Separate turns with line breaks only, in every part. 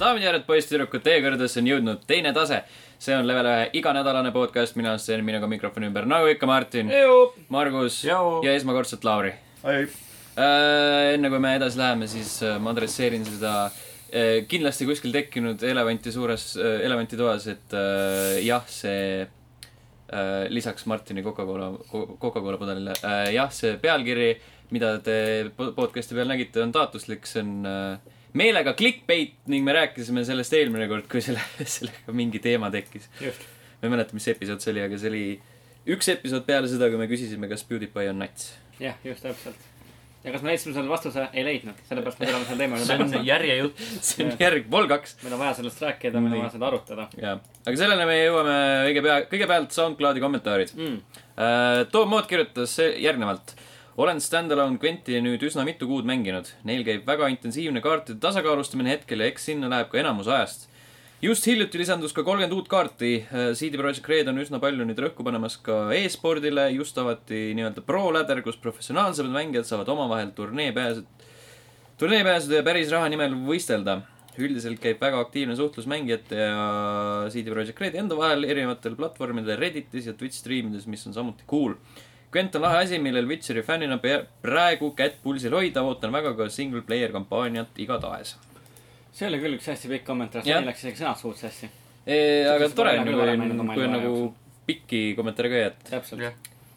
daamid ja härrad , poisssüdrukud , teie kõrgedesse on jõudnud teine tase . see on level ühe iganädalane podcast , mina olen Sten , minuga mikrofoni ümber , nagu ikka , Martin , Margus
Joo.
ja esmakordselt Lauri . Äh, enne kui me edasi läheme , siis äh, ma adresseerin seda äh, kindlasti kuskil tekkinud elevanti suures , elevantitoas , et äh, jah , see äh, lisaks Martini Coca-Cola , Coca-Cola pudelile , jah , see pealkiri , mida te po- podcast'i peal nägite , on taotluslik , see on äh, meelega clickbait ning me rääkisime sellest eelmine kord , kui selle , sellega mingi teema tekkis .
just .
ma ei mäleta , mis episood see oli , aga see oli üks episood peale seda , kui me küsisime , kas PewDiePie on nats
jah , just täpselt . ja kas me leidsime selle vastuse ? ei leidnud , sellepärast me tuleme selle teemaga
see on
tagasi .
järjejutt .
see on järg , pool kaks .
meil on vaja sellest rääkida , meil on vaja seda arutada
jaa , aga sellele me jõuame õige pea , kõigepealt SoundCloudi kommentaarid .
mm. .
Tom Mood kirjutas se- järgnevalt . olen stand-alone Quenti nüüd üsna mitu kuud mänginud . Neil käib väga intensiivne kaartide tasakaalustamine hetkel ja eks sinna läheb ka enamus ajast . just hiljuti lisandus ka kolmkümmend uut kaarti . CD Projekt Red on üsna palju nüüd rõhku panemas ka e-spordile , just avati nii-öelda pro-läder , kus professionaalsemad mängijad saavad omavahel turnee pääsed , turniiripääsude ja päris raha nimel võistelda . üldiselt käib väga aktiivne suhtlus mängijate ja CD Projekt Redi enda vahel erinevatel platvormidel Redditis ja Twitch striimides , mis on samuti cool . Quent on lahe asi , millel Witcheri fännina pea- praegu kätt pulsil hoida , ootan väga ka single player kampaaniat igatahes .
see oli küll üks hästi pikk kommentaar ,
Jah.
siin läks isegi sõnad suud sassi .
aga
Sest
tore
ma
on ju , kui
olen küll mänginud
on ,
oma
kui on
elu
nagu pikki kommentaare ka jätta .
täpselt .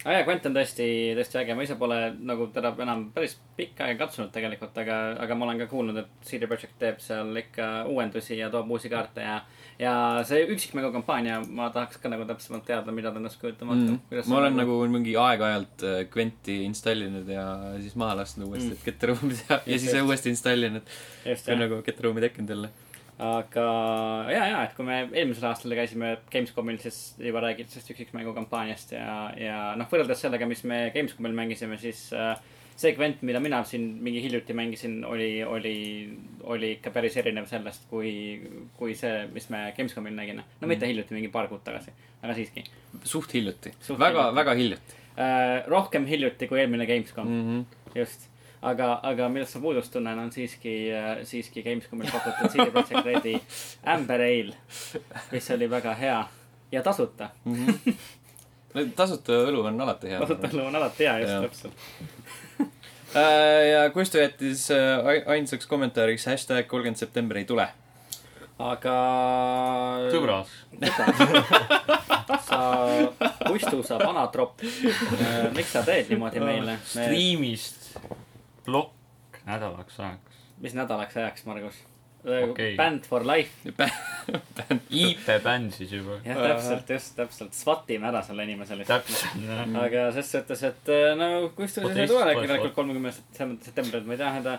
aa jaa , Quentin tõesti , tõesti äge , ma ise pole nagu teda enam päris pikka aega katsunud tegelikult , aga , aga ma olen ka kuulnud , et CD Projekt teeb seal ikka uuendusi ja toob uusi kaarte ja , ja see üksikmängukampaania , ma tahaks ka nagu täpsemalt teada , mida ta ennast kujutama hakkab
Mm. ma olen . nagu mingi aeg-ajalt äh, Quenti installinud ja siis maha lasknud uuesti , et ketteruumi teha ja siis
Mm. just.
uuesti installinud .
just ,
see on
jah ,
nagu ketteruumi tekkinud jälle .
aga ja , ja , et kui me eelmisel aastal käisime Gamescomil , siis juba räägiti sellest üksikmängukampaaniast ja , ja noh , võrreldes sellega , mis me Gamescomil mängisime , siis äh, see Kvent , mida mina siin mingi hiljuti mängisin , oli , oli , oli ikka päris erinev sellest , kui , kui see , mis me Gamescomil nägime . no mitte hiljuti , mingi paar kuud tagasi , aga siiski
suht hiljuti ,
Suht
väga ,
hiljuti.
väga hiljuti .
äh, . rohkem hiljuti kui eelmine Gamescom mm. ,
Mm
just . aga , aga millest ma puudust tunnen , on siiski äh, , siiski Gamescomil pakutud CD Projekt Redi Amber Ale , mis oli väga hea ja tasuta .
-hmm. tasuta õlu on alati hea .
tasuta lõu on nagu alati
Jaa.
hea , just täpselt .
Äh, ja Kusto jättis äh, ai- ainsaks kommentaariks hashtag kolmkümmend september ei tule .
aga .
sõbras .
sa , Kustu , sa vana tropp . miks sa teed niimoodi meile ?
striimist plokk nädalaks ajaks .
mis nädalaks ajaks , Margus okay. ?
Okei.
Band for life .
IP-bänd siis juba .
jah , täpselt , just täpselt . SWATime ära selle inimese lihtsalt .
täpselt , noh, jah .
aga ses suhtes , et eh, no kus ta siis ei
Protest
tule
boikott.
tegelikult nagu kolmekümnes septembril , ma ei tähenda ,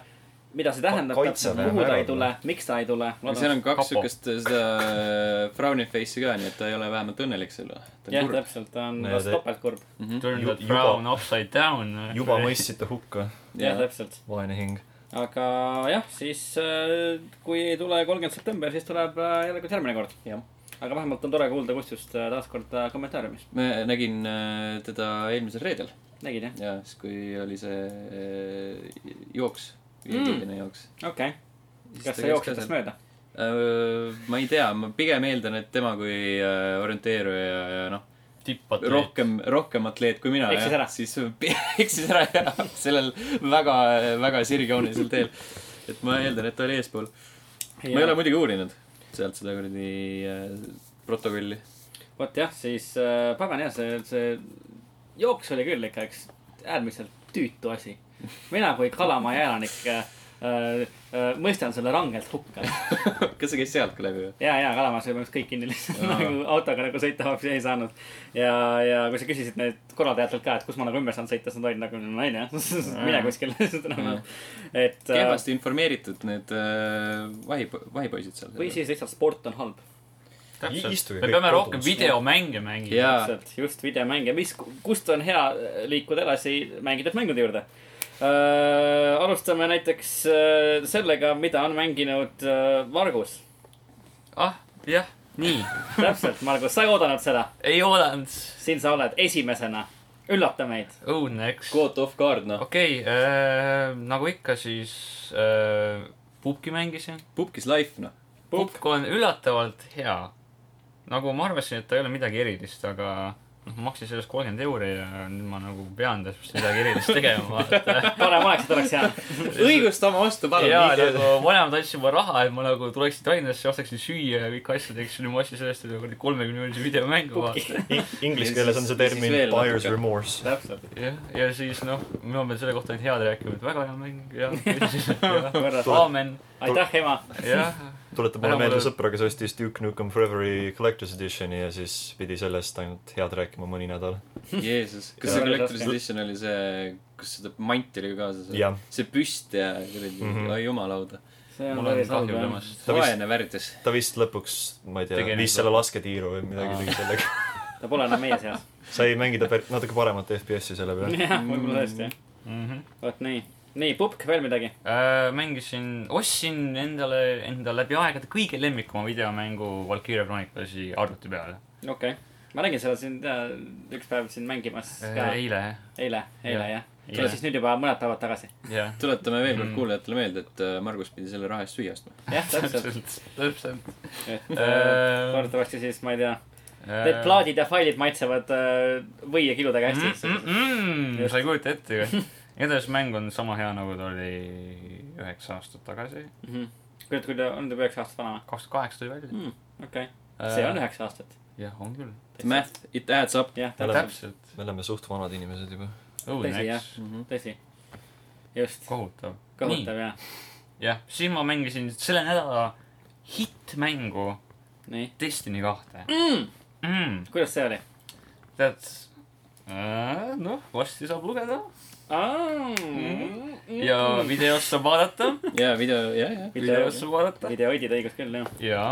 mida see tähendab ,
Kaitseväe
kuhu ta
määrad.
ei tule , miks ta ei tule .
seal on kaks
Kapo.
siukest äh, seda äh, frowny face'i ka , nii et ta ei ole vähemalt õnnelik selle . ta
jah
on , kurb .
täpselt , ta on
Näed,
vast
et-
topeltkurb .
Turn
Ju-
that brown upside down . noh.
juba . mõistsite hukka ,
jah , täpselt .
vaene hing .
aga jah , siis eh, kui ei tule kolmkümmend september , siis tuleb eh, järelikult järgmine kord .
Jah.
aga vähemalt on tore kuulda Kustust eh, taas kord eh, kommentaariumis .
ma nägin äh, teda eelmisel reedel
nägid jah ?
ja siis , kui oli see äh, jooks ,
Mm.
viietunnine mm. jooks .
okei okay. , kas sa jooksid tast mööda ?
Öö, Äh, ma ei tea , ma pigem eeldan , et tema kui äh, orienteeruja ja , ja noh ,
tippatud .
rohkem , rohkem atleet kui mina .
Eksis ära.
siis eksis ära ja sellel väga , väga sirgjoonisel teel . et ma eeldan , et ta oli eespool . ma ei ole muidugi uurinud sealt seda kuradi äh, protokolli .
vot jah , siis äh, pagan jah , see , see jooks oli küll ikka üks äärmiselt tüütu asi . mina kui Kalamaja elanik äh, äh, mõistan selle rangelt hukka .
kas see käis sealt ka läbi või ?
ja , ja Kalamajas oli põhimõtteliselt kõik kinni lihtsalt
Jaa.
nagu autoga nagu sõita hoopis ei saanud . ja , ja kui sa küsisid need korraldajatelt ka , et kus ma nagu ümber saan sõita , siis nad olid nagu no ei tea , mine kuskile . et äh,
kehvasti informeeritud need äh, vahi , vahipoisid seal .
või siis lihtsalt sport on halb .
täpselt
Istuge ,
me
kõik
peame
kodus.
rohkem videomänge mängima .
jaa ,
täpselt , just videomänge , mis , kust on hea liikuda edasi mängitud mängude juurde . alustame näiteks äh, sellega , mida on mänginud äh, Margus .
ah , jah , nii .
täpselt , Margus , sa ei oodanud seda ,
ei oodanud .
siin sa oled esimesena , üllata meid .
õudneks .
God of Guard , noh .
Oh, okei , nagu ikka , siis äh, pubgi mängisin .
Pupkis life , noh .
Pukk.
Pukk on üllatavalt hea . nagu ma arvasin , et ta ei ole midagi erilist , aga noh , maksis sellest kolmkümmend euri ja nüüd ma nagu pean täpselt midagi erilist tegema , vaata .
parem oleks , et oleks hea .
õigusta oma ostu , palun .
ja nagu vanemad andsid mulle raha , et ma nagu tuleksin Tallinnasse , ostaksin süüa ja kõiki asju teeksin , nüüd ma ostsin sellest üle kuradi kolmekümne eurose videomängu vaata .
Ja
Inglise keeles on see
siis- ja siis
termin
veel
buyer's
natuke.
remorse .
täpselt .
jah , ja siis noh , mina pean selle kohta ainult head rääkima , et väga hea mäng ja , ja ,
korras .
aamen ,
aitäh , ema .
jah .
tuletab mulle
Ära
meelde
mulle-
sõpra , kes ostis Duke Nukem Forever'i Collector's Edition'i ja siis pidi sellest ainult head rääkima mõni nädal .
Jeesus , kas
See
see
oli
Collector's
raske.
Edition oli see , kus seda manti oli ka kaasas ?
Jah.
see püst ja kuradi mm ,
Mhm.
-hmm. oi jumalauda .
see on
mul on
päris
kahju
halb jah .
temast .
Ta vist-
vaene värdjas .
ta vist lõpuks , ma ei tea ,
Tegelikult-
viis selle lasketiiru või midagi
Aa.
tegi sellega .
ta pole enam meie seas .
sai mängida per- natuke paremat FPS-i selle peale .
jah , võib-olla tõesti jah .
Mhm.
vot nii . nii , Pukk , veel midagi ?
Äh, mängisin , ostsin endale , enda läbi aegade kõige lemmikuma videomängu Valkyria Chroniclesi arvuti peale .
okei okay. . ma nägin seda siin äh, üks päev siin mängimas ka .
Äh, eile ,
eile , eile
Jah.
jah . see
Jah.
oli siis nüüd juba mõned päevad tagasi .
jah .
tuletame veel
Mhm.
kord
Mm.
kuulajatele meelde , et äh, Margus pidi selle raha eest süüa ostma .
jah , täpselt .
täpselt , täpselt .
et äh, loodetavasti siis , ma ei tea , need
plaadid
plaadid ja failid maitsevad äh, või ja kiludega hästi . Just.
Mm, sa ei kujuta ette ju . igatahes mäng on sama hea , nagu ta oli üheksa aastat tagasi .
Mhm. kurat , kui ta on juba üheksa aastat vana
kaks tuhat kaheksa tuli välja .
või ? okei ,
Äh.
see on üheksa aastat .
jah , on küll .
Math , it adds up .
jah , täpselt ,
täpselt .
me oleme suht vanad inimesed juba .
õudne ,
Tõsi,
eks .
Mhm.
tõsi . just ,
kohutav .
kohutav jah .
jah , siis ma mängisin selle nädala hittmängu
nii ,
Destiny kahte mm. . Mm.
kuidas see oli ?
tead äh, , noh , varsti saab lugeda ja videost saab vaadata ,
ja video , ja , ja .
videost saab vaadata
videoidid õigus küll jah .
ja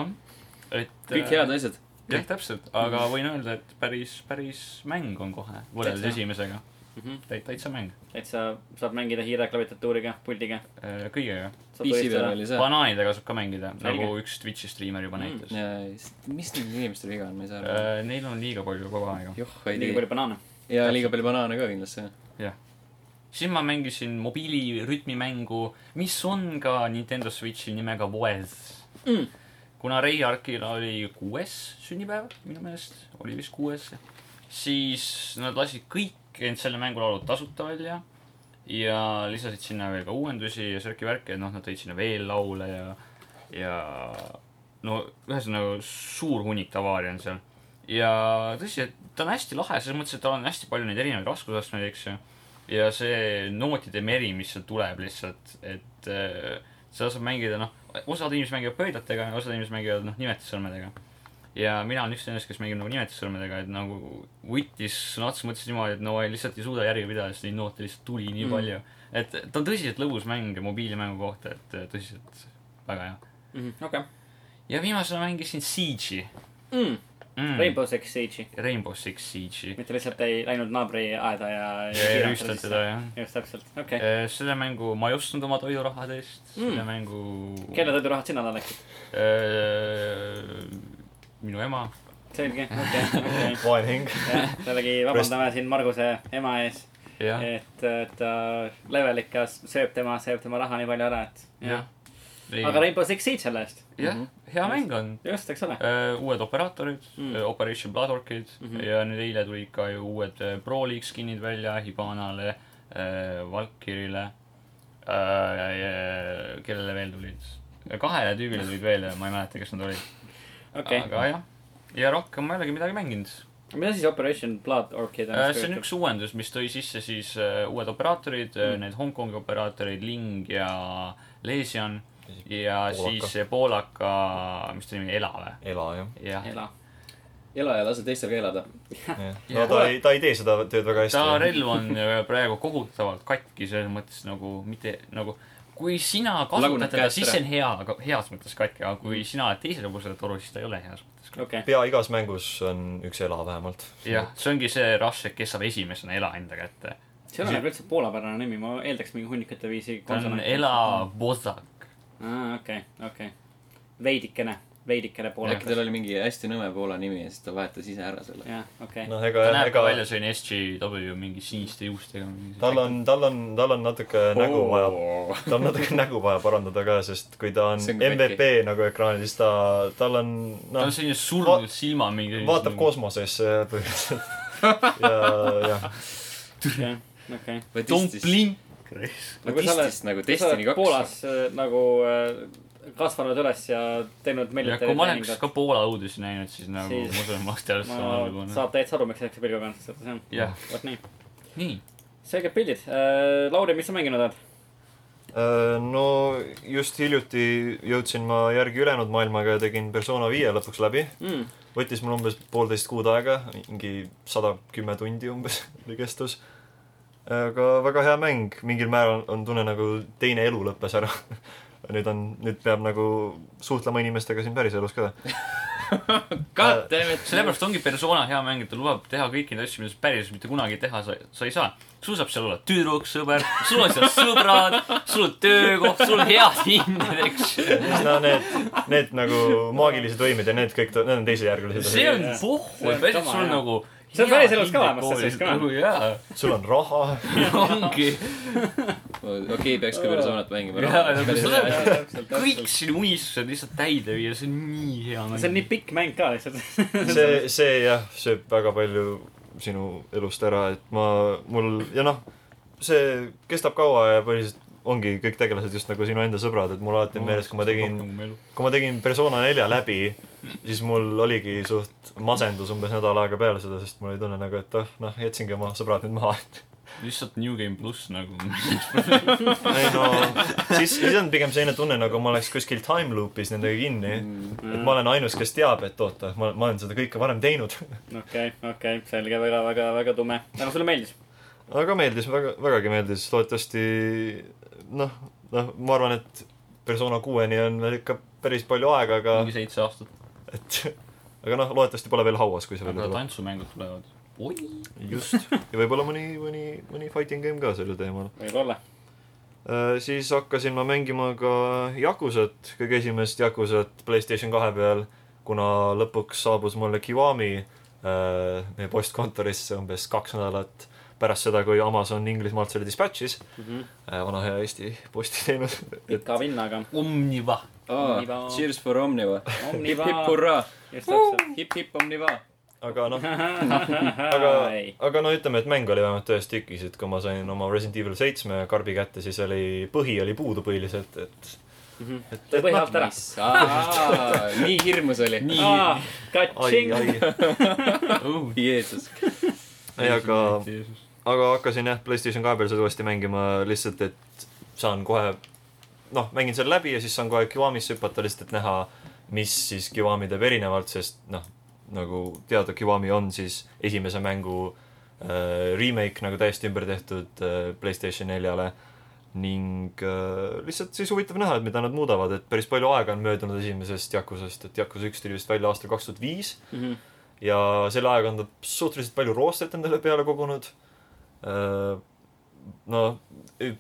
et .
kõik . head asjad .
jah , täpselt , aga võin öelda , et päris , päris mäng on kohe võrreldes
Täitsa.
esimesega Täit, , täitsa mäng ,
täitsa saab mängida hiire klaviatuuriga , puldiga .
Äh, kõigega .
PC peal oli see .
banaanidega saab ka mängida ,
Selge.
nagu üks Twitch'i striimer juba näitas .
ja , mis nendel inimestel viga on , ma ei saa aru .
Äh,
Neil on liiga palju kogu aega .
joh , ei
liiga
tea
palju . banaane .
ja liiga palju banaane ka kindlasti .
siis ma mängisin mobiilirütmimängu , mis on ka Nintendo Switchi nimega Voez
Mm. .
kuna Ray Arkil oli kuues sünnipäev minu meelest , oli vist kuues , siis nad lasid kõik end selle mängulaulu tasuta välja ja lisasid sinna veel ka uuendusi ja särki värki , et noh , nad tõid sinna veel laule ja , ja no ühesõnaga suur hunnik tavaari on seal . ja tõsi , et ta on hästi lahe selles mõttes , et tal on hästi palju neid erinevaid raskusastmeid , eks ju . ja see nootide meri , mis seal tuleb lihtsalt , et äh, seda saab mängida , noh , osad inimesed mängivad pöidlatega , osad inimesed mängivad , noh , nimetussõrmedega . ja mina olen üks nendest , kes mängib nagu nimetussõrmedega , et nagu võttis sõna otseses mõttes niimoodi , et no ei, lihtsalt ei suuda järge pidada , sest neid noote lihtsalt tuli nii
Mm.
mm. palju . et ta on tõsiselt lõbus mäng mobiilimängu kohta , et äh, tõsiselt väga hea .
okei .
ja viimasena mängisin Siege'i mm. .
Rainbow Six Siege'i ,
Rainbow Six Siege'i .
mitte lihtsalt ei läinud naabri aeda ja .
ja rüüstad teda . jah .
just täpselt , okei okay. .
selle mängu ma ei ostnud oma toidurahade eest , selle
Mm.
mängu
kelle toidurahad sina talle läksid ?
Äh, minu ema .
selge , okei , okei .
vaene hing .
jällegi vabandame siin Marguse ema ees ,
jah ,
et äh, ta level ikka sööb tema , sööb tema raha nii palju ära , et .
jah .
aga Rainbow Mhm. Six Siege selle eest ,
jah , hea mäng on .
just , eks ole .
Äh, uued operaatorid
Mm.
mm. , Operation Bloodhawkid mm
Mhm.
-hmm. ja nüüd eile tulid ka ju uued äh, Pro League skin'id välja Hibanale , äh, Valkyrile , kellele veel tulid ? kahele tüübile tulid veel , ma ei mäleta , kes nad olid .
okei okay. ,
aga jah , ja rohkem ma ei olegi midagi mänginud .
mida siis Operation Blood Orchid on ?
Äh, see on üks uuendus , mis tõi sisse siis äh, uued operaatorid mm. , need Hongkongi operaatorid Ling ja Lesion ja
Poolaka.
Poolaka. siis see poolaka , mis ta nimi oli , Ela või ?
ela , jah .
jah .
ela .
ela ja lase teistel ka elada .
no ta ei , ta ei tee seda tööd väga hästi .
ta relv on äh, praegu kohutavalt katki selles mõttes nagu mitte nagu , kui sina
Laguneb
kasutad teda ,
käest
siis
ära.
see on hea , aga heas mõttes katki , aga kui sina oled teisel pool seda toru , siis ta ei ole heas mõttes katki .
okei okay. ,
pea igas mängus on üks ela vähemalt .
jah , see ongi see rush , et kes saab esimesena ela enda kätte .
see ei ole nagu üldse poolapärane nimi , ma eeldaks mingi hunnikute viisi .
ta on Ela Bozak .
aa , okei , okei . veidikene , veidikene poole
äkki tal oli mingi hästi nõme Poola nimi ja siis ta vahetas ise ära selle .
jah , okei okay. .
noh , ega
ta , näeb ka
ega
välja selline SJW mingi siniste juustega .
tal on , tal on , tal on natuke nägu vaja , tal on natuke nägu vaja parandada ka , sest kui ta on
See on ka
MVP nagu ekraanil , siis ta , tal on ,
tal
noh
on , selline surnud silma mingi .
vaatab . kosmosesse põhimõtteliselt . ja , jah .
okei okay. .
Don't
Batistist ,
blink .
Batistist nagu
kui sa
Destiny
oled
kaks .
Poolas äh, nagu äh, kasvanud üles ja teinud
ja
militari
kui ma oleks ka Poola õudusi näinud , siis nagu
Siis-
ma usun , et ma oleks teadnud
ma
seda algul .
saab täitsa aru , miks selleks pilguga on , sest see on ,
noh. jah ,
vot nii .
nii .
selged pildid äh, . Lauri , mis sa mänginud oled ?
Äh, no just hiljuti jõudsin ma järgi ülejäänud maailmaga ja tegin persona viie lõpuks läbi .
mm. .
võttis mul umbes poolteist kuud aega , mingi sada kümme tundi umbes oli kestus . aga väga hea mäng , mingil määral on tunne nagu teine elu lõppes ära . nüüd on , nüüd peab nagu suhtlema inimestega siin päriselus ka .
God damn it .
Äh, sellepärast ongi persona hea mäng , et ta lubab teha kõiki neid asju , mida sa päriselt mitte kunagi teha sa , sa ei saa . sul saab seal olla tüdruk , sõber , sul on seal sõbrad , sul on töökoht , sul on head hinded , eks .
siis no need , need nagu maagilised võimed ja need kõik , need on teisejärgulised
see on
Jah.
pohhu ,
See on
et päriselt
kama,
sul
jah. See on päriselus ka olemas, see
on nagu .
siis ka.
nagu, jaa ,
sul on raha
ongi .
okei , peaks ka persoonat mängima .
jaa , nagu sul on kõik
see
sinu unistused lihtsalt täide viia , see on nii hea mäng .
on nii pikk mäng ka lihtsalt .
see , see jah , sööb väga palju sinu elust ära , et ma , mul ja noh , see kestab kaua ja põhiliselt ongi kõik tegelased just nagu sinu enda sõbrad , et mul alati on meeles , kui ma tegin , kui ma tegin persona nelja läbi , siis mul oligi suht masendus umbes nädal aega peale seda , sest mul oli tunne nagu , et oh , noh , jätsingi oma sõbrad nüüd maha .
lihtsalt New Game pluss nagu .
ei no , siis , siis on pigem selline tunne , nagu ma oleks kuskil time loop'is nendega kinni . et ma olen ainus , kes teab , et oota , ma , ma olen seda kõike varem teinud .
okei , okei , selge , väga , väga , väga tume . aga sulle meeldis ?
aga meeldis , väga , vägagi meeldis , loodetavasti noh , noh , ma arvan , et persona kuueni on veel ikka päris palju aega , aga
mingi seitse aastat .
et aga noh , loodetavasti pole veel hauas , kui see välja
aga
tuleb .
tantsumängud tulevad . oi
just . ja võib-olla mõni , mõni , mõni fighting game ka sellel teemal .
võib-olla .
Äh, siis hakkasin ma mängima ka Yakuusat , kõige esimest Yakuusat Playstation kahe peal , kuna lõpuks saabus mulle Kiwami äh, meie postkontorisse umbes kaks nädalat pärast seda , kui Amazon Inglismaalt selle dispatch'is . Äh, vana hea Eesti postiteenus .
pika vinnaga .
Omniva .
aa
Omniva. ,
cheers for Omniva . hipp ,
Omniva .
hipp , hurraa .
just täpselt .
hipp-hipp , Omniva .
aga noh , aga
aga ,
aga no ütleme , et mäng oli vähemalt ühes tükis , et kui ma sain oma Resident Evil seitsme karbi kätte , siis oli , põhi oli puudu põhiliselt , et , et , et noh,
põhi alt ära .
nii hirmus oli .
nii ,
ai ,
Katsing .
ai , Oh,
õudne .
Jeesus .
ei aga , aga hakkasin jah , Playstation kahe peal seda uuesti mängima lihtsalt , et saan kohe , noh , mängin selle läbi ja siis saan kohe Kiwamisse hüpata lihtsalt , et näha , mis siis Kiwami teeb erinevalt , sest noh , nagu teada , Kiwami on siis esimese mängu äh, remake nagu täiesti ümber tehtud äh, Playstation neljale ning äh, lihtsalt siis huvitav näha , et mida nad muudavad , et päris palju aega on möödunud esimesest Yakuusast , et Yakuusa üks tuli vist välja aastal kaks tuhat viis
Mhm.
ja selle ajaga on ta suhteliselt palju roostet endale peale kogunud . no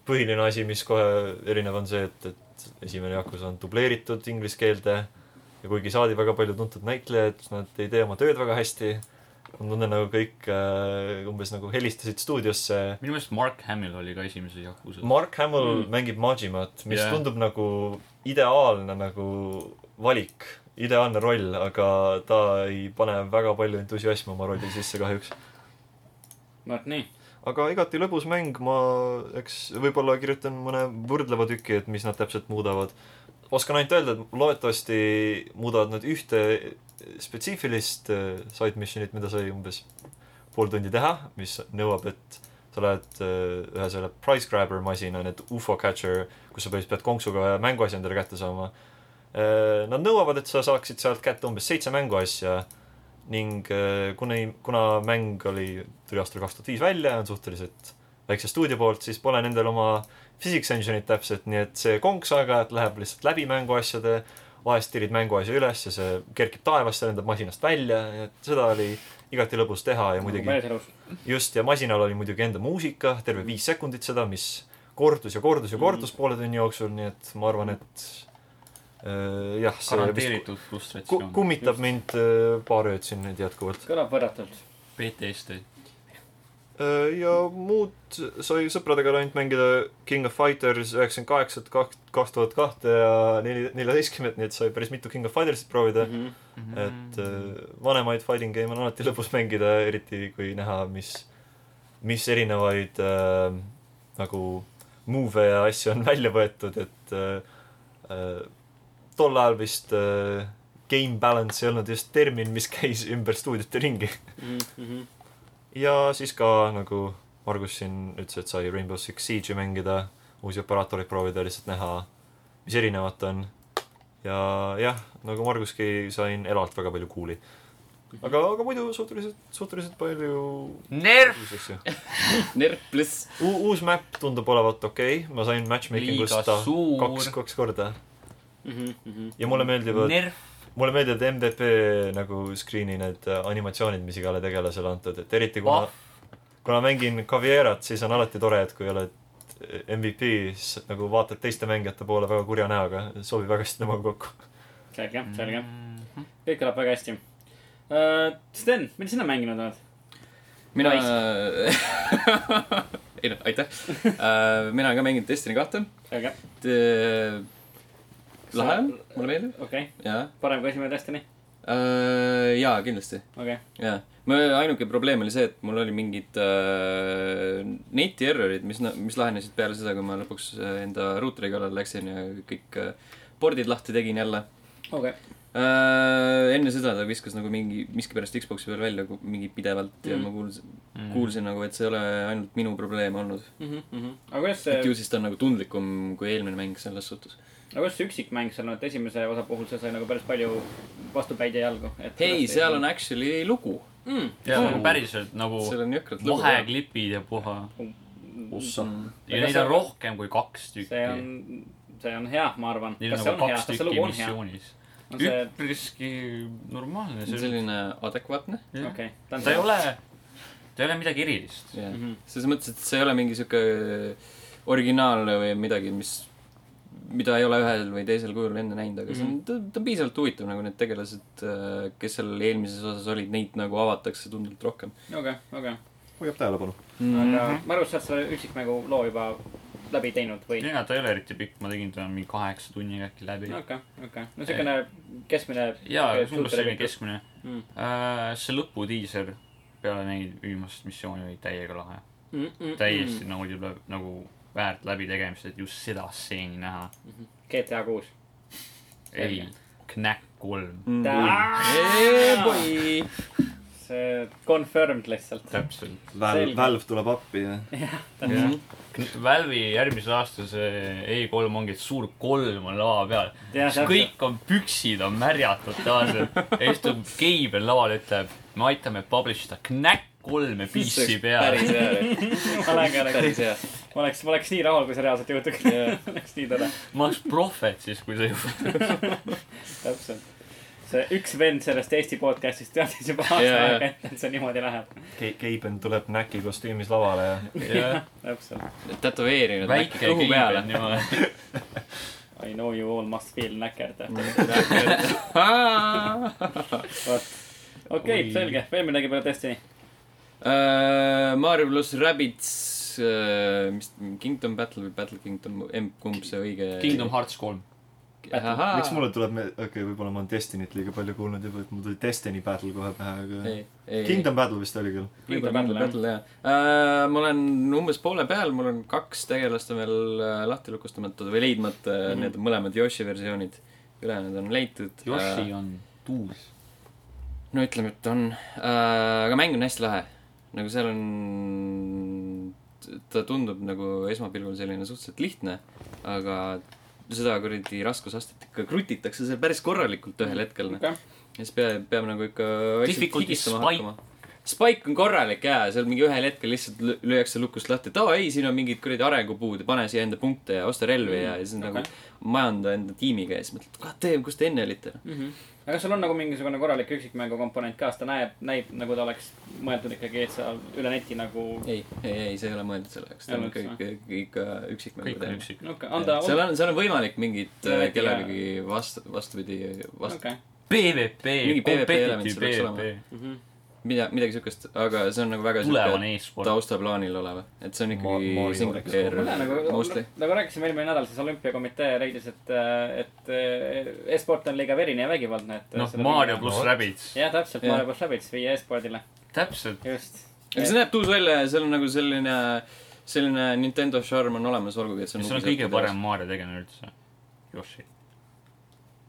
põhiline asi , mis kohe erinev on see , et , et esimene Yakuza on dubleeritud inglise keelde ja kuigi saadi väga palju tuntud näitlejaid , nad ei tee oma tööd väga hästi . ma tunnen nagu kõik äh, umbes nagu helistasid stuudiosse .
minu meelest Mark Hamill oli ka esimeses Yakuusas Ma... .
Mark Hamill
Mm.
mm. mängib Majimat , mis
Jah.
yeah. tundub nagu ideaalne nagu valik , ideaalne roll , aga ta ei pane väga palju entusiasmi oma rolli sisse kahjuks .
vot nii .
aga igati lõbus mäng , ma eks võib-olla kirjutan mõne võrdleva tüki , et mis nad täpselt muudavad . oskan ainult öelda , et loodetavasti muudavad nad ühte spetsiifilist äh, side mission'it , mida sai umbes pool tundi teha , mis nõuab , et sa lähed äh, ühe selle prize grabber masina , need ufo catcher , kus sa põhimõtteliselt pead konksuga ühe mänguasja endale kätte saama . Nad nõuavad , et sa saaksid sealt kätte umbes seitse mänguasja ning äh, kuna , kuna mäng oli , tuli aastal kaks tuhat viis välja , on suhteliselt väikse stuudio poolt , siis pole nendel oma physics engine'it täpselt , nii et see konks aeg-ajalt läheb lihtsalt läbi mänguasjade , vahest tirid mänguasja üles ja see kerkib taevasse , lendab masinast välja , et seda oli igati lõbus teha ja muidugi
päriselus .
just , ja masinal oli muidugi enda muusika , terve viis sekundit seda , mis kordus ja kordus ja kordus poole tunni jooksul , nii et ma arvan , et jah , see vist
garanteeritud
ku-
frustratsioon .
kummitab mind öö, paar ööd siin nüüd jätkuvalt .
kõlab võrratult .
PTSD .
Äh, ja muud sai sõpradega ainult mängida King of Fighters üheksakümmend kaheksat , kaks tuhat kahte ja neli , neljateistkümnet , nii et sai päris mitu King of Fightersit proovida .
Mhm.
Mhm.
et äh, vanemaid fighting game on alati lõbus mängida , eriti kui näha , mis , mis erinevaid äh, nagu move'e ja asju on välja võetud , et äh, äh, tol ajal vist äh, game balance ei olnud just termin , mis käis ümber stuudiote ringi .
Mhm,
ja siis ka nagu Margus siin ütles , et sai Rainbow Six Siege'i mängida , uusi operaatoreid proovida , lihtsalt näha , mis erinevat on . ja jah , nagu Marguski sain Elalt väga palju kuuli . aga , aga muidu suhteliselt , suhteliselt palju
Nerf
uusi asju .
Nerf pluss .
uus map tundub olevat okei okay. , ma sain matchmaking
liiga
ust ta kaks ,
suur ,
kaks korda
mhm,
ja mulle meeldivad ,
Nerf .
mulle meeldivad MVP nagu screen'i need äh, animatsioonid , mis igale tegelasele antud , et eriti kuna
Vahv ,
kuna mängin Cavierat , siis on alati tore , et kui oled MVP , siis nagu vaatad teiste mängijate poole väga kurja näoga , sobib väga hästi temaga kokku .
selge ,
Mhm.
selge . kõik kõlab väga hästi . Sten , mida sina mänginud oled ?
mina
Nice. ,
ei noh , aitäh . mina olen ka mänginud Destiny kahte .
selge ,
lahe on , mulle meeldib ,
okei okay. ,
jaa .
parem kui esimene Destiny ,
jaa , kindlasti ,
okei okay. .
jaa . mu ainuke probleem oli see , et mul oli mingid äh, neti errorid , mis , mis lahenesid peale seda , kui ma lõpuks äh, enda ruuteri kallale läksin ja kõik äh, pordid lahti tegin jälle
okei okay. ,
Äh, enne seda ta viskas nagu mingi , miskipärast Xbox'i peal välja ku- mingi pidevalt mm. ja
Mm.
ma kuulsin , kuulsin nagu , et see ei ole ainult minu probleem olnud .
Mhm, aga kuidas
et ju
see ,
siis ta on nagu tundlikum kui eelmine mäng selles suhtes .
aga kuidas see üksikmäng seal on , et esimese osa puhul see sai nagu päris palju vastupäid ja jalgu , et .
hei , seal on actually lugu ,
mm. .
ja nagu
Oo.
päriselt nagu
seal on jõhkralt lugu .
vaheklipid ja puha .
Ossa.
ja
Aga
neid
see-
on rohkem kui kaks tükki
see . on , see on hea , ma arvan .
Neil on
kas see
nagu
on hea ,
kaks
kas see
tükki
lugu on hea ?
missioonis .
on see ,
üpriski normaalne .
selline adekvaatne
okei okay, , ta
ta
on
ei ole , ta ei ole midagi erilist .
yeah. mm
Mhm.
-hmm. selles mõttes , et see ei ole mingi sihuke originaalne või midagi , mis , mida ei ole ühel või teisel kujul enne näinud , aga see on , ta ta on piisavalt huvitav nagu need tegelased , kes seal eelmises osas olid , neid nagu avatakse tunduvalt rohkem
okei , okei .
hoiab tähelepanu .
mm. .
aga
Mhm.
ma arvan , et sa oled selle üksikmängu loo juba läbi teinud või ?
ja ta ei ole eriti pikk , ma tegin ta mingi kaheksa tunniga äkki läbi .
okei , okei . no siukene keskmine .
jaa , umbes selline . keskmine
Mm. .
Äh, see lõpudiiser peale neid viimast missiooni oli täiega lahe .
Mm,
täiesti naudib läbi- nagu väärt läbitegemist , et just seda stseeni näha .
GTA kuus .
ei
Selge. ,
Knack kolm .
Mhm.
Eeboi ,
see confirmed lihtsalt .
täpselt .
Selge.
Valve tuleb appi ja
Valve'i järgmise aasta see E3 ongi , et suur kolm on lava peal .
Jah,
siis
täpselt.
kõik on , püksid on märjad totaalselt . ja siis tuleb Keibel lavale , ütleb , me aitame publish ida Knack kolme PC peale .
päris hea ,
ma oleks , ma oleks
päris , hea .
ma oleks , ma oleks nii rahul , kui see reaalselt juhtuks . oleks nii tore ,
ma oleks prohvet siis , kui see juhtub .
täpselt see üks vend sellest Eesti podcast'ist teadis juba aasta
Jaa, jaa.
aega , et see niimoodi läheb .
Keiben tuleb näki kostüümis lavale ja
täpselt .
tätoveerinud
väike
kõhu
Keibel
peale .
niimoodi .
I know you all must feel knackered . vot , okei okay, ,
Oi.
selge , veel midagi peale Destiny .
Äh, Mario pluss Rabbids , mis , Kingdom Battle või Battle Kingdom , kumb see õige ?
Kingdom Hearts kolm .
Ahaa.
miks mulle tuleb me- , okei okay, , võib-olla ma olen Destiny't liiga palju kuulnud juba , et mul tuli Destiny Battle kohe pähe , aga
ei , ei ,
Kingdom Battle vist oli küll .
võib-olla
Kingdom
Kingdom
Battle,
Battle jah uh, . ma olen umbes poole peal , mul on kaks tegelast on veel äh, lahti lukustamata või leidmata mm -hmm. , need on mõlemad Yoshi versioonid . ülejäänud on leitud . Äh,
Yoshi on tuus .
no ütleme , et on uh, , aga mäng on hästi lahe . nagu seal on , ta tundub nagu esmapilgul selline suhteliselt lihtne , aga seda kuradi raskusastet ikka krutitakse seal päris korralikult ühel hetkel . ja
okei ,
siis peab , peab nagu ikka .
Difficulty spike.
Spike on korralik ja seal mingi ühel hetkel lihtsalt lü- lüüakse lukust lahti , et aa ei , siin on mingid kuradi arengupuud , pane siia enda punkte ja osta relvi ja , ja siis okay. nagu majanda enda tiimiga ja siis mõtled , god damn , kus te enne olite .
aga kas sul on nagu mingisugune korralik üksikmängu komponent ka , sest ta näeb , näeb nagu ta oleks mõeldud ikkagi , et sa üle neti nagu .
ei , ei , ei , see ei ole mõeldud selle jaoks ,
Ei
ta on
ole üldse,
kõik , ikka üksikmängu
kõik on
teema .
üksik .
okei , on ta ,
seal on , seal on võimalik mingit
Üle
äh,
neti, jaa.
kellegagi vastu , vastupidi , vastu ,
okei .
PVP ,
Mingi PVP element seal
competitive
peaks olema.
PVP ,
mida , midagi siukest , aga see on nagu väga siuke
tulevane e-sport .
taustaplaanil olev , et see on
Ma-
ikkagi
Mario
single
oleks
player
mulle nagu ,
mostly .
nagu rääkisime eelmine nädal , siis olümpiakomitee leidis , et , et äh, e-sport on liiga verine ja vägivaldne , et .
noh , Mario pluss
No.
Rabbids ,
jah , täpselt ,
Jah.
Mario pluss Rabbids viia e-spordile ,
täpselt .
just .
aga see näeb tuus välja ja seal on nagu selline , selline Nintendo šarm on olemas , olgugi et see on .
mis on kõige parem . Mario tegelane üldse ? Yoshi .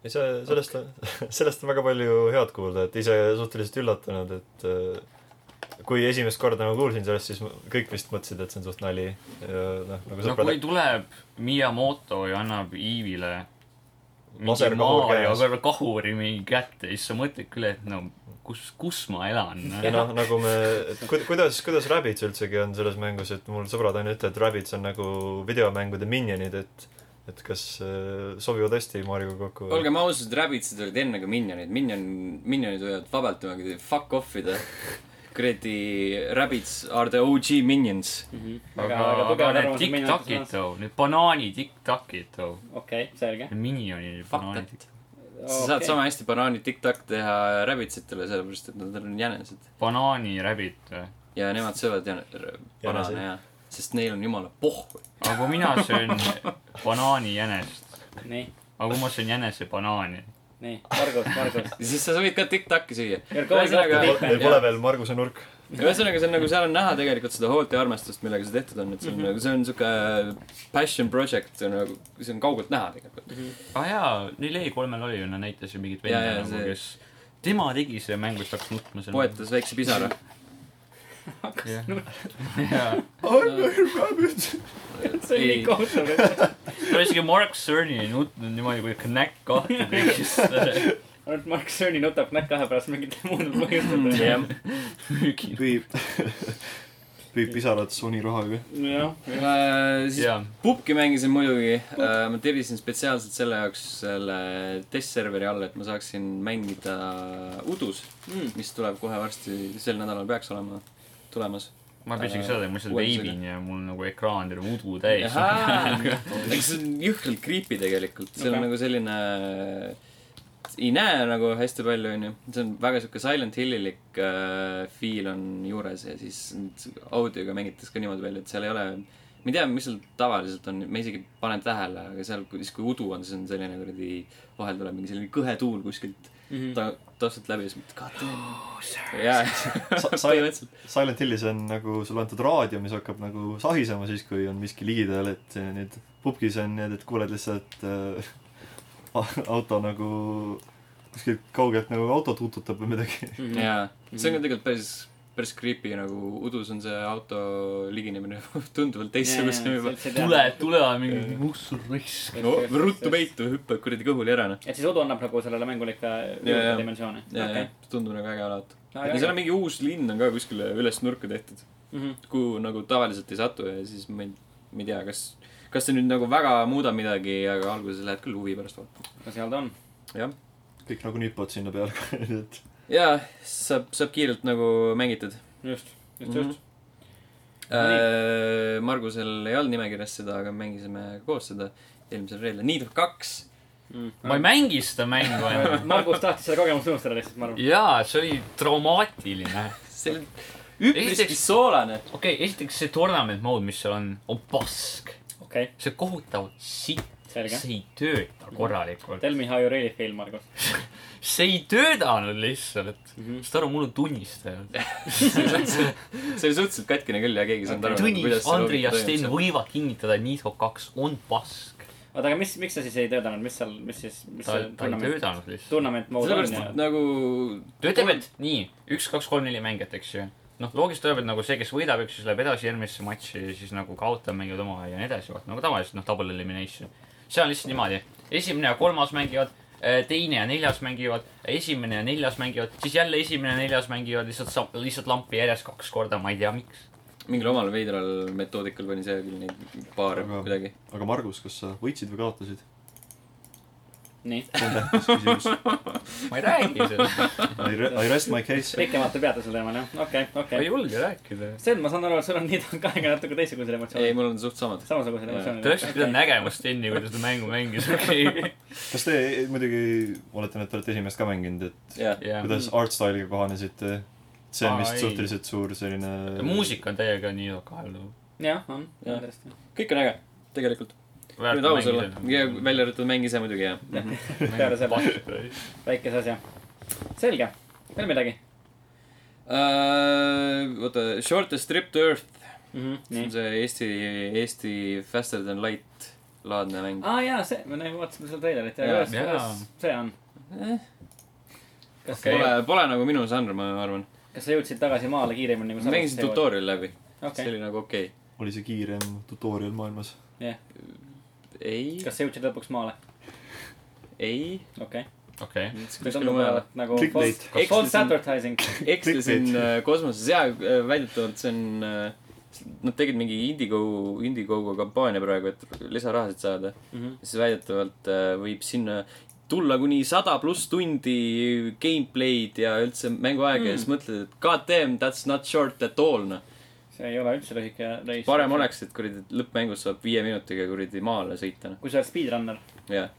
ei , see , sellest on , sellest on väga palju head kuulda , et ise suhteliselt üllatunud , et äh, kui esimest korda ma kuulsin sellest , siis ma- kõik vist mõtlesid , et see on suht nali . noh , nagu
no
sõbrad
kui tuleb Miyamoto ja annab Eevile mingi
Laserkahur
Mario
käes.
kõrval kahuri mingi kätte , siis sa mõtled küll , et no kus , kus ma elan .
ja noh , nagu me , kuidas , kuidas Rabbids üldsegi on selles mängus , et mul sõbrad on ütlevad , et Rabbids on nagu videomängude minionid , et et kas äh, sobivad hästi Marioga kokku ?
olgem ausad , Rabbitsid olid enne ka Minionid , Minion , Minionid võivad vabalt niimoodi fuck off ida . kuradi Rabbits are the OG minions .
Mhm. aga , aga need
noh.
tiktakid too , need banaani tiktakid too ,
okei , selge .
need minionid ,
Fuck
banaanid
that .. sa saad sama hästi banaani tiktak teha Rabbitsitele , sellepärast et nad on jänesed .
banaaniräbid .
ja nemad söövad jäne- , banaane ja , sest neil on jumala pohhu .
aga kui mina söön banaanijänest ,
nii ,
aga kui ma söön jänese banaani ,
nii , Margus , Margus .
ja siis sa võid ka tiktakki süüa .
You're going off the deep
meil
end ,
pole
jah .
veel Marguse nurk .
ühesõnaga , see on nagu , seal on näha tegelikult seda hoolt ja armastust , millega see tehtud on , et see on nagu , see on sihuke passion project , see on nagu , see on kaugelt näha tegelikult .
ah jaa , neil E3-l oli ju , nad näitasid mingit venda
Jaa, jaa,
nagu
see-
see... , kes , tema tegi selle mängu , siis ta hakkas nutma seal .
poetas väikse pisara .
hakkas nutma .
see oli nii kohutav .
ta isegi Mark Cerny ei nutnud niimoodi , kui Connect kahte tegi , siis
ainult Mark Cerny nutab näkk kahe pärast mingitel muudel põhjustel .
jah ,
müügil .
püüab , püüab pisarad Sony rahaga .
jah ,
Äh, siis
jaa ,
pubki mängisin muidugi , ma tellisin spetsiaalselt selle jaoks selle testserveri alla , et ma saaksin mängida udus ,
Mm-hmm.
mis tuleb kohe varsti , sel nädalal peaks olema tulemas .
ma püüdsingi seda teha , ma lihtsalt
Uuendusega.
veebin ja mul nagu ekraan terve udu täis .
aga see on jõhkralt creepy tegelikult , see on
Okei.
nagu selline , ei näe nagu hästi palju , onju . see on väga sihuke Silent Hillilik äh, feel on juures ja siis nüüd audioga mängitakse ka niimoodi välja , et seal ei ole , ma ei tea , mis seal tavaliselt on , ma isegi panen tähele , aga seal , siis kui udu on , siis on selline kuradi , vahel tuleb mingi selline kõhe tuul kuskilt ta- , taustalt läbi ja siis mõtled , god damn . jaa , põhimõtteliselt .
Silent Hillis on nagu sulle antud raadio , mis hakkab nagu sahisema siis , kui on miski ligidal , et nüüd pubgis on nii , et kuuled lihtsalt äh, a- auto nagu kuskilt kaugelt nagu autot ututab või midagi .
Mm-hmm.
jaa , see on ka tegelikult päris , päris creepy nagu udus on see auto liginemine tunduvalt teistsugusem juba ..
tule , tule mingi mussul risk .
no ruttu . peitu , hüppad kuradi kõhuli ära noh .
et siis udu annab nagu sellele mängule ikka
Jaa, jaa.
juurde dimensioone .
ja , ja tundub nagu äge alati .
Väga
ja seal
äge.
on mingi uus linn on ka kuskile üles nurka tehtud ,
Mhm.
kuhu nagu tavaliselt ei satu ja siis ma ei , ma ei tea , kas , kas see nüüd nagu väga muudab midagi , aga alguses lähed küll huvi pärast vaatama .
kas seal ta on ?
jah ,
kõik nagu nipad sinna peale , nii et
ja saab , saab kiirelt nagu mängitud .
just , just ,
Mhm.
just .
Äh, Margusel ei olnud nimekirjas seda , aga mängisime koos seda eelmisel reedel , Need of kaks .
ma ei mängi seda mängu enam .
Mhm. Margus tahtis selle kogemuse unustada lihtsalt , ma arvan .
jaa , see oli traumaatiline .
see oli üpriski
Esiteks-
soolane .
okei okay, , esiteks see tournament mode , mis seal on , on pask .
okei ,
see kohutav sitt ,
selge .
see ei tööta korralikult .
Tell me how you really feel , Margus . Mhm.
see ei töötanud lihtsalt . saad aru , mul on tunnistajad .
see oli suhteliselt katkine küll ja keegi ei saanud aru ,
Tõnis , Andrei ja Sten . võivad kinnitada , et Nitro kaks on pask .
oota , aga mis , miks sa siis ei töötanud , mis seal , mis siis , mis
ta
see ,
ta ei
tournament ,
töötanud lihtsalt .
tournament mode on
sellepärast ,
ja
et nagu
ta ütleb , et nii , üks , kaks , kolm , neli mängijat , eks ju . noh , loogiliselt öeldes nagu see , kes võidab , eks siis läheb edasi järgmisse matši ja siis nagu kaotab , mängivad omavahel ja nii edasi , vaata nagu tavaliselt noh , double elimination . seal on lihtsalt niimoodi , esimene ja kolmas mängivad , teine ja neljas mängivad , esimene ja neljas mängivad , siis jälle esimene ja neljas mängivad lihtsalt sa- , lihtsalt lampi järjest kaks korda , ma ei tea , miks .
mingil omal veidral metoodikal pani see küll neid paare
Aga-
kuidagi .
aga Margus , kas sa võitsid või kaotasid ?
nii ,
see on tähtis küsimus .
ma ei räägi seda ,
I re- , I rest my case .
pikemalt ei peata sel teemal jah , okei ,
ma ei
okei .
julge rääkida .
Sten , ma saan aru , et sul on nii kahega natuke teistsugused
ei ,
emotsioonid .
mul on suht samad .
samasugused
Jaa.
emotsioonid .
Te oleksite pidanud nägema Steni , kui ta seda mängu mängis , okei .
kas te muidugi , oletan , et te olete esimest ka mänginud , et
jah ,
kuidas art style'iga kohanesite ? see on
Aa,
vist
ei.
suhteliselt suur selline .
muusika on täiega nii kaelu .
jah , on ,
Jah.
kindlasti .
kõik on äge , tegelikult . nüüd aus olla , välja arvatud mäng ise muidugi jah .
peale selle väikese asja . selge , veel midagi
oota , Äh, Shortest trip to earth ,
mm ? -hmm.
Mhm. see
nii
on . see Eesti , Eesti Faster than light laadne mäng .
aa ah, jaa , see , me nagu vaatasime seda treilerit ja
Jaa.
kuidas ,
Jaa.
kuidas see on ? kas
Okei.
okay. ,
Pole , pole nagu minu žanr , ma arvan .
kas sa jõudsid tagasi maale kiiremini kui
ma mängisin ? tutorial'i läbi , see
okei ,
oli nagu okei
oli see kiirem tutorial maailmas ?
jah .
okay. . ei ,
kas sa jõudsid lõpuks maale ?
ei ,
okei .
okei ,
see
kuskile
tundub
mujale .
olevat nagu
Clickbait.
false , false advertising .
eksisin
Clickbait.
äh, kosmoses ja äh, väidetavalt see on äh, , nad tegid mingi Indigo , Indiegogo kampaania praegu , et lisarahasid saada . siis väidetavalt äh, võib sinna tulla kuni sada pluss tundi gameplay'd ja üldse mänguaega mm. ja siis mõtled , et god damn , that's not short at all , noh .
see ei ole üldse lühike reis .
parem . oleks , et kuradi lõppmängus saab viie minutiga kuradi maale sõita , noh ,
kui sa oled speedrunner .
jah .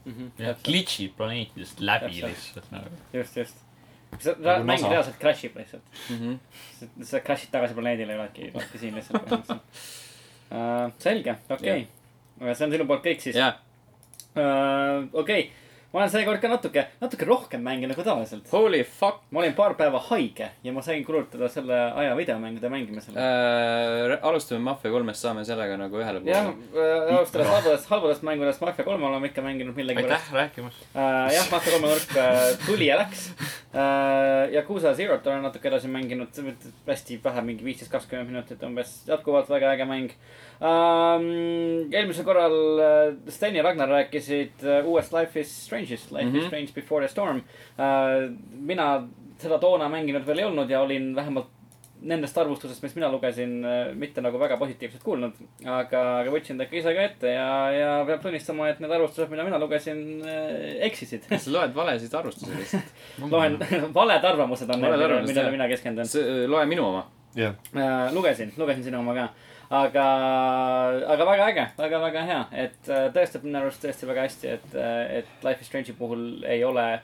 jah , glitch'id planeetidest läbi
Täpselt.
lihtsalt nagu .
just , just . sa , sa
Nagu
mäng
NASA.
reaalselt crash ib lihtsalt . sa, sa crash'id tagasi planeedile ja oledki , oledki siin lihtsalt . Uh, selge , okei okay. . see on sinu poolt kõik siis .
jah ,
Äh, okei okay. , ma olen seekord ka natuke , natuke rohkem mänginud kui tavaliselt .
holy fuck
ma olin paar päeva haige ja ma sain kulutada selle aja videomängude mängimisele .
äh, . alustame Mafia kolmest , saame sellega nagu ühele
jah
poole .
äh, , alustades halbadest , halbadest mängudest Mafia kolme oleme ikka mänginud millegipärast .
aitäh rääkimast .
Äh, jah , Mafia kolme nurk äh, tuli ja läks äh, . Yakuusa Zero't olen natuke edasi mänginud , hästi vähe , mingi viisteist , kakskümmend minutit umbes , jätkuvalt väga äge mäng ähm, . eelmisel korral äh, Sten ja Ragnar rääkisid äh, uuest Life is Strange'ist , Life mm -hmm.
Mhm.
is Strange Before the Storm äh, . mina seda toona mänginud veel ei olnud ja olin vähemalt nendest arvustusest , mis mina lugesin , mitte nagu väga positiivselt kuulnud , aga , aga võtsin ta ikka ise ka ette ja , ja peab tunnistama , et need arvustused , mida mina lugesin , eksisid .
sa loed valesid arvustusi lihtsalt .
loen , valed arvamused on
Valed
need ,
arvamused,
millele
jah.
mina keskendun .
äh, loe minu oma .
jah ,
Äh, lugesin , lugesin sinu oma ka . aga , aga väga äge , väga-väga hea , et äh, tõestab minu arust tõesti väga hästi , et , et Life is Strange'i puhul ei ole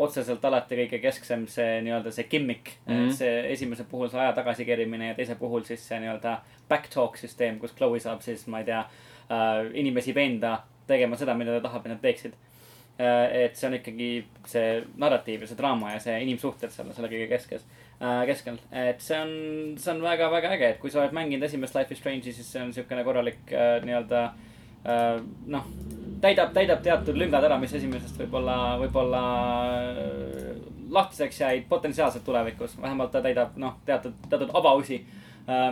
otseselt alati kõige kesksem see nii-öelda see gimmick mm .
Mhm.
-hmm. see esimese puhul see aja tagasikerimine ja teise puhul siis see nii-öelda backtalk süsteem , kus Chloe saab siis , ma ei tea , inimesi veenda tegema seda , mida ta tahab , et nad teeksid . Äh, et see on ikkagi see narratiiv ja see draama ja see inimsuhted seal selle kõige keskes , keskel . et see on , see on väga-väga äge , et kui sa oled mänginud esimest Life is Strange'i , siis see on niisugune korralik äh, nii-öelda äh, noh , täidab , täidab teatud lüngad ära , mis esimesest võib-olla , võib-olla äh, lahtiseks jäid potentsiaalselt tulevikus . vähemalt ta täidab , noh , teatud , teatud avausi ,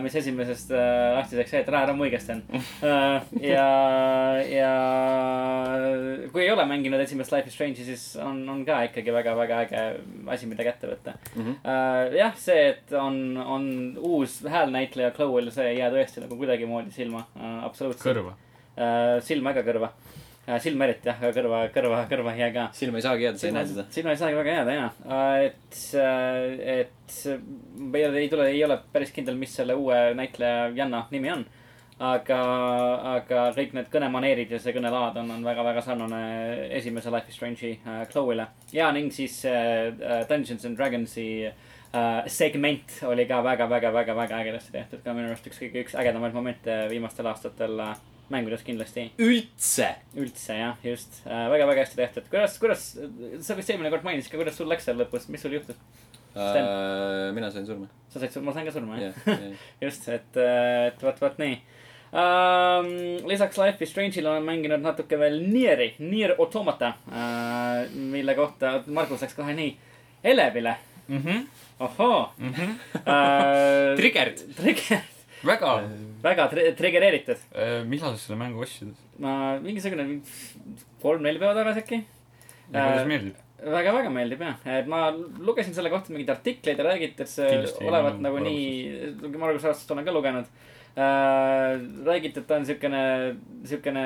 mis esimesest äh, lahtiseks jäid . ära , ära muigesta end . ja , ja kui ei ole mänginud esimest Life is Strange'i , siis on , on ka ikkagi väga-väga äge asi , mida kätte võtta mm .
Mhm.
-hmm. jah , see , et on , on uus häälnäitleja Chloe'l , see ei jää tõesti nagu kuidagimoodi silma , absoluutselt .
kõrva .
Äh, silma ega kõrva . silma eriti jah , aga kõrva , kõrva , kõrva ei jää ka .
silma ei saagi jääda , sa ei näe seda .
silma ei saagi väga jääda ja , et , et ma ei ole , ei tule , ei ole päris kindel , mis selle uue näitleja Janna nimi on . aga , aga kõik need kõnemaneerid ja see kõnelaad on , on väga-väga sarnane esimese Life is Strange'i äh, Chloe'le . ja ning siis äh, Dungeons and Dragonsi äh, segment oli ka väga-väga-väga-väga ägedasti tehtud ka minu arust üks kõige , üks ägedamaid momente viimastel aastatel äh, mängudes kindlasti
üldse .
üldse jah , just äh, , väga-väga hästi tehtud . kuidas , kuidas , sa vist eelmine kord mainisid ka , kuidas sul läks seal lõpus , mis sul juhtus ?
Äh, mina sain surma .
sa said , ma sain ka surma jah
jah , jah .
just , et , et vot , vot nii um, . lisaks Life is Strange'ile olen mänginud natuke veel Nieri , Nier Automata uh, , mille kohta Margus läks kohe nii elevile . ohoo uh,
Triggered. .
Trigger ,
väga , äh,
väga tri- , trigereeritud .
millal sa selle mängu ostsid ?
ma mingisugune kolm-neli päeva tagasi äkki .
ja kuidas meeldib .
väga-väga meeldib jah , et ma lugesin selle kohta mingeid artikleid ja räägiti , et see
Kindlasti
olevat
minu
nagu nii , Margus Raastust olen ka lugenud äh, . räägiti , et ta on siukene , siukene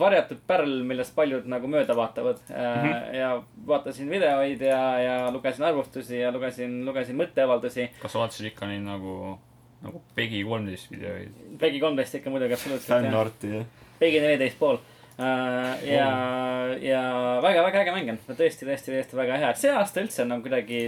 varjatud pärl , millest paljud nagu mööda vaatavad äh, . Mm -hmm. ja vaatasin videoid ja , ja lugesin arvustusi ja lugesin , lugesin mõtteavaldusi .
kas sa vaatasid ikka neid nagu , nagu Pegi kolmteist videoid ?
Pegi kolmteist ikka muidugi absoluutselt jah ,
fännarti , jah .
Pegi neliteist pool . Uh, ja , ja väga-väga äge mäng on , tõesti , tõesti , tõesti väga hea , et see aasta üldse on nagu kuidagi ,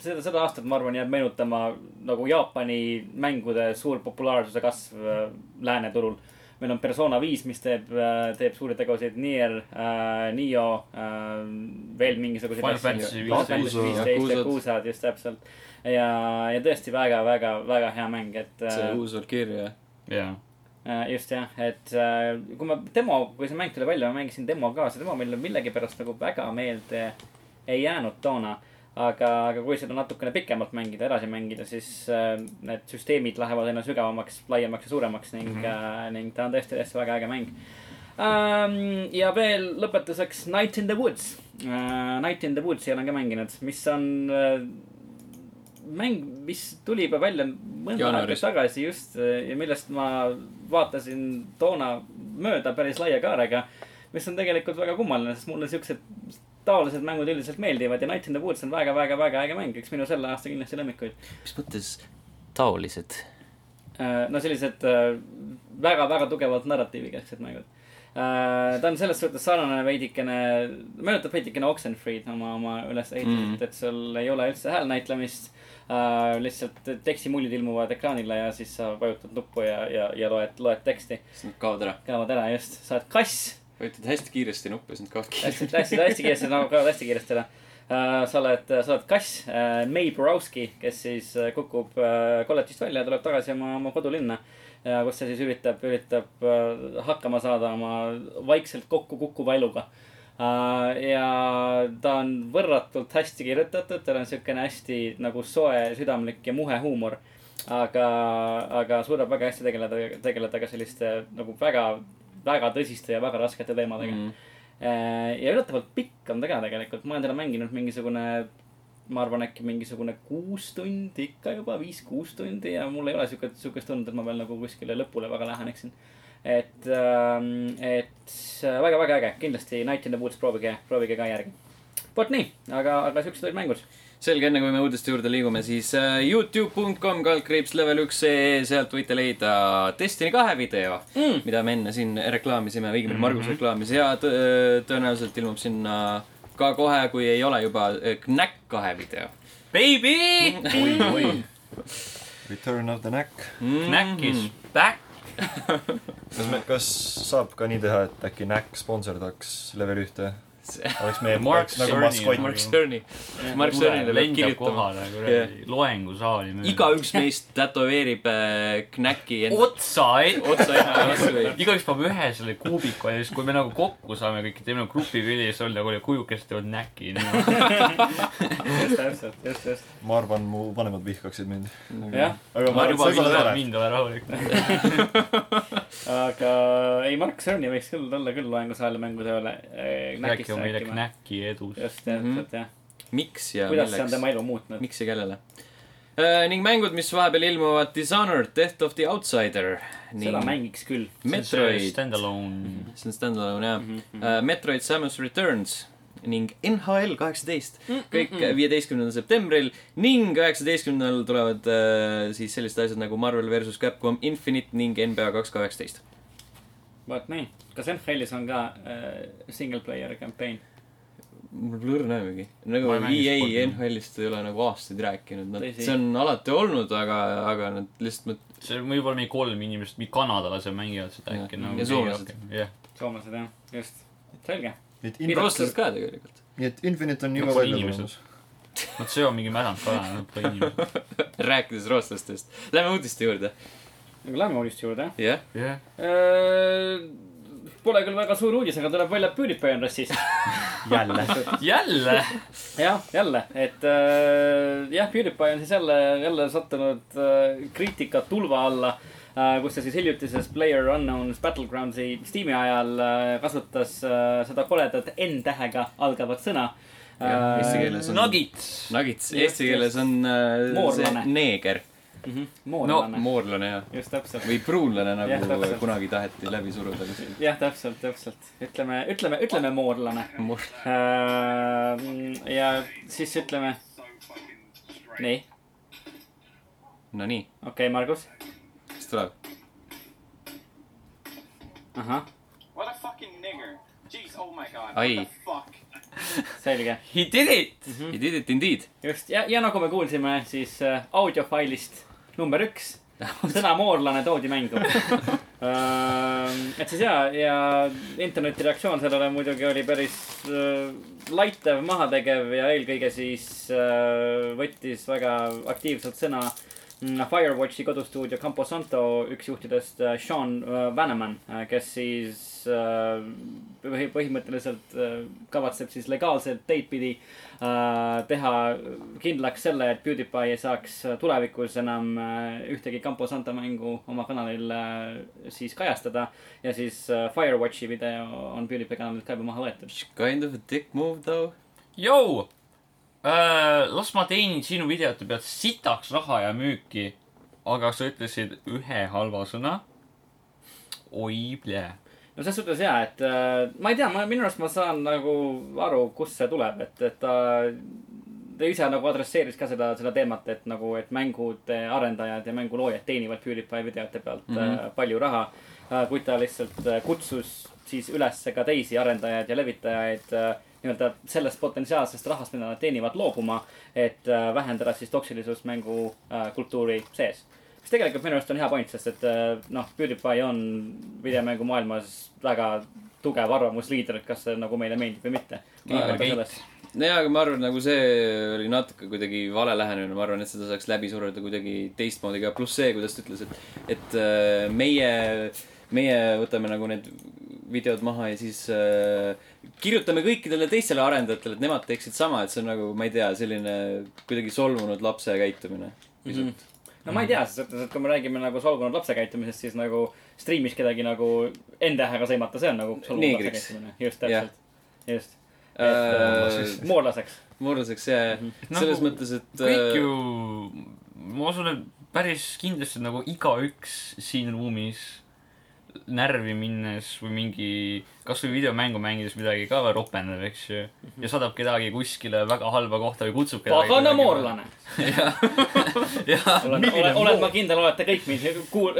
seda , seda aastat , ma arvan , jääb meenutama nagu Jaapani mängude suur populaarsuse kasv uh, lääneturul . meil on Persona viis , mis teeb uh, , teeb suuri tegusid , Nier uh, , Nio uh, , veel mingisuguseid
Final Fantasy
Yakuza,
viisteist ,
Yakuzad.
Yakuusad just täpselt . ja , ja tõesti väga-väga , väga hea mäng , et uh,
see uus Valkyria .
jaa .
Äh, just jah , et äh, kui ma demo , kui see mäng tuli välja , ma mängisin demo ka , see demo meile millegipärast nagu väga meelde ei jäänud toona . aga , aga kui seda natukene pikemalt mängida , edasi mängida , siis äh, need süsteemid lähevad aina sügavamaks , laiemaks ja suuremaks ning mm , -hmm. äh, ning ta on tõesti , tõesti väga äge mäng ähm, . ja veel lõpetuseks Night in the Woods äh, . Night in the Woods'i olen ka mänginud , mis on äh, mäng , mis tuli juba välja mõnda aega
Jaanuaris.
tagasi just äh, ja millest ma vaatasin toona mööda päris laia kaarega . mis on tegelikult väga kummaline , sest mulle siuksed taolised mängud üldiselt meeldivad ja Night in the Woods on väga-väga-väga äge mäng , üks minu selle aasta kindlasti lemmikuid .
mis mõttes taolised ?
Äh, no sellised äh, väga-väga tugevalt narratiivikesksed mängud . ta on selles suhtes sarnane veidikene , meenutab veidikene Oxenfree'd oma , oma ülesehituselt
Mhm.
mm. , et sul ei ole üldse häälenäitlemist . lihtsalt tekstimuljid ilmuvad ekraanile ja siis sa vajutad nuppu ja , ja , ja loed , loed teksti .
siis nad kaovad ära .
kaovad ära just , sa oled kass
vajutad hästi kiiresti nuppe , siis nad kaovad
hästi ,
kiiresti .
hästi , hästi kiiresti , nagu kaovad hästi kiiresti ära . sa oled , sa oled kass , May Borowski , kes siis äh, kukub äh, kolledžist välja ja tuleb tagasi oma , oma kodulinna . kus ta siis üritab , üritab äh, hakkama saada oma vaikselt kokku kukkuva eluga . ja ta on võrratult hästi kirjutatud , tal on siukene hästi nagu soe , südamlik ja muhe huumor aga , aga suudab väga hästi tegeleda , tegeleda ka selliste nagu väga , väga tõsiste ja väga raskete teemadega mm .
Mm.
-hmm ja üllatavalt pikk on ta ka tegelikult , ma olen teda mänginud mingisugune , ma arvan , äkki mingisugune kuus tundi ikka juba , viis-kuus tundi ja mul ei ole siukest , siukest tund , et ma veel nagu kuskile lõpule väga läheneksin . et , et väga-väga äge , kindlasti Night in the Woods proovige , proovige ka järgi . vot nii , aga , aga siuksed olid mängud .
selge , enne kui me uudiste juurde liigume , siis äh, Youtube.com kaldkriips level üks ee , sealt võite leida Destiny kahe video mm. , mida me enne siin reklaamisime , õigemini Margus reklaamis ja tõ- äh, tõenäoliselt ilmub sinna ka kohe , kui ei ole juba äh, Knack kahe video .
Baby ,
Return of the Knack .
Knack is back .
kas me , kas saab ka nii teha , et äkki Knack sponsordaks level ühte ? oleks meie ,
Mark
oleks nagu
Cerny-
maskott .
Mark Cerny , Mark Cernyle peab
lendab
kirjutama .
kohale kuradi loengusaali .
igaüks meist tätoveerib äh, Knacki enda
otsa ,
otsa enda vastu või ?
igaüks paneb ühe selle kuubiku ja siis , kui me nagu kokku saame kõik , teeme nagu grupipildi , siis on nagu kujukesed teevad näki .
just täpselt , just , just .
ma arvan , mu vanemad vihkaksid mind .
jah ,
aga ma
ma
arvan ,
juba
et
mind
võib-olla
ära ,
ei ole .
mind ei ole rahulik .
aga ei , Mark Cerny võiks küll olla küll loengusaali mängutööle . äh,
rääkige meile . Knäki edust .
just , täpselt jah .
miks ja
kuidas see on tema
milleks ,
elu muutnud ?
miks ja kellele ? ning mängud , mis vahepeal ilmuvad , Dishonored , Death of the Outsider
seda
ning
mängiks küll . Mhm,
Metroid ,
Standalone .
see on stand-alone jah mm , -hmm. Metroid Samus Returns ning NHL kaheksateist ,
Mm,
kõik äh,
Mhm.
viieteistkümnendal septembril ning üheksateistkümnendal tulevad äh, siis sellised asjad nagu Marvel versus Capcom Infinite ning NBA kaks kaheksateist .
vot nii , kas NHL-is on ka äh, single player campaign ?
mul pole õrna aimugi , nagu
Ma ei mängi
EA
sporti.
NHL-ist ei ole nagu aastaid rääkinud , nad ,
Tõsi.
see on alati olnud , aga , aga nad lihtsalt mõt- ,
see on võib-olla mingi kolm inimest , mingi kanadalased mängivad seda
Jah.
äkki
Ja
nagu .
soomlased. .
jah ,
soomlased jah , just . selge .
nii et
Mida-
Infinite ,
rootslased ka tegelikult .
nii et Infinite on
Nad
juba
on
välja
inimesed.
tulnud .
nad söövad mingi noh, mädanud kala , nad pole inimesed .
rääkides rootslastest , lähme uudiste juurde ,
aga lähme uudiste juurde .
jah .
jah ,
Pole küll väga suur uudis , aga tuleb välja PewDiePie on rassist .
jälle .
jälle .
jah , jälle , et äh, jah , PewDiePie on siis jälle , jälle sattunud äh, kriitika tulva alla kus ta siis hiljutises Player Unknown's Battlegroundsi Steam'i ajal äh, kasutas äh, seda koledat N-tähega algavat sõna . Äh,
Jah, eesti keeles on-
Nugits .
Nugits ,
Just,
eesti keeles on äh,
Moorlane.
see neeger . no
moodulane no, .
moorlane jah ,
mhm, just täpselt .
või pruunlane
Jah,
nagu
täpselt.
kunagi taheti läbi suruda kuskil .
jah , täpselt , täpselt . ütleme , ütleme , ütleme moodlane .
Moor-
ja siis ütleme . nii ,
Nonii ,
okei okay, , Margus .
mis tuleb ?
ahah ,
What a fucking nigger. Jeez, oh my god.
Aye.
What the fuck?
selge .
He did it!
You Mhm. did it indeed .
just ja , ja nagu me kuulsime , siis äh, audiofailist number üks , sõna moorlane toodi mängu . et siis ja , ja interneti reaktsioon sellele muidugi oli päris äh, laitev , mahategev ja eelkõige siis äh, võttis väga aktiivselt sõna mm, Firewatchi kodustuudio Camposanto üks juhtidest äh, Sean äh, Vaneman , kes siis äh, põhi- põhimõtteliselt äh, kavatseb siis legaalselt teid pidi äh, teha kindlaks selle , et PewDiePie ei saaks tulevikus enam äh, ühtegi Campo Santa mängu oma kanalil äh, siis kajastada . ja siis äh, Firewatchi video on PewDiePie kanalilt ka juba maha võetud .
Kind of a dick move though .
Jou! Äh, las ma teenin sinu videote pealt sitaks raha ja müüki , aga sa ütlesid ühe halva sõna . oi , plee .
no selles suhtes jaa , et äh, ma ei tea , ma minu arust ma saan nagu aru , kust see tuleb , et , et ta , ta ise nagu adresseeris ka seda , seda teemat , et nagu , et mängude arendajad ja mänguloojad teenivad PewDiePie videote pealt mm -hmm. äh, palju raha äh, . kuid ta lihtsalt äh, kutsus siis üles ka teisi arendajaid ja levitajaid äh, nii-öelda sellest potentsiaalsest rahast , mida nad teenivad , loobuma , et äh, vähendada siis toksilisust mängukultuuri sees . mis tegelikult minu arust on hea point , sest et äh, noh , PewDiePie on videomängumaailmas väga tugev arvamusliider , et kas see nagu meile meeldib või mitte .
Gamergate. nojaa , aga ma arvan , nagu see oli natuke kuidagi vale lähenemine , ma arvan , et seda saaks läbi suruda kuidagi teistmoodi ka , pluss see , kuidas ta ütles , et , et äh, meie , meie võtame nagu need videod maha ja siis äh, kirjutame kõikidele teistele arendajatele , et nemad teeksid sama , et see on nagu , ma ei tea , selline kuidagi solvunud lapse käitumine .
Mhm.
pisut .
no ma ei tea , selles suhtes , et kui me räägime nagu solvunud lapse käitumisest , siis nagu striimis kedagi nagu N-tähega sõimata , see on nagu solvunud lapse
Neegriks.
käitumine . just , täpselt . just .
Äh,
moorlaseks .
murraseks see ,
Nagu
selles mõttes , et äh,
kõik ju , ma usun , et päris kindlasti nagu igaüks siin ruumis närvi minnes või mingi , kasvõi videomängu mängides midagi ka veel ropendab , eks ju . ja saadab kedagi kuskile väga halba kohta või kutsub kedagi .
pagana moorlane .
jah ,
olen , olen , olen ma kindel , olete kõik mind kuul- ,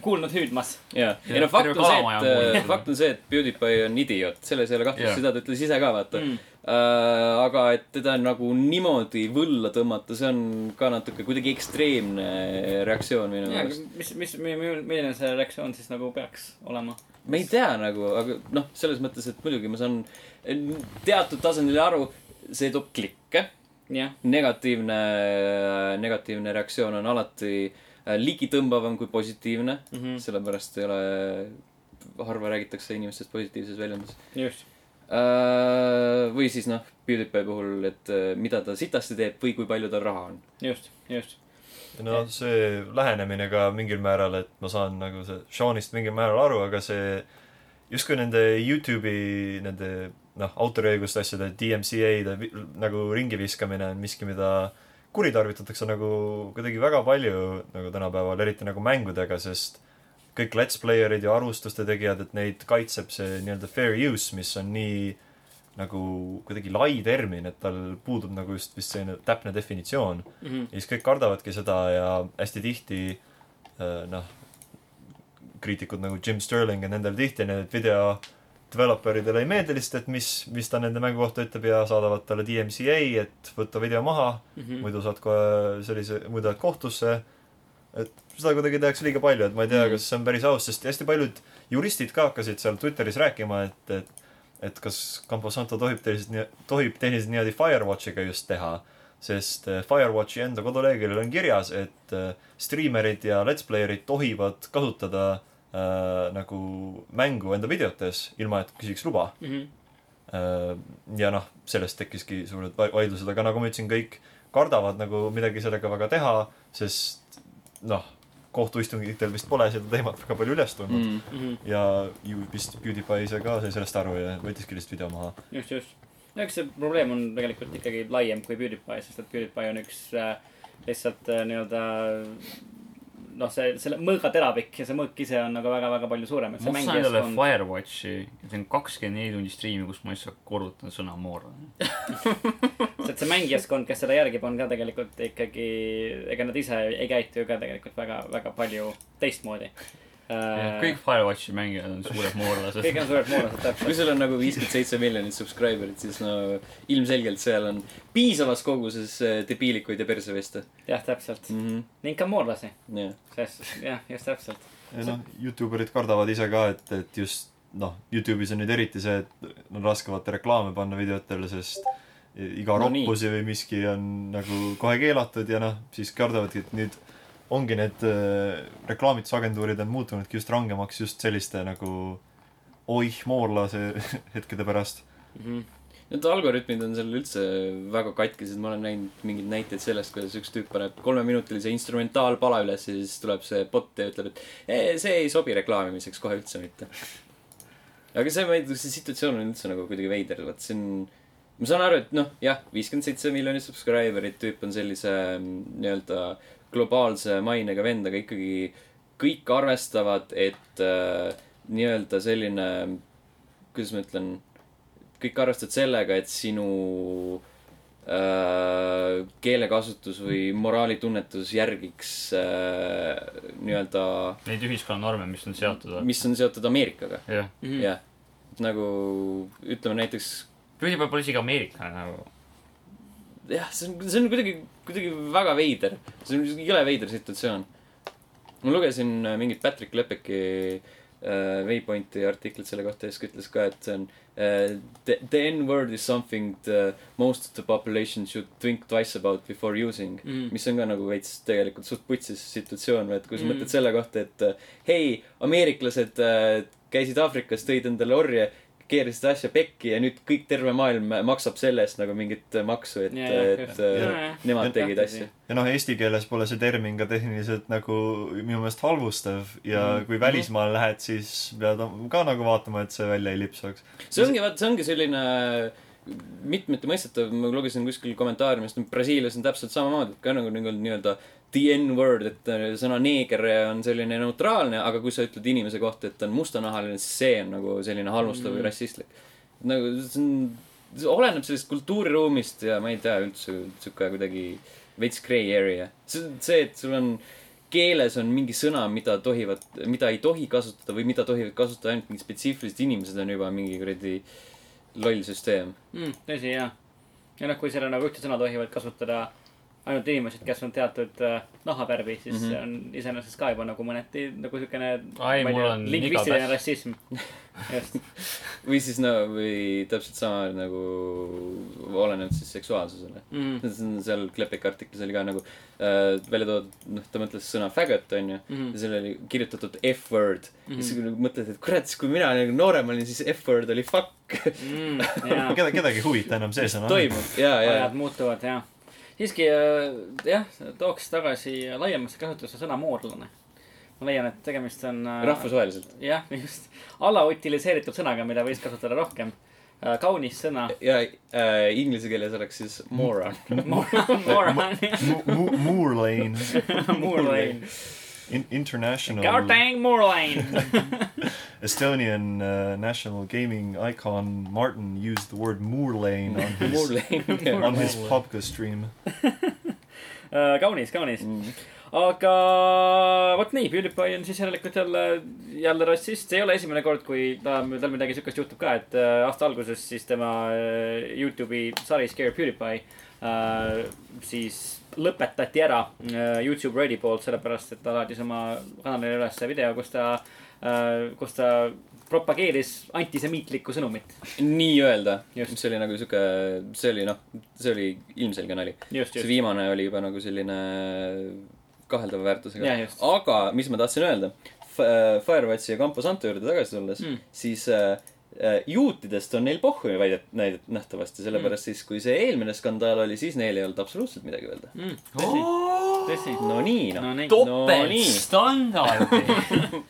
kuulnud hüüdmas .
jaa ,
Ja
ei no fakt
terve
on see ,
kalamaja on
et äh,
muutunud. ,
fakt on see , et PewDiePie on idioot , selles ei ole kahtlust
Jah.
yeah. , seda ta ütles ise ka , vaata
Mm.
mm. . Uh, aga et teda nagu niimoodi võlla tõmmata , see on ka natuke kuidagi ekstreemne reaktsioon minu meelest .
mis , mis , milline see reaktsioon siis nagu peaks olema ?
ma ei tea nagu , aga noh , selles mõttes , et muidugi ma saan eh, teatud tasandil aru , see toob klikke
jah ,
negatiivne , negatiivne reaktsioon on alati äh, ligitõmbavam kui positiivne mm ,
Mhm.
-hmm. sellepärast ei ole , harva räägitakse inimestest positiivses väljendis .
just .
või siis noh , PewDiePie puhul , et äh, mida ta sitasti teeb või kui palju tal raha on .
just , just .
no see lähenemine ka mingil määral , et ma saan nagu see Seanist mingil määral aru , aga see justkui nende Youtube'i nende noh , autoriõiguste asjade DMCA-de vi- nagu ringiviskamine on miski , mida kuritarvitatakse nagu kuidagi väga palju nagu tänapäeval , eriti nagu mängudega , sest kõik let's player'id ja arvustuste tegijad , et neid kaitseb see nii-öelda fair use , mis on nii nagu kuidagi lai termin , et tal puudub nagu just vist selline täpne definitsioon
Mhm.
ja siis kõik kardavadki seda ja hästi tihti äh, noh , kriitikud nagu Jim Sterling ja nendel tihti need video developer idele ei meeldi lihtsalt , et mis , mis ta nende mängu kohta ütleb ja saadavad talle DMCA , et võta video maha mm ,
Mhm.
-hmm. muidu saad kohe sellise , muidu lähed kohtusse . et seda kuidagi tehakse liiga palju , et ma ei tea , kas see on päris aus , sest hästi paljud juristid ka hakkasid seal Twitteris rääkima , et , et et kas Camposanto tohib tehniliselt , tohib tehniliselt niimoodi Firewatchiga just teha sest äh, Firewatchi enda koduleheküljel on kirjas , et äh, striimerid ja let's player'id tohivad kasutada äh, nagu mängu enda videotes , ilma et küsiks luba
Mhm.
äh, . ja noh , sellest tekkiski suured va- vaidlused , aga nagu ma ütlesin , kõik kardavad nagu midagi sellega väga teha , sest noh , kohtuistungitel vist pole seda teemat väga palju üles tulnud mm.
mm. .
Mhm.
ja ju vist PewDiePie ise ka sai sellest aru ja võttiski lihtsalt video maha .
just , just . no eks see probleem on tegelikult ikkagi laiem kui PewDiePie , sest et PewDiePie on üks äh, lihtsalt äh, nii-öelda noh , see , selle mõõga teravik ja see mõõk ise on nagu väga-väga palju suurem .
ma ostsin endale Firewatchi ja teen kakskümmend neli tundi striimi , kus ma lihtsalt korrutan sõna moor .
et see mängijaskond , kes seda järgib , on ka tegelikult ikkagi , ega nad ise ei käitu ju ka tegelikult väga , väga palju teistmoodi .
kõik Firewatchi mängijad on suured moorlased .
kõik on suured moolased täpselt .
kui sul on nagu viiskümmend seitse miljonit subscriber'it , siis no ilmselgelt seal on piisavas koguses äh, debiilikuid ja perseveste
jah , täpselt .
mm . -hmm.
ning ka moorlasi ,
Yeah.
sest jah , just täpselt .
ja noh , Youtuberid kardavad ise ka , et , et just noh , Youtube'is on nüüd eriti see , et on raske vaata reklaame panna videotele , sest iga
No
no
nii.
roppus või miski on nagu kohe keelatud ja noh , siis kardavadki , et nüüd ongi need äh, reklaamitusagentuurid on muutunudki just rangemaks just selliste nagu oih moorlase hetkede pärast .
Need algoritmid on seal üldse väga katkised , ma olen näinud mingeid näiteid sellest , kuidas üks tüüp paneb kolmeminutilise instrumentaalpala üles ja siis tuleb see bot ja ütleb , et "Ei, see ei sobi reklaamimiseks kohe üldse mitte . aga see , ma ei tea , see situatsioon on üldse nagu kuidagi veider , vot siin ma saan aru , et noh , jah , viiskümmend seitse miljonit subscriber'it , tüüp on sellise mm, nii-öelda globaalse mainega vend , aga ikkagi kõik arvestavad , et äh, nii-öelda selline , kuidas ma ütlen kõik arvestavad sellega , et sinu äh, keelekasutus või moraalitunnetus järgiks äh, nii-öelda ,
Neid ühiskonnanorme , mis on seatud .
mis on seotud Ameerikaga .
jah ,
jah , nagu ütleme näiteks ,
PewDiePie pole isegi ameeriklane nagu .
jah , see on , see on kuidagi , kuidagi väga veider . see on jõle veider situatsioon . ma lugesin äh, mingit Patrick Lepeki äh, Waypointi artiklit selle kohta ja siis ütles ka , et see on äh, the, the N-word is something the most of the population should think twice about before using .
Mhm.
mis on ka nagu veits tegelikult suht putsis situatsioon , et kui sa
Mm.
mm. mõtled selle kohta , et äh, hei , ameeriklased äh, käisid Aafrikas , tõid endale orje , keerasid asja pekki ja nüüd kõik terve maailm maksab selle eest nagu mingit äh, maksu , et
Ja, ja,
yeah, , et äh,
just.
yeah,
Ja, ja.
yeah. nemad
Ja,
tegid
jah,
asju .
ja noh , eesti keeles pole see termin ka tehniliselt nagu minu meelest halvustav ja
Mhm.
kui välismaal lähed , siis pead ka nagu vaatama , et see välja ei lipsaks .
see ongi , vaat see ongi selline mitmeti mõistetav , ma lugesin kuskil kommentaariumist , et Brasiilias on täpselt samamoodi , et ka nagu nagu nii-öelda the n-word , et äh, sõna neeger on selline neutraalne , aga kui sa ütled inimese kohta , et ta on mustanahaline , siis see on nagu selline halvustav või
Mm.
mm. rassistlik . nagu see on , see oleneb sellest kultuuriruumist ja ma ei tea üldse , sihuke kuidagi veits grey area . see , see , et sul on keeles on mingi sõna , mida tohivad , mida ei tohi kasutada või mida tohivad kasutada ainult mingid spetsiifilised inimesed , on juba mingi kuradi loll süsteem .
Hmm, tõsi , jah . ja noh , kui seal on nagu ühte sõna tohivad kasutada ainult inimesed , kes on teatud äh, nahavärvi , siis
Mhm.
see on iseenesest ka juba nagu mõneti nagu siukene .
Ai, mul on
lingvistiline
igapäev-
rassism . just ,
või siis no , või täpselt sama nagu oleneb siis seksuaalsusele .
Mhm.
seal Klepik artiklis oli ka nagu äh, välja toodud , noh , ta mõtles sõna faggot , onju . ja
Mhm.
seal oli kirjutatud F-word mm . -hmm. ja siis
Mhm.
kui mõtled , et kurat , siis kui mina nagu noorem olin , siis F-word oli fuck .
Hmm, jaa .
keda , kedagi ei huvita enam see sõna .
toimub , ja , ja
Ah. ajad . muutuvad ja siiski äh, jah , tooks tagasi laiemasse kasutusse sõna moorlane . ma leian , et tegemist on äh,
rahvusvaheliselt .
jah , just alautiliseeritud sõnaga , mida võiks kasutada rohkem . kaunis sõna .
ja äh, inglise keeles oleks siis moron .
Moron ,
Moorlane ,
moorlane .
Um,
God
international
dang moorlane .
Estonian uh, national gaming icon Martin used the word Moorlane on his,
Moorlane .
on his PUBG stream .
Äh, kaunis , kaunis .
Mm.
aga vot nii , PewDiePie on siis järelikult jälle , jälle rassist , see ei ole esimene kord , kui ta , tal midagi siukest juhtub ka , et äh, aasta alguses siis tema äh, Youtube'i sari Scare PewDiePie äh, siis lõpetati ära äh, Youtube Ready poolt , sellepärast et ta laadis oma kanalile üles video , kus ta äh, , kus ta propageeris antisemiitlikku sõnumit .
nii-öelda ,
Just.
mis oli nagu sihuke , see oli noh , see oli ilmselge nali .
just ,
see
just .
viimane oli juba nagu selline kaheldava väärtusega
Jah, just. .
aga mis ma tahtsin öelda , Firewatchi ja Campo Santo juurde tagasi tulles
Mm.
mm. , siis äh, äh, juutidest on neil pohhu ju väidet- , näidet- , nähtavasti , sellepärast mm. siis , kui see eelmine skandaal oli , siis neil ei olnud absoluutselt midagi öelda .
Mm, tõsi. tõsi .
no nii noh
No nii.
topeltstandardi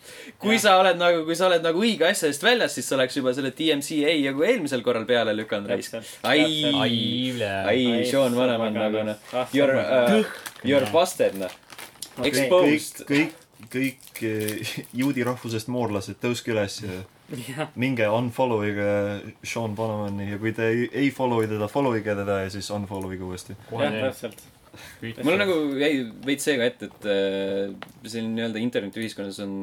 kui sa oled nagu , kui sa oled nagu õige asja eest väljas , siis sa oleks juba selle DMCA nagu eelmisel korral peale lükanud raisk .
Täpselt, täpselt.
ai ,
Aive .
ai ,
Ai,
Sean Vanem on
pagan,
nagu
noh.
noh
Ah, ,
you are
pagan.
uh, , you are busted noh .
kõik
Exposed ,.
kõik , kõik eh, juudi rahvusest moorlased , tõuske üles ja minge unfollow'ige Sean Bonamani ja kui te ei- ei follow ida teda , follow ige teda ja siis unfollow ige uuesti .
jah , täpselt .
mul nagu jäi veits see ka ette , et äh, siin nii-öelda internetiühiskonnas on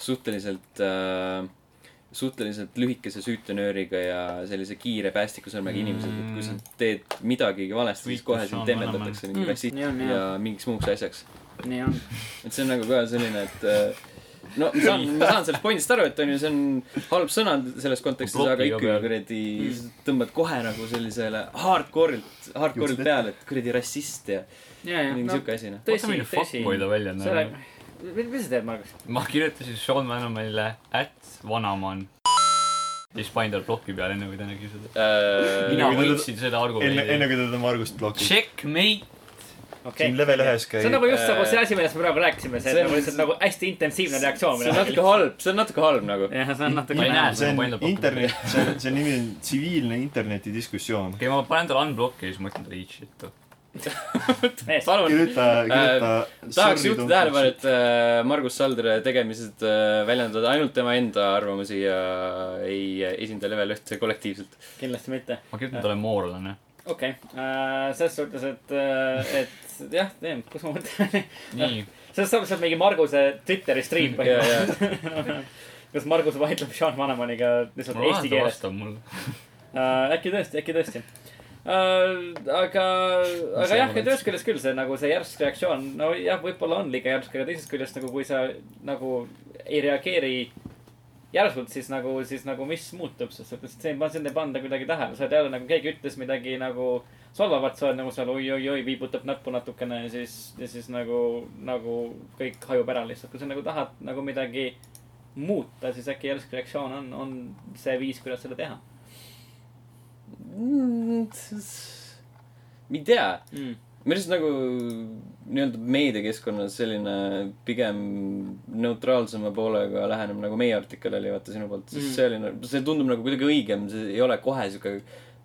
suhteliselt äh, , suhteliselt lühikese süütenööriga ja sellise kiire päästikusõrmega mm. inimesed , et kui sa teed midagigi valesti , siis
Sweet
kohe
Sean
sind
Vaneman.
temmeldatakse mingi
Mm,
rassist
nii on, jah.
ja mingiks muuks asjaks .
nii on .
et see on nagu ka selline , et äh, no ma saan , ma saan sellest pointist aru , et on ju , see on halb sõna selles kontekstis , aga
Blokiga
ikkagi
peal.
kuradi tõmbad kohe nagu sellisele hardcore'ilt ,
Just
hardcore'ilt
nii.
peale , et kuradi rassist ja
ja , ja ,
mingi
no
siuke asi , noh .
vaata ,
tõsi
milline ,
tõsi .
fuckboy ta välja
selle
näeb .,
mis mis sa teed , Margus ?
ma kirjutasin Sean Vanamanile , et vanaman . siis panin tal ploki peale , enne kui ta nägi
Äh,
seda . mina
kui ta-
võitsin seda
enne ,
argumendi .
enne kui ta teda Margust blokib .
Checkmate .
okei
siin . level ühes
see on
käib
nagu just nagu see asi , millest me praegu rääkisime ,
See
see on
on-
nagu lihtsalt nagu hästi intensiivne reaktsioon .
see on natuke halb , see on natuke halb nagu .
jah , see on
ma ei
natuke .
näe
see
seda , ma panin
on
tal ploki peale .
internet , see on , see nimi on tsiviilne internetidiskussioon .
okei , ma panen talle unblock'i ja siis ma ütlen talle eat shit .
palun ,
kirjuta , kirjuta .
tahaks juhtida tähelepanu , äh, et äh, Margus Saldre tegemised äh, väljendavad ainult tema enda arvamusi ja ei äh, esinda level ühte kollektiivselt .
kindlasti mitte .
ma kirjutan talle moorlane .
okei , selles suhtes , et , et jah , kus ma mõtlen .
nii ,
see saab lihtsalt mingi Marguse Twitteri stream
ja , ja
põhimõtteliselt . kas Margus vaidleb Sean Vanemaniga lihtsalt
mul on
eesti
alati
keeles ?
vastab mul .
äh, . äkki tõesti , äkki tõesti äh, . aga , aga jah , et ühest küljest küll see nagu see järsk reaktsioon , no jah , võib-olla on liiga järsk , aga teisest küljest nagu kui sa nagu ei reageeri järsult , siis nagu , siis nagu mis muutub , sest et see , ma sind ei panda kuidagi tähele , sa oled jälle nagu keegi ütles midagi nagu solvavat , sa oled nagu seal oi-oi-oi , viibutab näppu natukene ja siis , ja siis nagu , nagu kõik hajub ära lihtsalt . kui sa nagu tahad nagu midagi muuta , siis äkki järsk reaktsioon on , on see viis , kuidas seda teha
Mm, s- ma ei tea ,
mm. .
minu arust nagu nii-öelda meediakeskkonnas selline pigem neutraalsema poolega läheneb nagu meie artikkel oli , vaata sinu poolt , sest
Mhm.
mm. see oli nagu , see tundub nagu kuidagi õigem , see ei ole kohe sihuke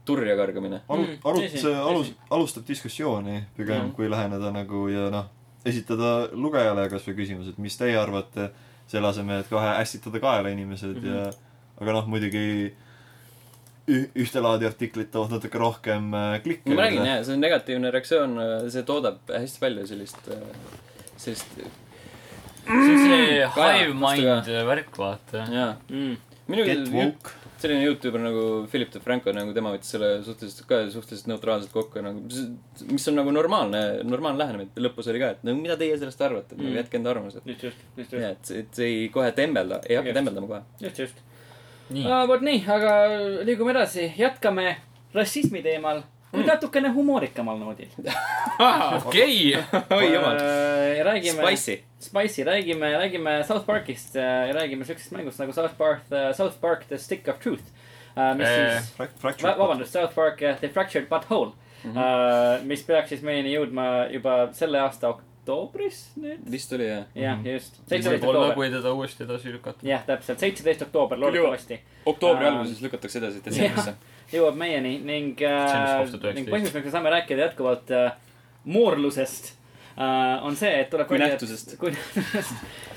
turja kargamine .
aru-
Mm, ,
aru- ,
tõsi,
see alus
tõsi. ,
alustab diskussiooni pigem
Mhm.
mm. kui läheneda nagu ja noh , esitada lugejale kasvõi küsimus , et mis teie arvate , selle asemel , et kohe ässitada kaela inimesed mm
Mhm.
-hmm. ja aga noh , muidugi üh- , ühtelaadi artiklid toovad natuke rohkem äh, klikke .
ma räägin jah , see on negatiivne reaktsioon , see toodab hästi palju sellist , sellist ,
see on see
Kaja,
hive
osta
mind äh, värk , vaata .
jaa .
Mm.
minu
Get woke .
selline Youtuber nagu Philip DeFranco , nagu tema võttis selle suhteliselt ka suhteliselt neutraalselt kokku nagu , mis on nagu normaalne , normaalne lähenemine , lõpus oli ka , et no mida teie sellest arvate mm. ,
Mm.
nagu jätke enda arvamused .
just , just , just ,
ja
just ,
et , et ei kohe tembelda , ei hakka
Just.
tembeldama kohe .
just , just .
nii ,
vot nii , aga liigume edasi , jätkame rassismi teemal , kuid mm. natukene humoorikamal noodil .
okei .
oi jumal ,
räägime .
spicy .
Spicy , räägime , räägime South Parkist äh, ja räägime siuksest mängust nagu South Park , South Park The Stick of Truth . mis
Äh,
Eh.
siis , Va- vabandust , South Park uh, The Fractured Butthole
Mhm.
mm , -hmm. uh, mis peaks siis meieni jõudma juba selle aasta oktoobris nüüd .
vist Mhm. oli jah ?
jah mm -hmm. , just . seitseteist
võib-olla ,
oktoober ,
kui teda uuesti edasi lükata .
jah , täpselt , seitseteist oktoober ,
Küll jõuab.
loodetavasti
oktoobri
Ähm,
alguses lükatakse edasi detsembrisse .
jõuab meieni ning
See on
äh,
vist kaks tuhat
ning
üheksateist.
põhimõtteliselt me saame rääkida jätkuvalt äh, moorlusest äh, . on see , et tuleb
Kui
välja, et-
nähtusest.
kui nähtusest ,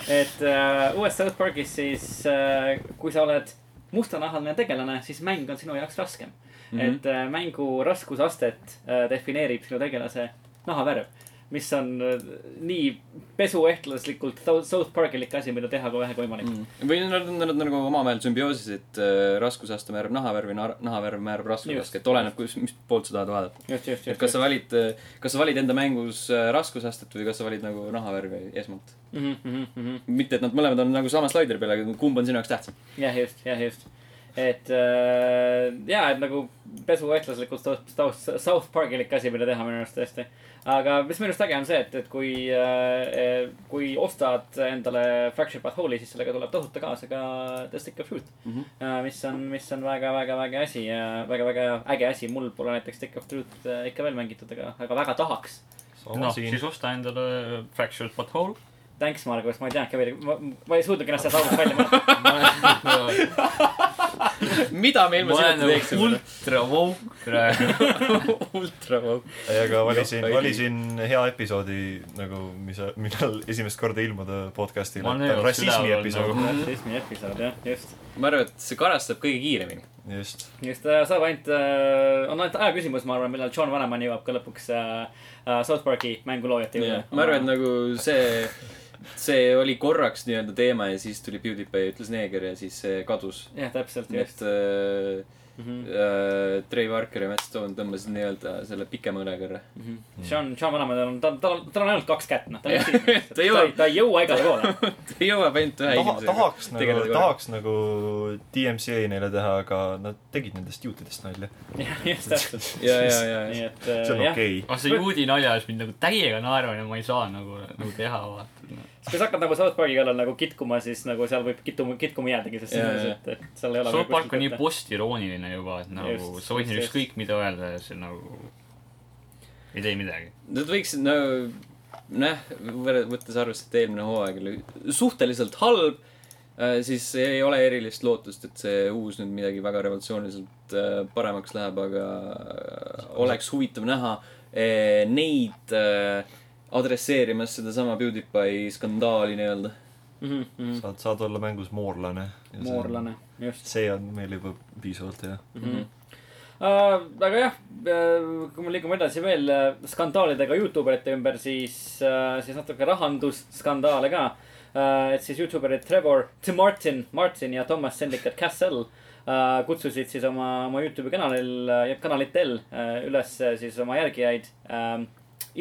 et äh, uues South Parkis siis äh, , kui sa oled mustanahaline tegelane , siis mäng on sinu jaoks raskem mm .
Mhm.
-hmm. et äh, mängu raskusastet äh, defineerib sinu tegelase nahavärv , mis on äh, nii pesuehtlaslikult South- South Parkilik asi , mida teha kui vähegi võimalik
Mhm.
mm .
või nad on , nad on nagu omavahel sümbioosis , et äh, raskusaste määrab nahavärvi , nahavärv määrab
Just.
raskusaske , et oleneb , kus , mis poolt sa tahad vaadata .
just , just ,
et
just .
kas sa valid , kas sa valid enda mängus äh, raskusastet või kas sa valid nagu nahavärvi esmalt ?
mm -hmm, mm -hmm.
mitte , et nad mõlemad on nagu sama slaidri peal , aga kumb on sinu jaoks tähtsam ?
jah , just , jah , just . et äh, ja , et nagu pesuvõistluslikult taust , taust , South Parkilik asi , mida teha minu arust tõesti . aga mis minu arust äge on see , et , et kui äh, , kui ostad endale Fractured But Holy , siis sellega tuleb tasuta kaasa ka The Stick of Truth mm .
Mhm.
-hmm. mis on , mis on väga , väga , väga asi ja väga , väga äge asi . mul pole näiteks Stick of Truth äh, ikka veel mängitud , aga , aga väga tahaks .
sama
noh ,
no, siin
siis . osta endale äh, Fractured Butthole .
Thanks , Margus , ma ei teadnudki veel , ma , ma ei suutnudki ennast sellest august välja mõelda .
mida me
ma
ilma
olen
sinuta
nagu
teeksime ?
ultra woke praegu .
ultra wow. .
ei , aga valisin
Jah, , ei-
valisin hea episoodi nagu , mis , millal esimest korda ilmuda podcast'ile .
Ma olen
ta on
elus
rassismi
üleval
episood
nagu. .
esimene episood , jah , just .
ma arvan , et see karastab kõige kiiremini .
just .
just äh, saab ainult äh, , on ainult aja küsimus , ma arvan , millal John Vaneman jõuab ka lõpuks äh, äh, South Park'i mänguloojate juurde .
ma arvan , et nagu see , see oli korraks nii-öelda teema ja siis tuli PewDiePie ja ütles neeger ja siis see kadus .
jah , täpselt ,
nagu- nii et
just .
äh,
Mm -hmm.
äh, Trey Parker ja Matt Stone tõmbasid nii-öelda selle pikema õlekõrre .
Mhm. Sean , Sean Vanemanil on , tal , tal on , tal on ainult kaks kätt , noh . ta
Ta jõuab-
ei- ta ei jõua igale poole .
jõuab ainult ühe
taha , tahaks nagu
tegeleda , korraga.
tahaks nagu DMCA neile teha , aga nad tegid nendest juutidest nalja .
just täpselt .
ja , ja , ja ,
nii
ja .
et äh,
see on
jah ,
okei okay. .
aga see juudi nalja ajas mind nagu täiega naerma ja ma ei saa nagu , nagu teha vaata .
kui sa hakkad nagu South Park'i kallal nagu kitkuma , siis nagu seal võib kitkuma , kitkuma jäädagi , sest
Jaa,
selles
jaa.
mõttes , et , et seal ei ole . nagu
South Park on nii postirooniline juba , et nagu
Just,
sa
just,
võid neile
just.
ükskõik mida öelda ja see nagu ei tee midagi .
Nad võiksid nagu , noh , võttes arvesse , et eelmine hooaeg oli suhteliselt halb , siis ei ole erilist lootust , et see uus nüüd midagi väga revolutsiooniliselt äh, paremaks läheb , aga äh, oleks huvitav näha eh, neid äh, adresseerimas sedasama PewDiePie skandaali nii-öelda .
post- .
saad , saad olla mängus moorlane .
Mhm, moorlane , just .
see on meil juba piisavalt hea .
Mhm. Uh, aga jah , kui me liigume edasi veel äh, skandaalidega Youtube erite ümber , siis uh, , siis natuke rahandusskandaale ka uh, . et siis Youtube erid Trevor , Tim Martin , Martin ja Thomas Sendicate Castle uh, kutsusid siis oma , oma Youtube'i kanalil uh, , kanalitel uh, üles äh, siis oma järgijaid uh,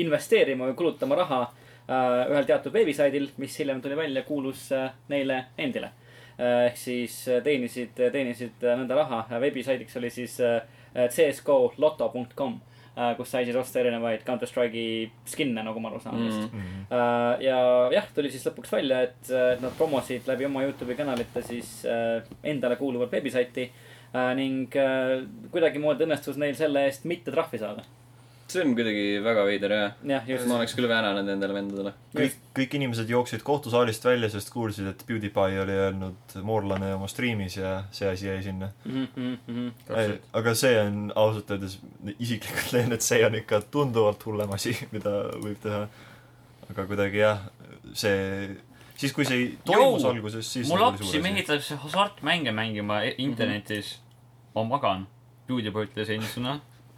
investeerima või kulutama raha uh, ühel teatud veebisaidil , mis hiljem tuli välja , kuulus uh, neile endile Äh, ehk siis äh, teenisid , teenisid äh, nõnda raha . veebisaidiks oli siis äh, äh, CSGO loto.com , äh, kus sai siis osta erinevaid Counter Strike'i skin'e , nagu ma aru saan vist mm . -hmm. ja jah , tuli siis lõpuks välja , et äh, nad promosid läbi oma Youtube'i kanalite siis äh, endale kuuluvat veebisaiti äh, ning äh, kuidagimoodi õnnestus neil selle eest mitte trahvi saada .
see on kuidagi väga veider jah .
jah , just .
ma oleks küll väänanud endale vendadele .
kõik , kõik inimesed jooksid kohtusaalist välja , sest kuulsid , et PewDiePie oli öelnud moorlane oma striimis ja see asi jäi sinna .
Mm -hmm, mm -hmm.
Täpselt.
aga see on ausalt öeldes , isiklikult leian , et see on ikka tunduvalt hullem asi , mida võib teha . aga kuidagi jah , see , siis kui see ei toimus
Jou!
alguses , siis
mu
nagu oli suur
lapsi
asi.
meelitab see hasartmänge mängima e- internetis . ma magan . PewDiePie ütles endisena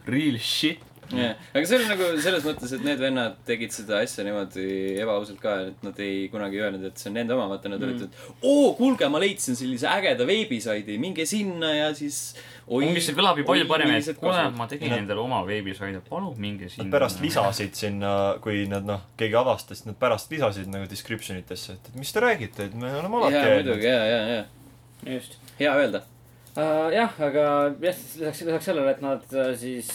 real shit .
jah , aga see oli nagu selles mõttes , et need vennad tegid seda asja niimoodi ebaausalt ka , et nad ei kunagi ei öelnud , et see on nende oma , vaata nad olid , et oo , kuulge , ma leidsin sellise ägeda veebisaidi , minge sinna ja siis .
umbes see kõlab ju palju paremini , et kuule , ma tegin endale oma veebisaide , palun minge
Nad
sinna .
pärast . lisasid sinna , kui nad noh , keegi avastas , nad pärast lisasid nagu description itesse , et , et mis te räägite , et me oleme alati
jaa , muidugi , jaa , jaa , jaa ,
just .
hea öelda .
Äh, jah , aga jah , lisaks , lisaks sellele , et nad äh, siis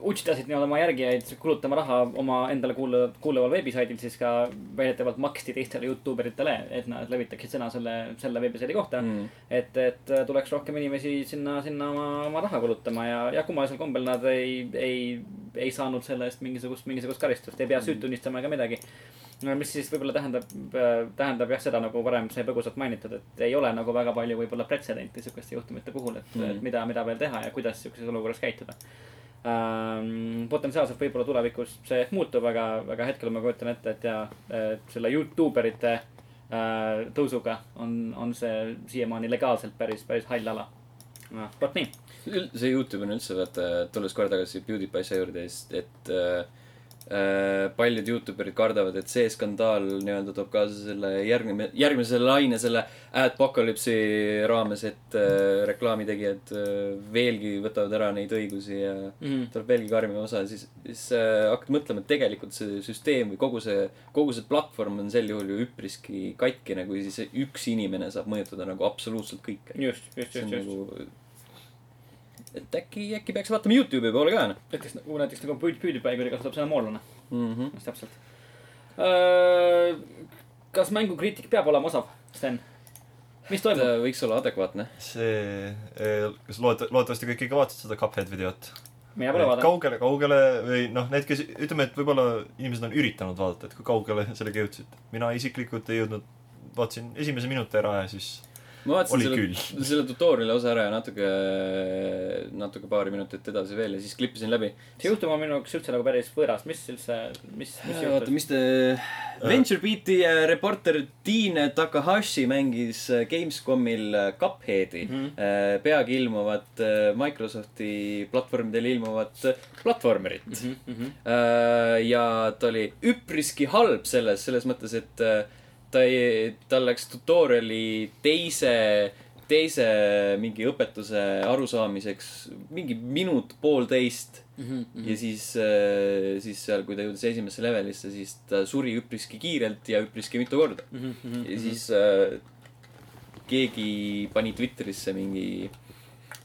utsitasid nii-öelda oma järgijaid kulutama raha oma endale kuulu- , kuuluval veebisaidil , siis ka väidetavalt maksti teistele Youtube eritele , et nad levitaksid sõna selle , selle veebisaidi kohta mm. . et , et äh, tuleks rohkem inimesi sinna , sinna oma , oma raha kulutama ja , ja kummalisel kombel nad ei , ei , ei saanud selle eest mingisugust , mingisugust karistust , ei pea süüd tunnistama ega midagi . no mis siis võib-olla tähendab , tähendab jah seda nagu varem sai põgusalt mainitud , et ei ole nagu väga palju võib-olla pretsedenti sihukeste juhtumite puhul , et mm.
Mhm.
et mida , mida veel teha ja kuidas sihukeses olukorras käituda ähm, . potentsiaalselt võib-olla tulevikus see muutub , aga , aga hetkel ma kujutan ette , et ja et selle Youtube erite äh, tõusuga on , on see siiamaani legaalselt päris , päris hall ala . noh , vot nii .
see Youtube on üldse , vaata , tulles korra tagasi PewDiePie asja juurde , siis , et äh, äh, paljud Youtuberid kardavad , et see skandaal nii-öelda toob kaasa selle järgmine , järgmise laine selle adpocalypse'i raames , et äh, reklaamitegijad äh, veelgi võtavad ära neid õigusi ja
Mhm.
tuleb veelgi karmim osa , siis , siis äh, hakkad mõtlema , et tegelikult see süsteem või kogu see , kogu see platvorm on sel juhul ju üpriski katkine , kui siis üks inimene saab mõjutada nagu absoluutselt kõike .
just , just ,
see on
just , just .
nagu , et äkki , äkki peaks vaatama Youtube'i poole ka , noh .
näiteks nagu , näiteks nagu püüd- , püüdipaigali kasutab sõna Noh, moorlane ,
Mhm.
just täpselt . Äh, kas mängukriitik peab olema osav , Sten ? mis
ta
toimub ?
võiks olla äh, adekvaatne .
eh, see , kas lood- , loodetavasti kõik ikka vaatasid seda Cuphead videot ?
mina pole vaadanud .
kaugele , kaugele või noh , need , kes ütleme , et võib-olla inimesed on üritanud vaadata , et kui kaugele sellega jõudsid . mina isiklikult ei jõudnud , vaatasin esimese minuti ära ja siis
ma vaatasin
Oli
selle ,
küll.
selle tutorial'i osa ära ja natuke , natuke paari minutit edasi veel ja siis klippisin läbi .
see juhtum on minu jaoks üldse nagu päris võõras , mis üldse , mis , mis
Äh, oota ,
juhtus ?
mis te , Venture Beati äh, reporter Tiine Takahashi mängis äh, Gamescomil äh, Cupheadi mm ,
Mhm.
-hmm. peagi ilmuvat äh, Microsofti platvormidel ilmuvat äh, platvormerit mm .
Mhm.
-hmm. Äh, ja ta oli üpriski halb selles , selles mõttes , et äh, ta ei , tal läks tutorial'i teise , teise mingi õpetuse arusaamiseks mingi minut-poolteist mm . -hmm. ja siis , siis seal , kui ta jõudis esimesse levelisse , siis ta suri üpriski kiirelt ja üpriski mitu korda
mhm,
mm . -hmm. ja siis äh, keegi pani Twitterisse mingi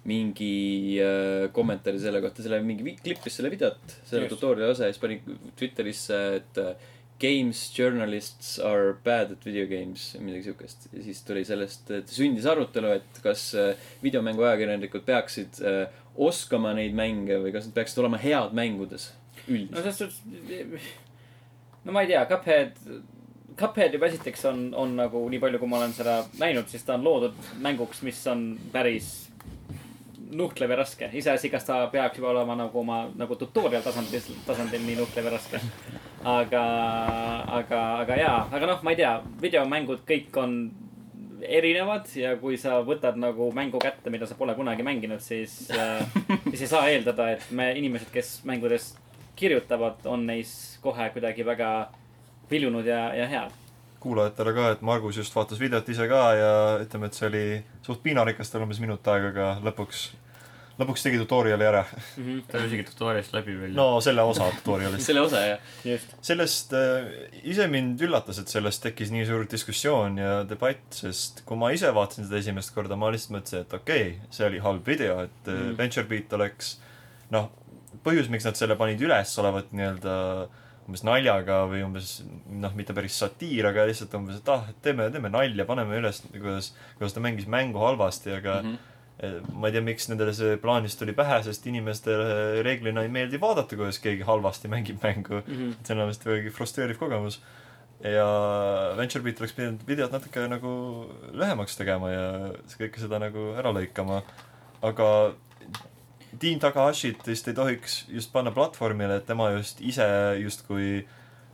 mingi äh, kommentaari selle kohta , selle mingi vi- klippis selle videot , selle
Just.
tutorial'i osa ja siis pani Twitterisse , et äh, games journalists are bad at video games või midagi siukest . ja siis tuli sellest , et sündis arutelu , et kas äh, videomänguajakirjanikud peaksid äh, oskama neid mänge või kas nad peaksid olema head mängudes
no
üldiselt .
selles suhtes , no ma ei tea , Cuphead , Cuphead juba esiteks on , on nagu nii palju , kui ma olen seda näinud , siis ta on loodud mänguks , mis on päris nuhtlev ja raske . iseasi , kas ta peaks juba olema nagu oma nagu tutorial tasandil , tasandil nii nuhtlev ja raske . aga , aga , aga jaa , aga noh , ma ei tea , videomängud kõik on erinevad ja kui sa võtad nagu mängu kätte , mida sa pole kunagi mänginud , siis äh, , siis ei saa eeldada , et me inimesed , kes mängudes kirjutavad , on neis kohe kuidagi väga viljunud ja , ja head .
kuulajatele ka , et Margus just vaatas videot ise ka ja ütleme , et see oli suht piinarikas , tal umbes minut aega , aga lõpuks , lõpuks tegi tutorial'i ära .
ta oli isegi tutorialist läbi veel .
no selle osa tutorial'ist .
selle osa jah .
just .
sellest äh, ise mind üllatas , et sellest tekkis nii suur diskussioon ja debatt , sest kui ma ise vaatasin seda esimest korda , ma lihtsalt mõtlesin , et okei okay, , see oli halb video , et mm. VentureBeat oleks noh , põhjus , miks nad selle panid üles , olevat nii-öelda umbes naljaga või umbes noh , mitte päris satiir , aga lihtsalt umbes , et ah , teeme , teeme nalja , paneme üles , kuidas , kuidas ta mängis mängu halvasti , aga mm -hmm. ma ei tea , miks nendele see plaanist tuli pähe , sest inimestele reeglina ei meeldi vaadata , kuidas keegi halvasti mängib mängu mm . -hmm. et see on vist vägagi frustreeriv kogemus . ja VentureBeat oleks pidanud videot natuke nagu lühemaks tegema ja kõike seda nagu ära lõikama . aga Dean Takahashit vist ei tohiks just panna platvormile , et tema just ise justkui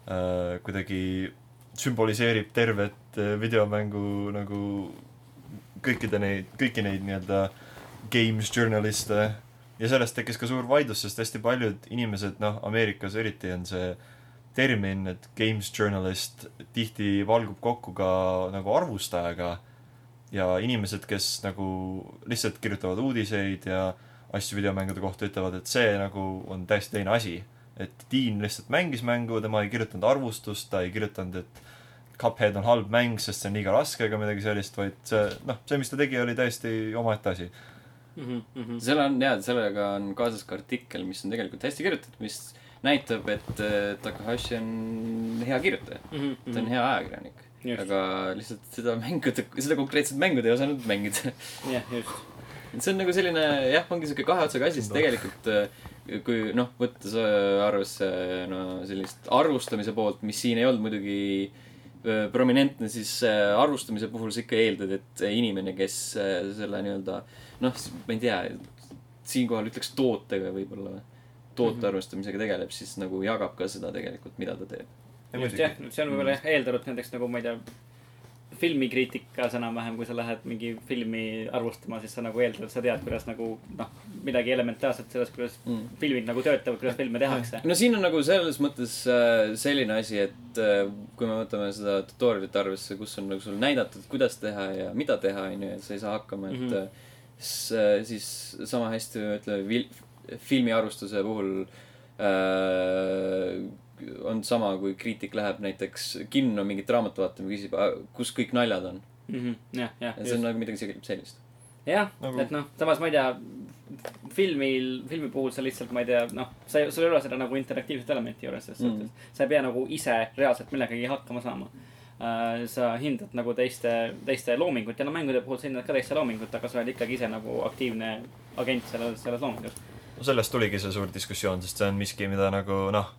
äh, kuidagi sümboliseerib tervet äh, videomängu nagu kõikide neid , kõiki neid nii-öelda games journaliste . ja sellest tekkis ka suur vaidlus , sest hästi paljud inimesed , noh , Ameerikas eriti on see termin , et games journalist tihti valgub kokku ka nagu arvustajaga . ja inimesed , kes nagu lihtsalt kirjutavad uudiseid ja asju videomängude kohta , ütlevad , et see nagu on täiesti teine asi . et Dean lihtsalt mängis mängu , tema ei kirjutanud arvustust , ta ei kirjutanud , et Cuphead on halb mäng , sest see on liiga raske ega midagi sellist , vaid see , noh , see , mis ta tegi , oli täiesti omaette asi .
seal on jaa , sellega on kaasas ka artikkel , mis on tegelikult hästi kirjutatud , mis näitab , et äh, Takahashi on hea kirjutaja mm . -hmm. ta on hea ajakirjanik .
Mhm. Just.
aga lihtsalt seda mängu , seda konkreetset mängu ta ei osanud mängida .
jah , just .
see on nagu selline jah , ongi siuke kahe otsaga asi , sest tegelikult äh, kui noh , võttes äh, arvesse no sellist arvustamise poolt , mis siin ei olnud muidugi äh, prominentne , siis äh, arvustamise puhul sa ikka eeldad , et inimene , kes äh, selle nii-öelda noh , ma ei tea , siinkohal ütleks tootega võib-olla või toote arvustamisega tegeleb , siis nagu jagab ka seda tegelikult , mida ta teeb .
just jah , see on võib-olla jah eeldanud näiteks nagu ma ei tea , filmikriitikas enam-vähem , kui sa lähed mingi filmi arvustama , siis sa nagu eeldad , sa tead , kuidas nagu noh , midagi elementaarset sellest , kuidas mm. filmid nagu töötavad , kuidas filme tehakse .
no siin on nagu selles mõttes äh, selline asi , et äh, kui me võtame seda tutorial'it arvesse , kus on nagu sul näidatud , kuidas teha ja mida teha , onju , et sa ei saa hakkama , et mm -hmm. siis sama hästi ütleme vil- , filmiarvustuse puhul äh, on sama , kui kriitik läheb näiteks kinno mingit raamatut vaatama , küsib , kus kõik naljad on .
Mhm, jah , jah .
see on nagu midagi sel- sellist .
jah
Nagu-
nagu... , et noh , samas ma ei tea , filmil , filmi puhul sa lihtsalt , ma ei tea , noh , sa , sul ei ole seda nagu interaktiivset elementi juures selles
Mm.
mm. suhtes . sa ei pea nagu ise reaalselt millegagi hakkama saama uh, . sa hindad nagu teiste , teiste loomingut ja no mängude puhul sa hindad ka teiste loomingut , aga sa oled ikkagi ise nagu aktiivne agent selles , selles loomingus .
sellest tuligi see suur diskussioon , sest see on miski , mida nagu noh ,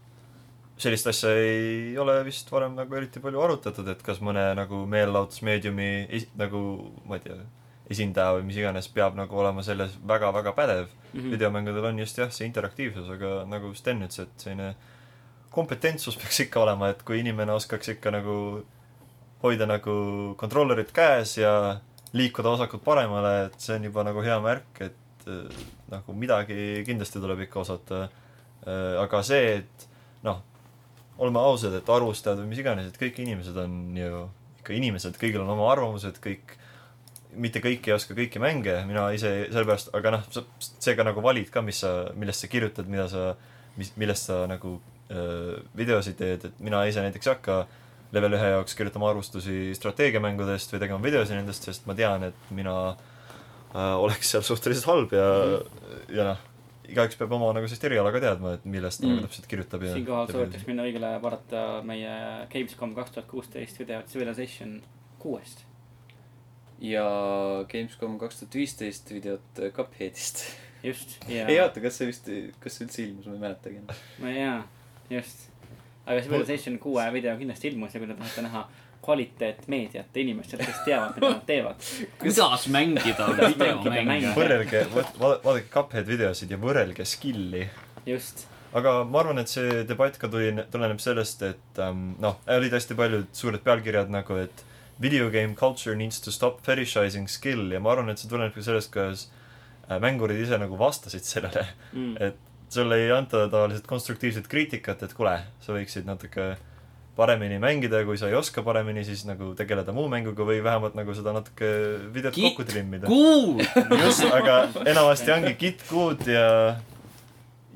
sellist asja ei ole vist varem nagu eriti palju arutatud , et kas mõne nagu meelelahutusmeediumi es- nagu ma ei tea , esindaja või mis iganes peab nagu olema selles väga-väga pädev mm . -hmm. videomängudel on just jah , see interaktiivsus , aga nagu Sten ütles , et selline kompetentsus peaks ikka olema , et kui inimene oskaks ikka nagu hoida nagu kontrollerit käes ja liikuda vasakult paremale , et see on juba nagu hea märk , et äh, nagu midagi kindlasti tuleb ikka osata . aga see , et noh , oleme ausad , et arvustajad või mis iganes , et kõik inimesed on ju ikka inimesed , kõigil on oma arvamused , kõik , mitte kõik ei oska kõiki mänge , mina ise sellepärast , aga noh , seega nagu valid ka , mis sa , millest sa kirjutad , mida sa , mis , millest sa nagu öö, videosid teed , et mina ise näiteks ei hakka level ühe jaoks kirjutama arvustusi strateegiamängudest või tegema videosi nendest , sest ma tean , et mina äh, oleks seal suhteliselt halb ja mm. , ja noh , igaüks peab oma nagu sellist eriala ka teadma , et millest ta mm.
Mm.
nagu täpselt kirjutab ja
siinkohal soovitaks minna õigele vaadata meie Gamescom kaks tuhat kuusteist videot Civilization kuuest .
ja Gamescom kaks tuhat viisteist videot äh, Cupheadist .
just ,
ei
ja ,
oota , kas see vist , kas see üldse ilmus , ma ei mäletagi enam .
no jaa , just . aga Civilization kuue video kindlasti ilmus ja kui te tahate näha kvaliteetmeediat inimestelt , kes teavad , mida nad teevad .
kuidas mängida
mängida?
videomänge ?
võrrelge , vaadake Cuphead videosid ja võrrelge skill'i .
just ,
aga ma arvan , et see debatt ka tuli , tuleneb sellest , et ähm, noh , olid hästi paljud suured pealkirjad nagu , et video game culture needs to stop fetishizing skill ja ma arvan , et see tuleneb ka sellest , kuidas äh, mängurid ise nagu vastasid sellele
Mm.
et sulle ei anta tavaliselt konstruktiivset kriitikat , et kuule , sa võiksid natuke paremini mängida ja kui sa ei oska paremini , siis nagu tegeleda muu mänguga või vähemalt nagu seda natuke videot
Kitt
kokku trimmida .
kuul ,
just , aga enamasti ongi Git good ja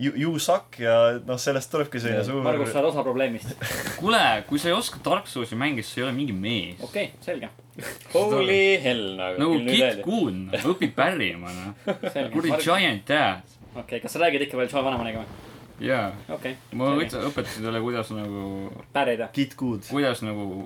you , you suck ja noh , sellest tulebki selline
Ja,
suur
Margus , sa oled osa probleemist .
kuule , kui sa ei oska Dark Soulsi mängida , siis sa ei ole mingi mees .
okei okay, , selge ,
Holy hell nagu .
nagu Kit . Kuun , õpi pärima , noh . kuradi
selge .
giant ass .
okei okay, , kas sa räägid ikka veel Joe Vanemaniga või ?
jaa ,
okei
ma
okay, ,
õpet- õpetasin talle , kuidas nagu ,
pärida .
Git good ,
kuidas nagu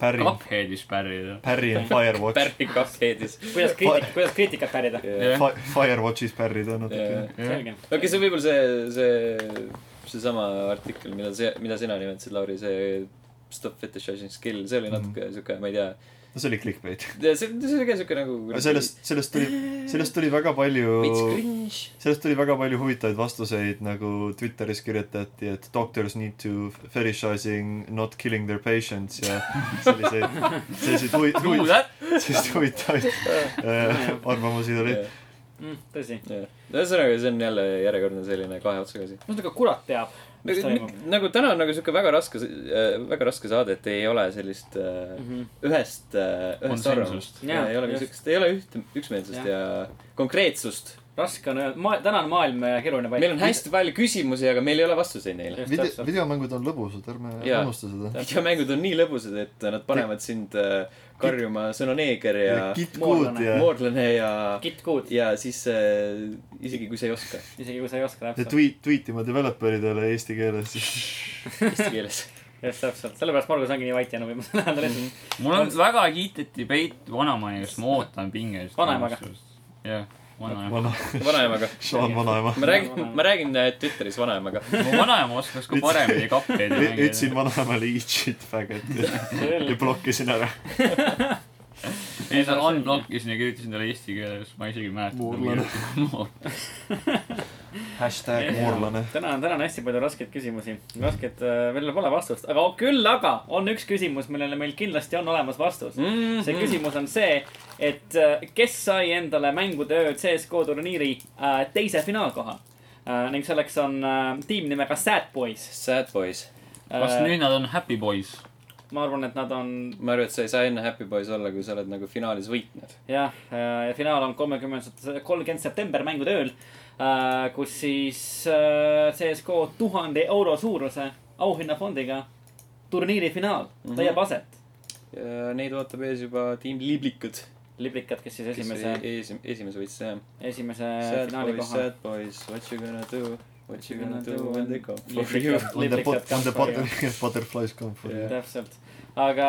Parry ,
Cupheadis pärida .
Parry and Firewatch .
Barry Cupheadis .
kuidas kriitik- , kuidas kriitikat pärida ?
jah ,
Fi- , Firewatchis pärrida natuke .
jah ,
selge ,
okei , see on võib-olla see , see , seesama artikkel , mida see , mida sina nimetasid , Lauri , see stop fetishizing skill , see oli natuke sihuke , ma ei tea .
no see oli clickbait .
see , see oli ka sihuke nagu .
aga sellest , sellest tuli , sellest tuli väga palju
veits cringe .
sellest tuli väga palju huvitavaid vastuseid , nagu Twitteris kirjutati , et doctors need to fetishizing not killing their patients ja selliseid , selliseid huvi- ,
Who
huvi-
that ?
selliseid huvitavaid äh, arvamusi tuli .
Mm, tõsi .
ühesõnaga , see on jälle järjekordne selline kahe otsaga asi .
no ühesõnaga , kurat teab , mis
nagu
toimub .,
nagu täna on nagu sihuke väga raske , väga raske saade , et ei ole sellist äh, ühest , ühest arvamust
Konsensust. .
Mhm. Jaa,
ei ole ka
just.
siukest , ei ole ühte , üksmeelsust
Jah.
ja konkreetsust .
raske on öelda , ma , täna on maailm äh, keeruline
meil on . hästi palju küsimusi , aga meil ei ole vastuseid neile .
Vide- , videomängud on lõbusad , ärme
Jaa.
unusta seda .
videomängud on nii lõbusad , et nad panevad sind äh, karjuma sõna neeger ja
ja Git
moodlane.
Good ja
moorlane ja ,
Git good ,
ja siis äh, isegi kui sa ei oska
isegi kui sa ei oska
ja
täpselt .
tweet , tweetima developeridele eesti keeles .
eesti keeles .
just täpselt , sellepärast Margus ongi nii vait jäänud viimasel ajal , ta lihtsalt ,
mul on väga kiitet debate vanaema ees , ma ootan pingelist .
Vanaemaga. .
jah , vanaema .
vana ,
vanaemaga .
Sean Vanaema .
ma räägin , ma räägin äh, Twitteris vanaemaga .
mu vanaema oskas ka paremini kapteeni
ütlesin
mängida .
vanaemale eat shit faggot ja, ja blokkisin ära .
ei , ta unblockisin ja kirjutasin talle eesti keeles , ma isegi ei
Moorlane.
mäleta .
hashtag moorlane .
täna on , täna on hästi palju raskeid küsimusi , raskeid , millel pole vastust , aga küll aga on üks küsimus , millele meil kindlasti on olemas vastus .
Mhm.
see küsimus on see , et äh, kes sai endale mängutöö CSGO turniiri äh, teise finaalkoha Äh, ning selleks on äh, tiim nimega Sad Boys .
Sad boys .
Äh,
kas nüüd nad on happy boys ?
ma arvan , et nad on
ma arvan , et sa ei saa enne Happy Boys olla , kui sa oled nagu finaalis võitnud .
jah , finaal on kolmekümnes , kolmkümmend september mängude ööl , kus siis äh, CSGO tuhande euro suuruse auhinnafondiga turniiri finaal
Mhm.
leiab aset .
Neid ootab ees juba tiim Liblikud ,
liblikad , kes siis
kes esimese...
esimese ,
ees , esimese võitis jah .
esimese
Sad
finaali
boys ,
koha .
sad boys , what you gonna do ? What you gonna do when they come for you ?
On the pot- , on the butter- butterflies come for you .
täpselt , aga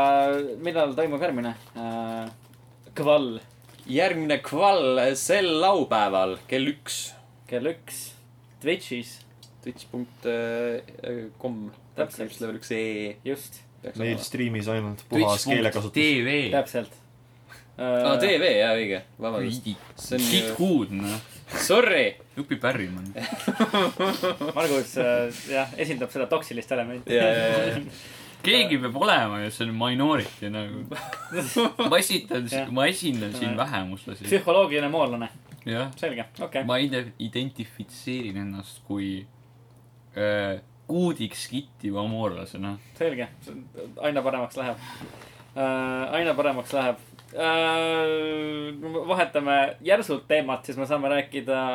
millal toimub järgmine äh, kvall
järgmine kvall sel laupäeval kell üks
kell üks Twitch'is ,
Twitch.com ,
Täpselt.
täpselt , level äh, üks ee
just ,
peaks
meil
olema .
stream'is ainult puhas keelekasutus .
TV .
täpselt .
aa , TV , Ah, jaa , õige , vabandust . see on
Kid
ju ,
Hood , noh .
sorry .
Jupi Pärrimann .
Margus äh, jah , esindab seda toksilist elementi .
ja , ja , ja ,
keegi peab olema ju , see on minority nagu . ma esitan
Jah. ,
ma esindan siin vähemuslasi .
psühholoogiline moolane ,
jah ,
selge , okei okay. .
ma ide- identifitseerin ennast kui äh, kuudiks kittiva noh. moorlasena .
selge , aina paremaks läheb äh, . aina paremaks läheb äh, . vahetame järsult teemat , siis me saame rääkida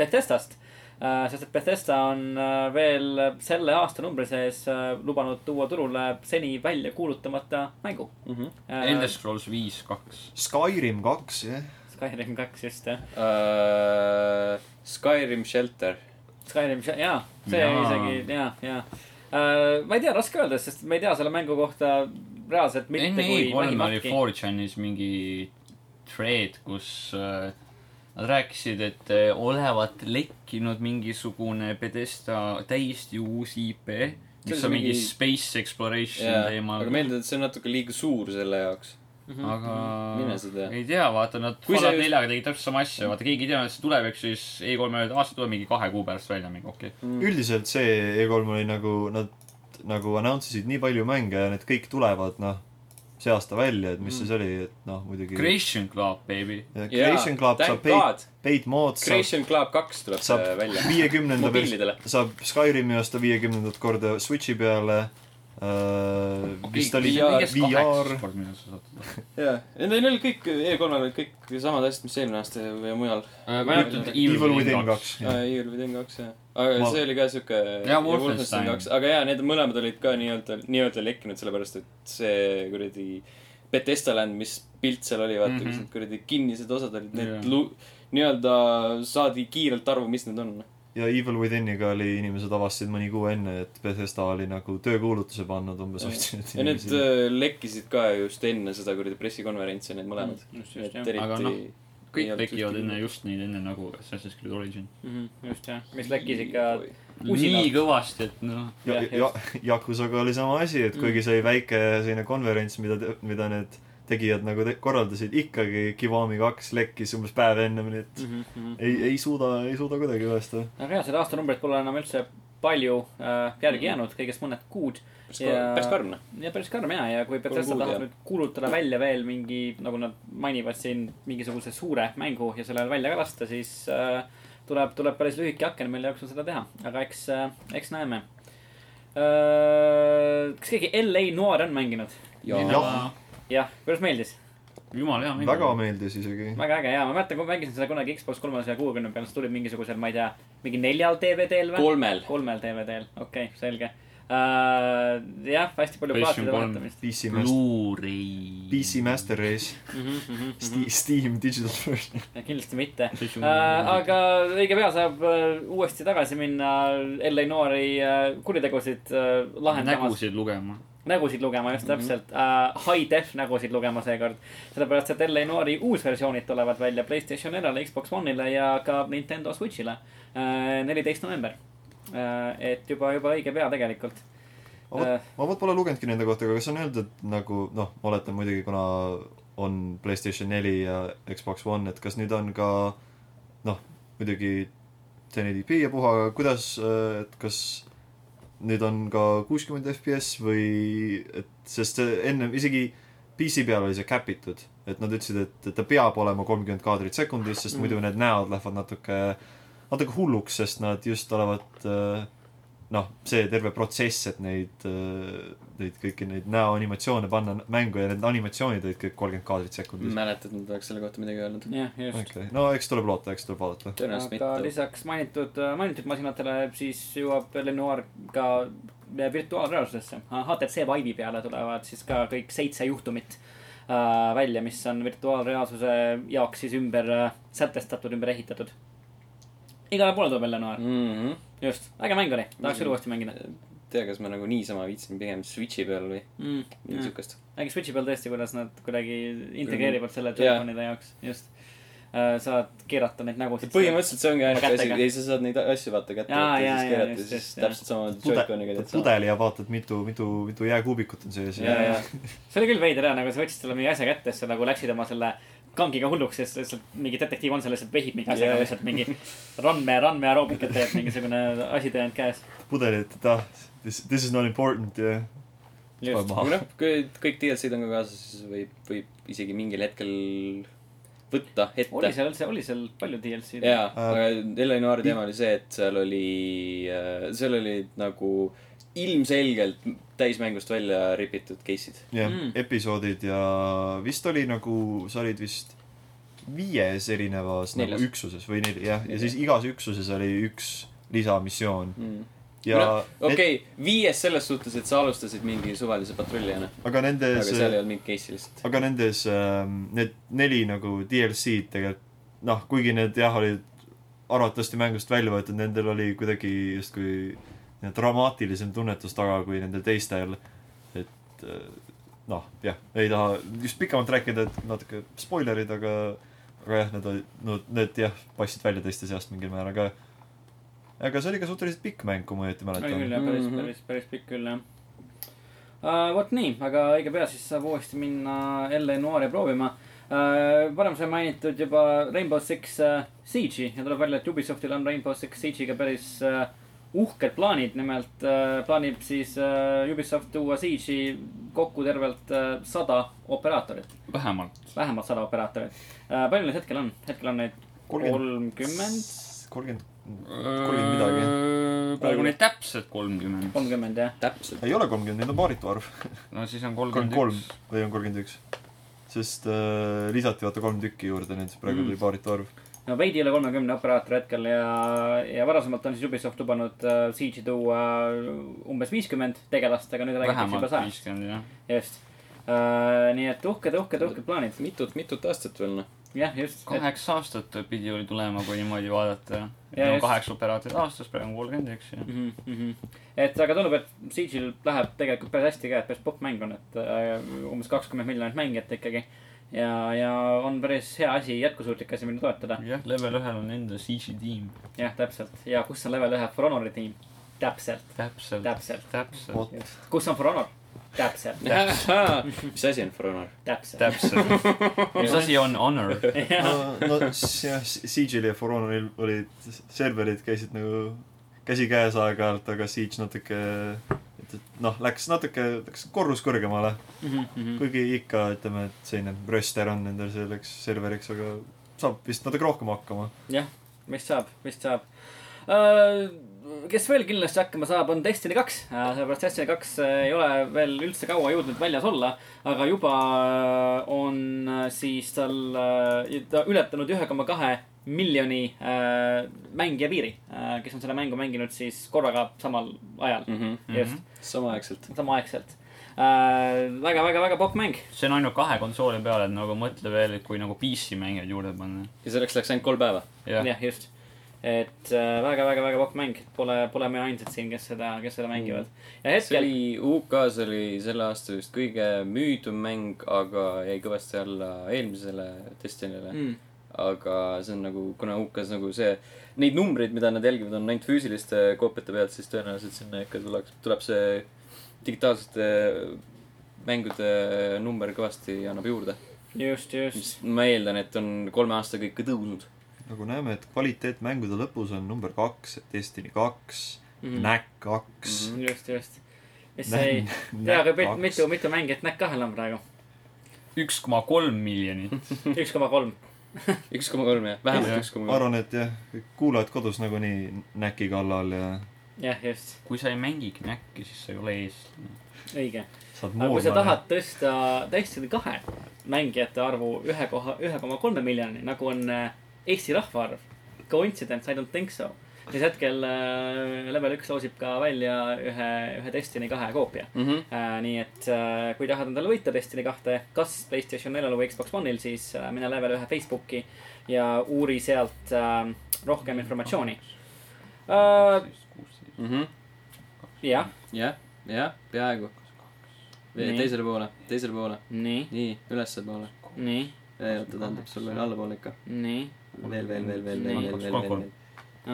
Bethestast äh, . sest et Bethesda on äh, veel selle aastanumbri sees äh, lubanud tuua turule seni välja kuulutamata mängu äh,
Elder Scrolls viis , kaks .
Skyrim kaks , jah .
Skyrim kaks just jah ,
ja . Äh, Skyrim Shelter .
Skyrim , jaa , see
Jaa.
jaa. isegi , jaa , jaa äh, . ma ei tea , raske öelda , sest me ei tea selle mängu kohta reaalselt mitte
enne
kui
E3 oli
vähimatki .
4chanis mingi thread , kus äh, nad rääkisid , et äh, olevat lekkinud mingisugune Pedesta täiesti uus IP , mis
see
on mingi
mingi-
space exploration yeah, teemal .
aga meeldib , et see on natuke liiga suur selle jaoks .
aga
Mhm. Mine sa tea.
ei tea , vaata nad
Kui sa
Fallout
just-
neljaga tegid täpselt sama asja , vaata keegi ei teadnud , et see tuleb , eks ju , siis E E3 öeldi , aa see tuleb mingi kahe kuu pärast välja , mingi okei okay. .
üldiselt see E3 oli nagu , nad nagu announce isid nii palju mänge ja need kõik tulevad , noh , see aasta välja , et mis mm. siis oli , et noh , muidugi .
Creation Club , baby .
Creation Club saab paid , paid mood , saab ,
Creation Club kaks tuleb
saab
see välja .
viiekümnenda
mobiilidele .
saab Skyrimi osta viiekümnendat korda Switchi peale äh, . vist oli
kõigest
VR
kaheksa , kord , mida sa saad .
jaa , neil oli kõik , E3-l olid kõik samad asjad , mis eelmine aasta ja mujal .
Äh,
ma ei ütle , et
Evil Within kaks .
Evil Within kaks jah . aga
Ma-
see oli ka siuke .
Ja Wolfenstein.
aga jaa , need mõlemad olid ka nii-öelda , nii-öelda lekkinud , sellepärast et see kuradi Betesta Land , mis pilt seal oli , vaata , kus
Mhm.
need kuradi kinnised osad olid ,
Jaa.
need lu- , nii-öelda saadi kiirelt aru , mis need on .
ja Evil Withiniga oli , inimesed avastasid mõni kuu enne , et Bethesda oli nagu töökuulutuse pannud umbes .
ja need äh, lekkisid ka just enne seda kuradi pressikonverentsi , need mõlemad .
Mm, just , just
et
jah .
eriti
Aga noh, kõik
ei olnud
tekivad
ühtegi-
enne just neid , enne nagu Assassin's Creed Origin .
Mhm, just jah , mis läkkis ikka Usinalt.
nii kõvasti , et noh ,
ja ,
Jah,
Mm. ja Yakuzaga oli sama asi , et kuigi see oli väike selline konverents , mida , mida need tegijad nagu te korraldasid , ikkagi Kiwami kaks lekkis umbes päev enne , nii et
mm . -hmm.
ei , ei suuda , ei suuda kuidagi päästa .
aga jah , seda aastanumbrit pole enam üldse palju äh, järgi jäänud , kõigest mõned kuud .
päris karm , päris karm . noh.
ja päris karm ja , ja kui
Kolm
Bethesda
kuud,
tahab
jah.
nüüd kuulutada välja veel mingi , nagu nad mainivad siin , mingisuguse suure mängu ja selle välja ka lasta , siis äh, tuleb , tuleb päris lühike aken , mille jooksul seda teha , aga eks äh, , eks näeme äh, . kas keegi LA Noir on mänginud ?
Jah.
jah , kuidas meeldis ?
jumala hea mäng .
väga meeldis isegi .
väga äge ja ma mäletan , kui ma mängisin seda kunagi Xbox kolmesaja kuuekümne peal , see tuli mingisugusel , ma ei tea , mingi neljal DVD-l või ?
kolmel .
kolmel DVD-l , okei okay, , selge uh, . jah , hästi palju
PlayStation
plaatide
kolm.
vaatamist .
PC Master ,
Blu-ray .
PC Master Race ,
Mhm,
Steam Digital Version .
kindlasti mitte
PlayStation
uh, . aga õige pea saab uh, uuesti tagasi minna LA Noori uh, kuritegusid uh, lahendamas .
nägusid lugema .
nägusid lugema , just täpselt uh, . High-def nägusid lugema seekord . sellepärast , et LA Noori uusversioonid tulevad välja Playstation 4-le , Xbox One'ile ja ka Nintendo Switch'ile . neliteist november uh, . et juba , juba õige pea tegelikult Äh.
ma vot , ma vot pole lugenudki nende kohta , aga kas on öeldud nagu noh , ma oletan muidugi , kuna on Playstation neli ja Xbox One , et kas nüüd on ka noh , muidugi 1080p ja puha , aga kuidas , et kas nüüd on ka kuuskümmend FPS või et , sest see enne isegi PC peal oli see cap itud , et nad ütlesid , et ta peab olema kolmkümmend kaadrit sekundis , sest muidu need näod lähevad natuke , natuke hulluks , sest nad just olevat äh, noh , see terve protsess , et neid , neid kõiki neid näoanimatsioone panna mängu ja need animatsioonid olid kõik kolmkümmend kaadrit sekundis .
mäletad , et nad oleks selle kohta midagi öelnud ?
jah , just
Okay. no eks tuleb loota , eks tuleb vaadata .
tõenäoliselt
aga
mitte .
lisaks mainitud , mainitud masinatele siis jõuab Lenoir ka äh, virtuaalreaalsusesse . HTC Vive'i peale tulevad siis ka kõik seitse juhtumit äh, välja , mis on virtuaalreaalsuse jaoks siis ümber äh, sätestatud , ümber ehitatud . igale poole tuleb Lenoir ,
Mm
just , äge mäng oli , tahaks küll
Mhm.
uuesti mängida
-hmm. tea , kas ma nagu niisama viitsin pigem Switchi peal või midagi
mm, .
siukest .
äkki Switch'i peal tõesti , kuidas nad kuidagi integreerivad selle
Jaa.
telefonide jaoks , just . saad keerata neid nägusid .
põhimõtteliselt see ongi ainuke asi ,
Kätega.
ei sa saad neid asju vaata kätte
Jaa,
võtta ja
jaa,
siis
jaa,
keerata ja
just,
siis
just,
täpselt samamoodi
pude-
Joy-Coniga teed sama .
pudeli ja vaatad , mitu , mitu , mitu jääkuubikut on sees
ja , ja see oli küll veider jah , nagu sa võtsid talle mingi asja kätte , siis sa nagu läksid oma selle kangiga hulluks ja siis lihtsalt mingi detektiiv on seal , lihtsalt vehib mingi asjaga
Jaa.
lihtsalt mingi randme , randme aeroobikat teeb , mingisugune asi teinud käes .
pudeli , et ah , this , this is not important ja
just ,
maha.
aga noh , kui kõik DLC-d on ka kaasas , siis võib , võib isegi mingil hetkel võtta
oli
ette .
seal üldse , oli seal palju DLC-d ?
jaa ,
Äh,
aga Eleonori teema oli see , et seal oli , seal olid nagu ilmselgelt täismängust välja ripitud case'id .
jah
Mm.
mm. , episoodid ja vist oli nagu , sa olid vist viies erinevas nagu
Neljas.
üksuses või neli jah , ja siis igas üksuses oli üks lisamissioon
Mm.
ja
okei okay, , viies selles suhtes , et sa alustasid mingi suvalise patruljana ,
need, aga
aga
nendes ,
seal ei olnud mingit case'i lihtsalt .
aga nendes ähm, need neli nagu DLC-d tegelikult noh , kuigi need jah , olid arvatavasti mängust välja võetud , nendel oli kuidagi justkui nii-öelda dramaatilisem tunnetus taga kui nendel teistel . et äh, noh , jah , ei taha just pikemalt rääkida , et natuke spoilerid , aga , aga jah , need olid , no need jah , paistsid välja teiste seast mingil määral , aga aga see oli ka suhteliselt pikk mäng , kui ma õieti
oli küll
mäletan .
jah , päris ,
Mhm.
päris , päris pikk küll jah uh, . vot nii , aga õige pea siis saab uuesti minna jälle Noire proovima uh, . varem sai mainitud juba Rainbow Six uh, Siege'i ja tuleb välja , et Ubisoftil on Rainbow Six Siege'iga päris uh, uhked plaanid , nimelt uh, plaanib siis uh, Ubisoft tuua Siege'i kokku tervelt sada uh, operaatorit ,
vähemalt .
vähemalt sada operaatorit uh, . palju neid hetkel on , hetkel on neid kolmkümmend ,
kolmkümmend ,
Äh,
kolmkümmend midagi .
midagi . praegu neid täpselt kolmkümmend .
kolmkümmend jah .
täpselt .
ei ole kolmkümmend , neid on paaritu arv .
no siis on
kolmkümmend
kolmkümmend
kolm
üks .
või on kolmkümmend üks ? sest äh, lisati vaata kolm tükki juurde nüüd , praegu tuli paaritu arv .
no veidi üle kolmekümne operaator hetkel ja , ja varasemalt on siis Ubisoft lubanud äh, Siege'i tuua äh, umbes viiskümmend tegelast , aga nüüd räägitakse juba
vähemalt
sajast ,
viiskümmend jah .
just äh, . nii et uhked , uhked , uhked plaanid ,
mitut , mitut aastat veel noh .
jah , just .
kaheksa aastat pidi oli tulema , kui niimoodi vaadata .
Ja just.
kaheksa operaatorit aastas , praegu on kolmkümmend üks jah .
Mm -hmm. et aga tundub , et Siege'il läheb tegelikult päris hästi ka , et päris popp mäng on , et äh, umbes kakskümmend miljonit mängijat ikkagi . ja , ja on päris hea asi , jätkusuutlik asi , mida toetada ,
jah , level ühel on enda CG tiim .
jah , täpselt ja kus on level ühe For Honori tiim , täpselt ,
täpselt ,
Täpselt.
täpselt ,
just , kus on For Honor , täpselt ,
mis asi on For Honor ?
täpselt .
täpselt . mis asi on honor ?
no s- jah , Siege'il ja For Honoril olid serverid käisid nagu käsikäes aeg-ajalt , aga Siege natuke , et , et noh , läks natuke , läks korrus kõrgemale .
Mhm,
kuigi ikka ütleme , et selline röster on nendel selleks serveriks , aga saab vist natuke rohkem hakkama .
jah , vist saab , vist saab . kes veel kindlasti hakkama saab , on Destiny kaks , sellepärast Destiny kaks äh, ei ole veel üldse kaua jõudnud väljas olla , aga juba äh, on äh, siis tal äh, ta ületanud ühe koma kahe miljoni äh, mängija piiri , kes on seda mängu mänginud siis korraga samal ajal mm , -hmm. just ,
Mhm, samaaegselt .
samaaegselt äh, . väga , väga , väga popp mäng ,
see on ainult kahe konsooli peal , et nagu mõtle veel , et kui nagu PC mängijad juurde panna .
ja selleks läks ainult kolm päeva .
jah ,
jah , just . et äh, väga , väga , väga popp mäng , pole , pole me ainsad siin , kes seda , kes seda mängivad .
Mm.
ja
see
hetkel .
oli UK-s oli selle aasta vist kõige müüdum mäng , aga jäi kõvasti alla eelmisele Destiny'le mm. . aga see on nagu , kuna UK-s nagu see , neid numbreid , mida nad jälgivad , on ainult füüsiliste koopiate pealt , siis tõenäoliselt sinna ikka tuleks , tuleb see digitaalsete mängude number kõvasti annab juurde .
just , just .
mis ma eeldan , et on kolme aastaga ikka tõusnud .
nagu näeme , et kvaliteet mängude lõpus on number kaks , Destiny kaks mm. , Knack kaks mm .
just , just . mis sai , tea ka pit- , mitu , mitu mängijat Mac kahel on praegu .
üks koma kolm miljonit .
üks koma kolm .
üks koma kolm jah , vähemalt
Jah.
üks koma
ma
kolm .
arvan , et jah , kõik kuulajad kodus nagunii näki kallal ja
jah , just ,
kui sa ei mängi Knäkki , siis sa ei ole eestlane .
õige .
saad
aga kui sa
moorlane .
tahad tõsta Destiny kahe mängijate arvu ühe koha , ühe koma kolme miljoni , nagu on äh, Eesti rahvaarv . Coincidence , I don't think so . siis hetkel äh, level üks loosib ka välja ühe , ühe Destiny kahe koopia
Mm -hmm.
Äh, nii et äh, kui tahad endale võita Destiny kahte , kas Playstation neljal või Xbox One'il , siis äh, mine level ühe Facebooki ja uuri sealt äh, rohkem informatsiooni .
mm -hmm.
jah ,
jah , jah , peaaegu .
Nii.
teisele poole , teisele poole ,
nii ,
nii , ülespoole .
nii ,
oota , tähendab , sul on allapoole ikka .
nii .
veel , veel , veel , veel , veel ,
Nii.
veel , veel , veel , veel .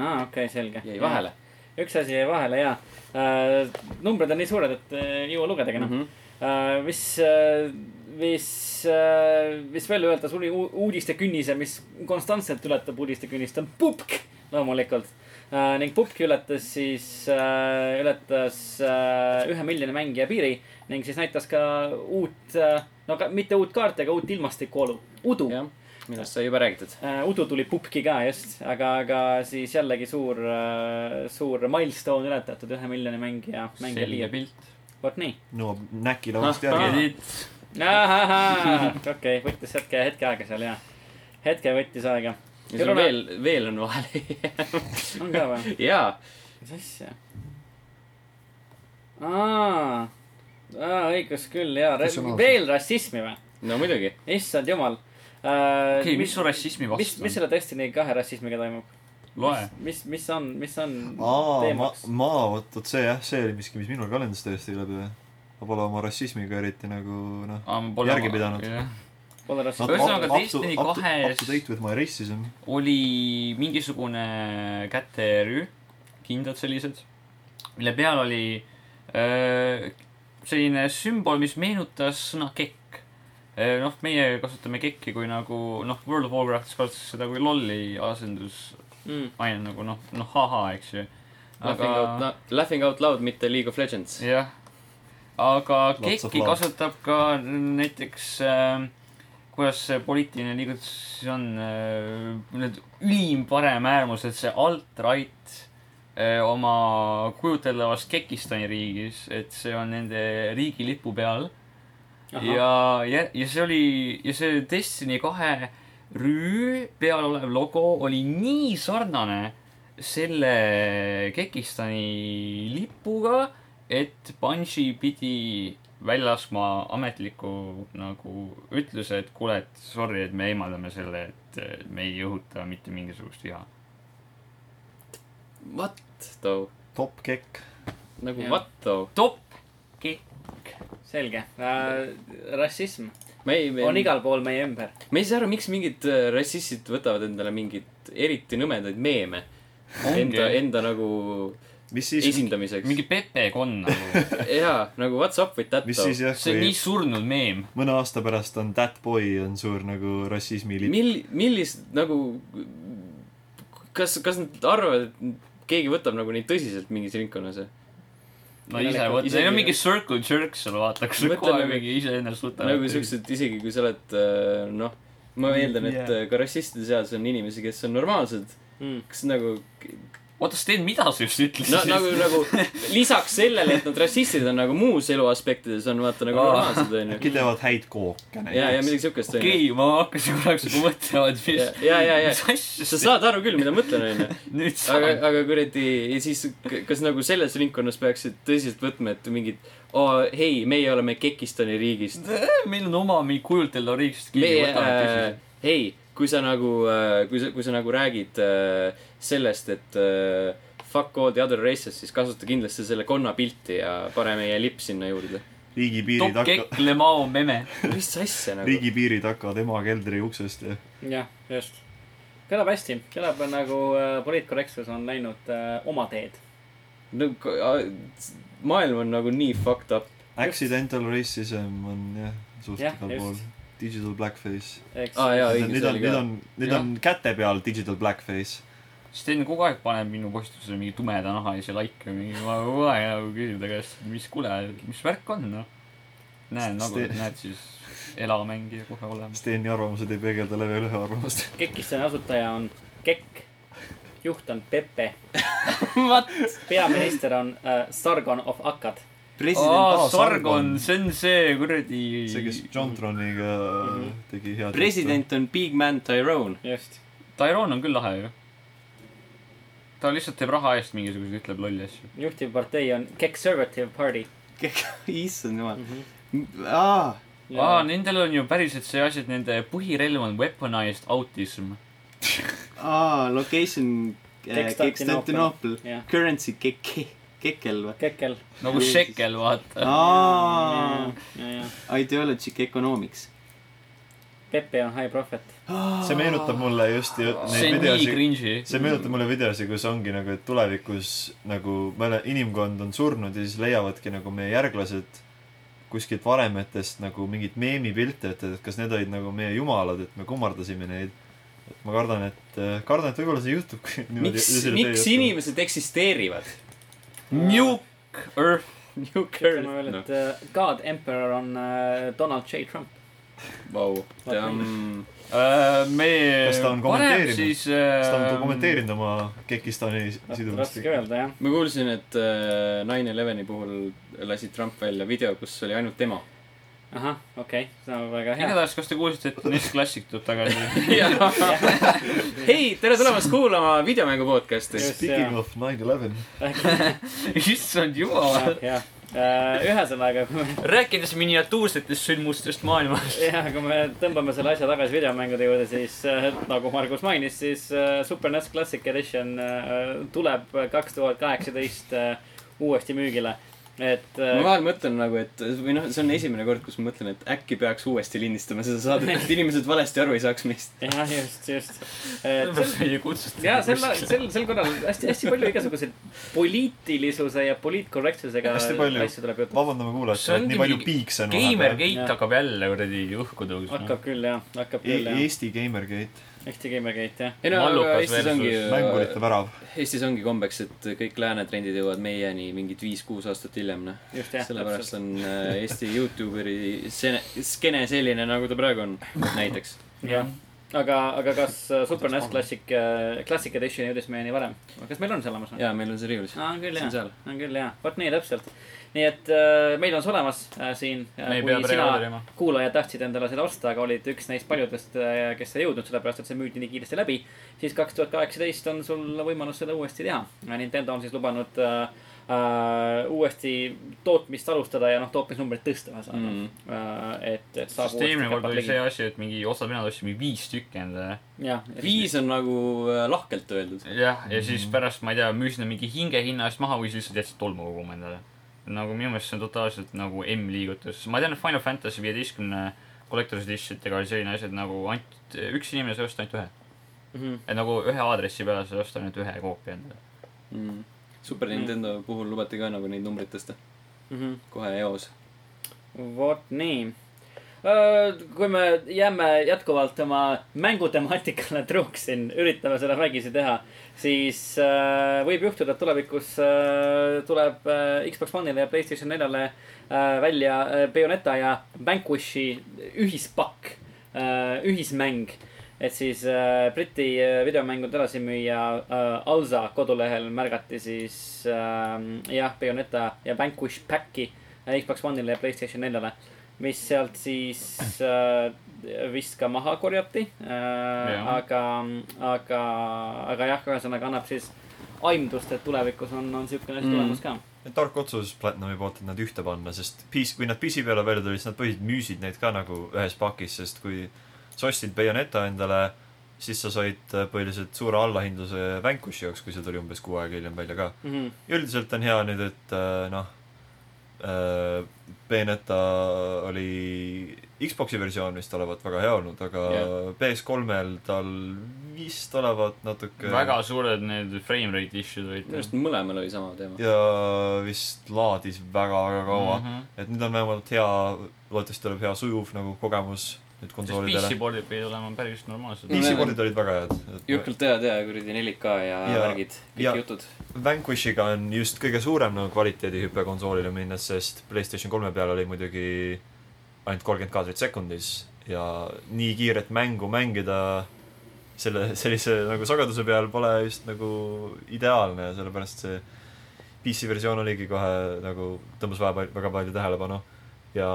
aa , okei okay, , selge .
jäi vahele .
üks asi jäi vahele ja äh, numbrid on nii suured , et äh, ei jõua lugedagi enam mm .
Mhm.
-hmm. Äh, mis äh, , mis äh, , mis veel öelda , sul oli u- uudistekünnise , mis konstantselt ületab uudistekünnist , on pupk loomulikult äh, . ning pupki ületas siis äh, , ületas äh, ühe miljoni mängija piiri ning siis näitas ka uut äh, , no ka, mitte uut kaarti , aga uut ilmastikuolu , udu
jah , millest sai juba räägitud .
Äh, Udu tuli pupki ka just , aga , aga siis jällegi suur , suur milstone ületatud , ühe miljoni mängija , mängija Äh, piir .
selge pilt .
vot nii .
no näki
Noh,
laulust järgi .
Edit .
okei , võttis hetke , hetke aega seal ja . hetke võttis aega .
ja sul veel , veel on vahele
on ka või ?
jaa ,
mis asja ? aa , õigus küll ja ,
Ratsionaalselt.
veel rassismi või ?
no muidugi .
issand jumal .
okei , mis su rassismi
mis ,
vastu
mis
on ?
selle Destiny kahe rassismiga toimub ?
loe .
mis , mis on , mis on
aa , ma
teemaks ?,
ma , vot , vot see jah , see oli miski , mis minul kalendrist täiesti üle tuli . ma pole oma rassismiga eriti nagu noh . Noh,
aa , ma pole
Järgi pidanud.
Pole rassismi .
Ühesõnaga, Destiny kahes-
Up to date with my racism .
oli mingisugune käterüü , kindlad sellised , mille peal oli öö, selline sümbol , mis meenutas sõna kekk . noh , meie kasutame kekki kui nagu noh , World of Warcraftis kasutatakse seda kui lolli asendusaine
mm. .
nagu noh , noh ha-ha , eks ju .
Laughing out
aga ,
loud , laughing out loud , mitte League of Legends .
jah , aga
Lots of
kekki
love.
kasutab ka näiteks äh, kuidas see poliitiline liigutus on , need ülim parem äärmused , see alt-right äh, oma kujuteldavas Kekistani riigis , et see on nende riigi lipu peal . ja , ja , ja see oli , ja see Destiny kahe rüü peal olev logo oli nii sarnane selle Kekistani lipuga , et Bungi pidi välja laskma ametliku nagu ütluse , et kuule , et sorry , et me eemaldame selle , et eh, me ei õhuta mitte mingisugust viha .
What though ?
top kekk .
nagu
Jah.
yeah. what though ?
top ,
selge äh, , rassism
me ei ,
on
me ,
igal pool meie ümber .
me ei saa aru , miks mingid äh, rassistid võtavad endale mingeid eriti nõmedaid meeme . Enda ,
ongi
enda nagu
mis siis ,
esindamiseks .
mingi pepekonn nagu ,
jaa , nagu what's up with that
mis siis jah ,
see on
kui
nii surnud meem .
mõne aasta pärast on that boy on suur nagu rassismi lipp .
mil- , millist nagu , kas , kas nad arvavad , et keegi võtab nagu neid tõsiselt mingis ringkonnas või ?
no ise mõtle ,
Isegi-
neil on mingi circle jerk seal vaata , kus nad
Mõtle
kohe
nagu-
mingi iseennast võtavad .
nagu siuksed , isegi kui sa oled äh, noh , ma eeldan , et
Yeah.
yeah. ka rassistide seas on inimesi , kes on normaalsed
Mm.
mm. . kas nagu ,
oota , Sten , mida sa just
no
ütlesid ?
nagu , nagu lisaks sellele , et nad rassistid on nagu muus eluaspektides on vaata nagu
Aa.
normaalsed onju .
äkki teevad häid kooke
ja , ja . midagi siukest onju .
okei , ma hakkasin korraks juba mõtlema , et
ja
mis ,,
ja , ja ,
mis
ja
asja
sa saad aru küll , mida ma mõtlen onju .
nüüd saab
aga , aga kuradi , ja siis k- kas nagu selles ringkonnas peaksid tõsiselt võtma , et mingid oo oh, , hei , meie oleme Kekistani riigist .
Eh, meil on oma mingi kujuteldav riik , sest keegi ei
meie äh,
võta meid tõsiselt .,
hei , kui sa nagu äh, , kui sa , kui sa nagu räägid äh, sellest , et äh, fuck all the other races , siis kasuta kindlasti selle konna pilti ja pane meie lipp sinna juurde .
riigipiirid hakka- ,
Tokkekk , Lemao , Meme .
mis asja nagu Riigi... ?
riigipiirid hakkavad ema keldri uksest ja
jah , just . kõlab hästi , kõlab nagu äh, poliitkorrektsus on läinud äh, oma teed .
no k- a- maailm on nagu nii fucked up .
accidental racism on jah , suht
Jah,
igal
just.
pool . Digital blackface .
eks
aa ah, jaa , õige ,
nüüd
see
on ,
oli
nüüd
ka .
on , nüüd on käte peal digital blackface .
Sten kogu aeg paneb minu postusele mingi tumeda nahalise like või mingi , ma kogu aeg nagu küsin ta käest , mis , kuule , mis värk on , noh . näen nagu ,
Sten-
näed siis , elamängija kohe olemas .
Steni arvamused ei peegelda level ühe arvamust .
Kekistani asutaja on Kekk , juht on Pepe . peaminister on äh, Sargon of Akkad .
aa , Sargon ,. see on see kuradi .
see , kes Jontroniga tegi head .
president on Big Man Tyrone .
just .
Tyrone on küll lahe ju . ta lihtsalt teeb raha eest mingisuguseid , ütleb lolli asju .
juhtivpartei on Conservative Party .
issand jumal . aa ,
aa , nendel on ju päriselt see asi , et nende põhirelv on weaponized autism .
aa , location
äh, Konstantinoopol. Jah.
Currency keke- , kekel või ?
Kekel .
nagu šekel , vaata .
aa ,
ja , ja .
ideology economics .
Pepe on high prophet .
see meenutab mulle just ju-
see on nii
neid videosid ,
cringe'i .
see meenutab mulle videosid , kus ongi nagu , et tulevikus nagu meil inimkond on surnud ja siis leiavadki nagu meie järglased kuskilt varemetest nagu mingeid meemipilte , et , et kas need olid nagu meie jumalad , et me kummardasime neid . et ma kardan , et , kardan , et võib-olla see juhtub .
miks , miks ? inimesed eksisteerivad ?
Nuke Earth .
ütleme veel , et äh, God Emperor on äh, Donald J Trump .
Vau , ta on ,
Äh, me .
Kas ta on kommenteerinud?
siis .
kas ta on
Ähm,
dokumenteerinud oma Kekistani sidumist
raske ? öelda jah .
ma kuulsin , et äh, Nine Eleveni puhul lasi Trump välja video , kus oli ainult tema .
ahah , okei , see on väga hea .
igatahes , kas te kuulsite , et Nils Classic tuleb tagasi ?
hei , tere tulemast kuulama videomängu podcast'i .
Just,
Speaking
jaa.
of nine eleven .
issand jumal .
jah , ühesõnaga , kui me ,
rääkides miniatuursetest sündmustest maailmas .
jah , kui me tõmbame selle asja tagasi videomängude juurde , siis äh, nagu Margus mainis , siis äh, Super NES Classic Edition äh, tuleb kaks tuhat kaheksateist äh, uuesti müügile . et
ma
äh,
vahel mõtlen nagu , et või noh , see on esimene kord , kus ma mõtlen , et äkki peaks uuesti lindistama seda saadet , et inimesed valesti aru ei saaks meist .
jah , just , just . et see on
ei kutsuta .
ja sel , sel , sel korral hästi , hästi palju igasuguseid poliitilisuse ja poliitkorrektsusega
Hästi palju.
asju tuleb jutuks .
vabandame kuulajatele ,
See
et
ongi
nii palju
mingi
piikse on
Gamergate
Jah.
hakkab jälle kuradi õhku tõusma
hakkab . küll jah , hakkab
E
küll jah .
Eesti Gamergate ,
Eesti Gamergate jah .
ei no , aga
Mallukas
Eestis
versus
ongi äh,
mängurite , värav .
Eestis ongi kombeks , et kõik lääne trendid jõuavad meieni mingid viis-kuus aastat hiljem , noh .
just jah ,
sellepärast on äh, Eesti Youtuberi sene- , skeene selline , nagu ta praegu on , näiteks .
jah , aga , aga kas äh, Super NES Classic , Classic Edition jõudis meieni varem ? kas meil on see olemas või ?
jaa , meil on see riiulis .
on küll
See on
jaa
seal. ,
on küll jaa , vot nii täpselt . nii et äh, meil on see olemas äh, siin .
me ei pea preorderima .
kuulajad tahtsid endale seda osta , aga olid üks neist paljudest , kes ei jõudnud , sellepärast et see müüdi nii kiiresti läbi . siis kaks tuhat kaheksateist on sul võimalus seda uuesti teha . Nintendo on siis lubanud äh, äh, uuesti tootmist alustada ja noh , tootmisnumbrit tõsta ühesõnaga
Mhm.
mm. . Äh, et , et saab
sest eelmine kord oli see
ligi .
asi , et mingi osa mina ostsin mingi viis tükki endale .
jah ,
viis on nagu äh, lahkelt öeldud .
jah , ja siis pärast , ma ei tea , müüsin nad mingi hingehinna eest maha või siis lihtsalt jätsin tolmu koguma endale . nagu minu meelest see on totaalselt nagu M-liigutus . ma tean , et Final Fantasy viieteistkümne Collector's Editionitega oli selline asi , et nagu ainult üks inimene sai osta ainult ühe .
Mhm.
et nagu ühe aadressi peale sai osta ainult ühe koopia endale .
Mm. Super Nintendo puhul lubati ka nagu neid numbreid tõsta
Mhm.
kohe eos .
vot nii . kui me jääme jätkuvalt oma mängutemaatikale truuks siin , üritame seda vägisi teha , siis äh, võib juhtuda , et tulevikus äh, tuleb äh, Xbox One'ile ja Playstation 4-le äh, välja äh, Bayoneta ja Vanquishi ühispakk äh, , ühismäng . et siis äh, Briti äh, videomängud edasimüüja äh, Alza kodulehel märgati siis äh, jah , Bayoneta ja Vanquish Packi äh, Xbox One'ile ja Playstation 4-le . mis sealt siis äh, vist ka maha korjati äh, .
Jah.
aga , aga , aga jah , ühesõnaga annab siis aimdust , et tulevikus on , on siukene asi
Mm.
tulemas ka .
tark otsus Platinumi poolt , et nad ühte panna , sest PC , kui nad PC peale välja tulid , siis nad põhiliselt müüsid neid ka nagu ühes pakis , sest kui sa ostsid Bayoneta endale , siis sa said äh, põhiliselt suure allahindluse Vanquishi jaoks , kui see tuli umbes kuu aega hiljem välja ka .
Mhm,
ja üldiselt on hea nüüd , et äh, noh , Bayoneta oli Xbox'i versioon vist olevat väga hea olnud , aga
Jah.
PS3-l tal vist olevat natuke
väga suured need frame rate issue'd
minu
olid .
arust mõlemal oli sama teema .
ja vist laadis väga-väga
Mhm.
kaua mm . -hmm. et nüüd on vähemalt hea , loodetavasti tuleb hea sujuv nagu kogemus nüüd
sest
konsoolidele .
PC-board'id pidid olema päris normaalsed .
PC-pordid olid väga head .
jõhkralt head ja kuradi 4K ja
Ja-
värgid ,
ja-
kõik jutud .
Vanquishiga on just kõige suurem nagu kvaliteedihüpe konsoolile minnes , sest Playstation kolme peal oli muidugi ainult kolmkümmend kaadrit sekundis ja nii kiiret mängu mängida selle , sellise nagu sageduse peal pole just nagu ideaalne ja sellepärast see PC versioon oligi kohe nagu , tõmbas väga palju , väga palju tähelepanu . ja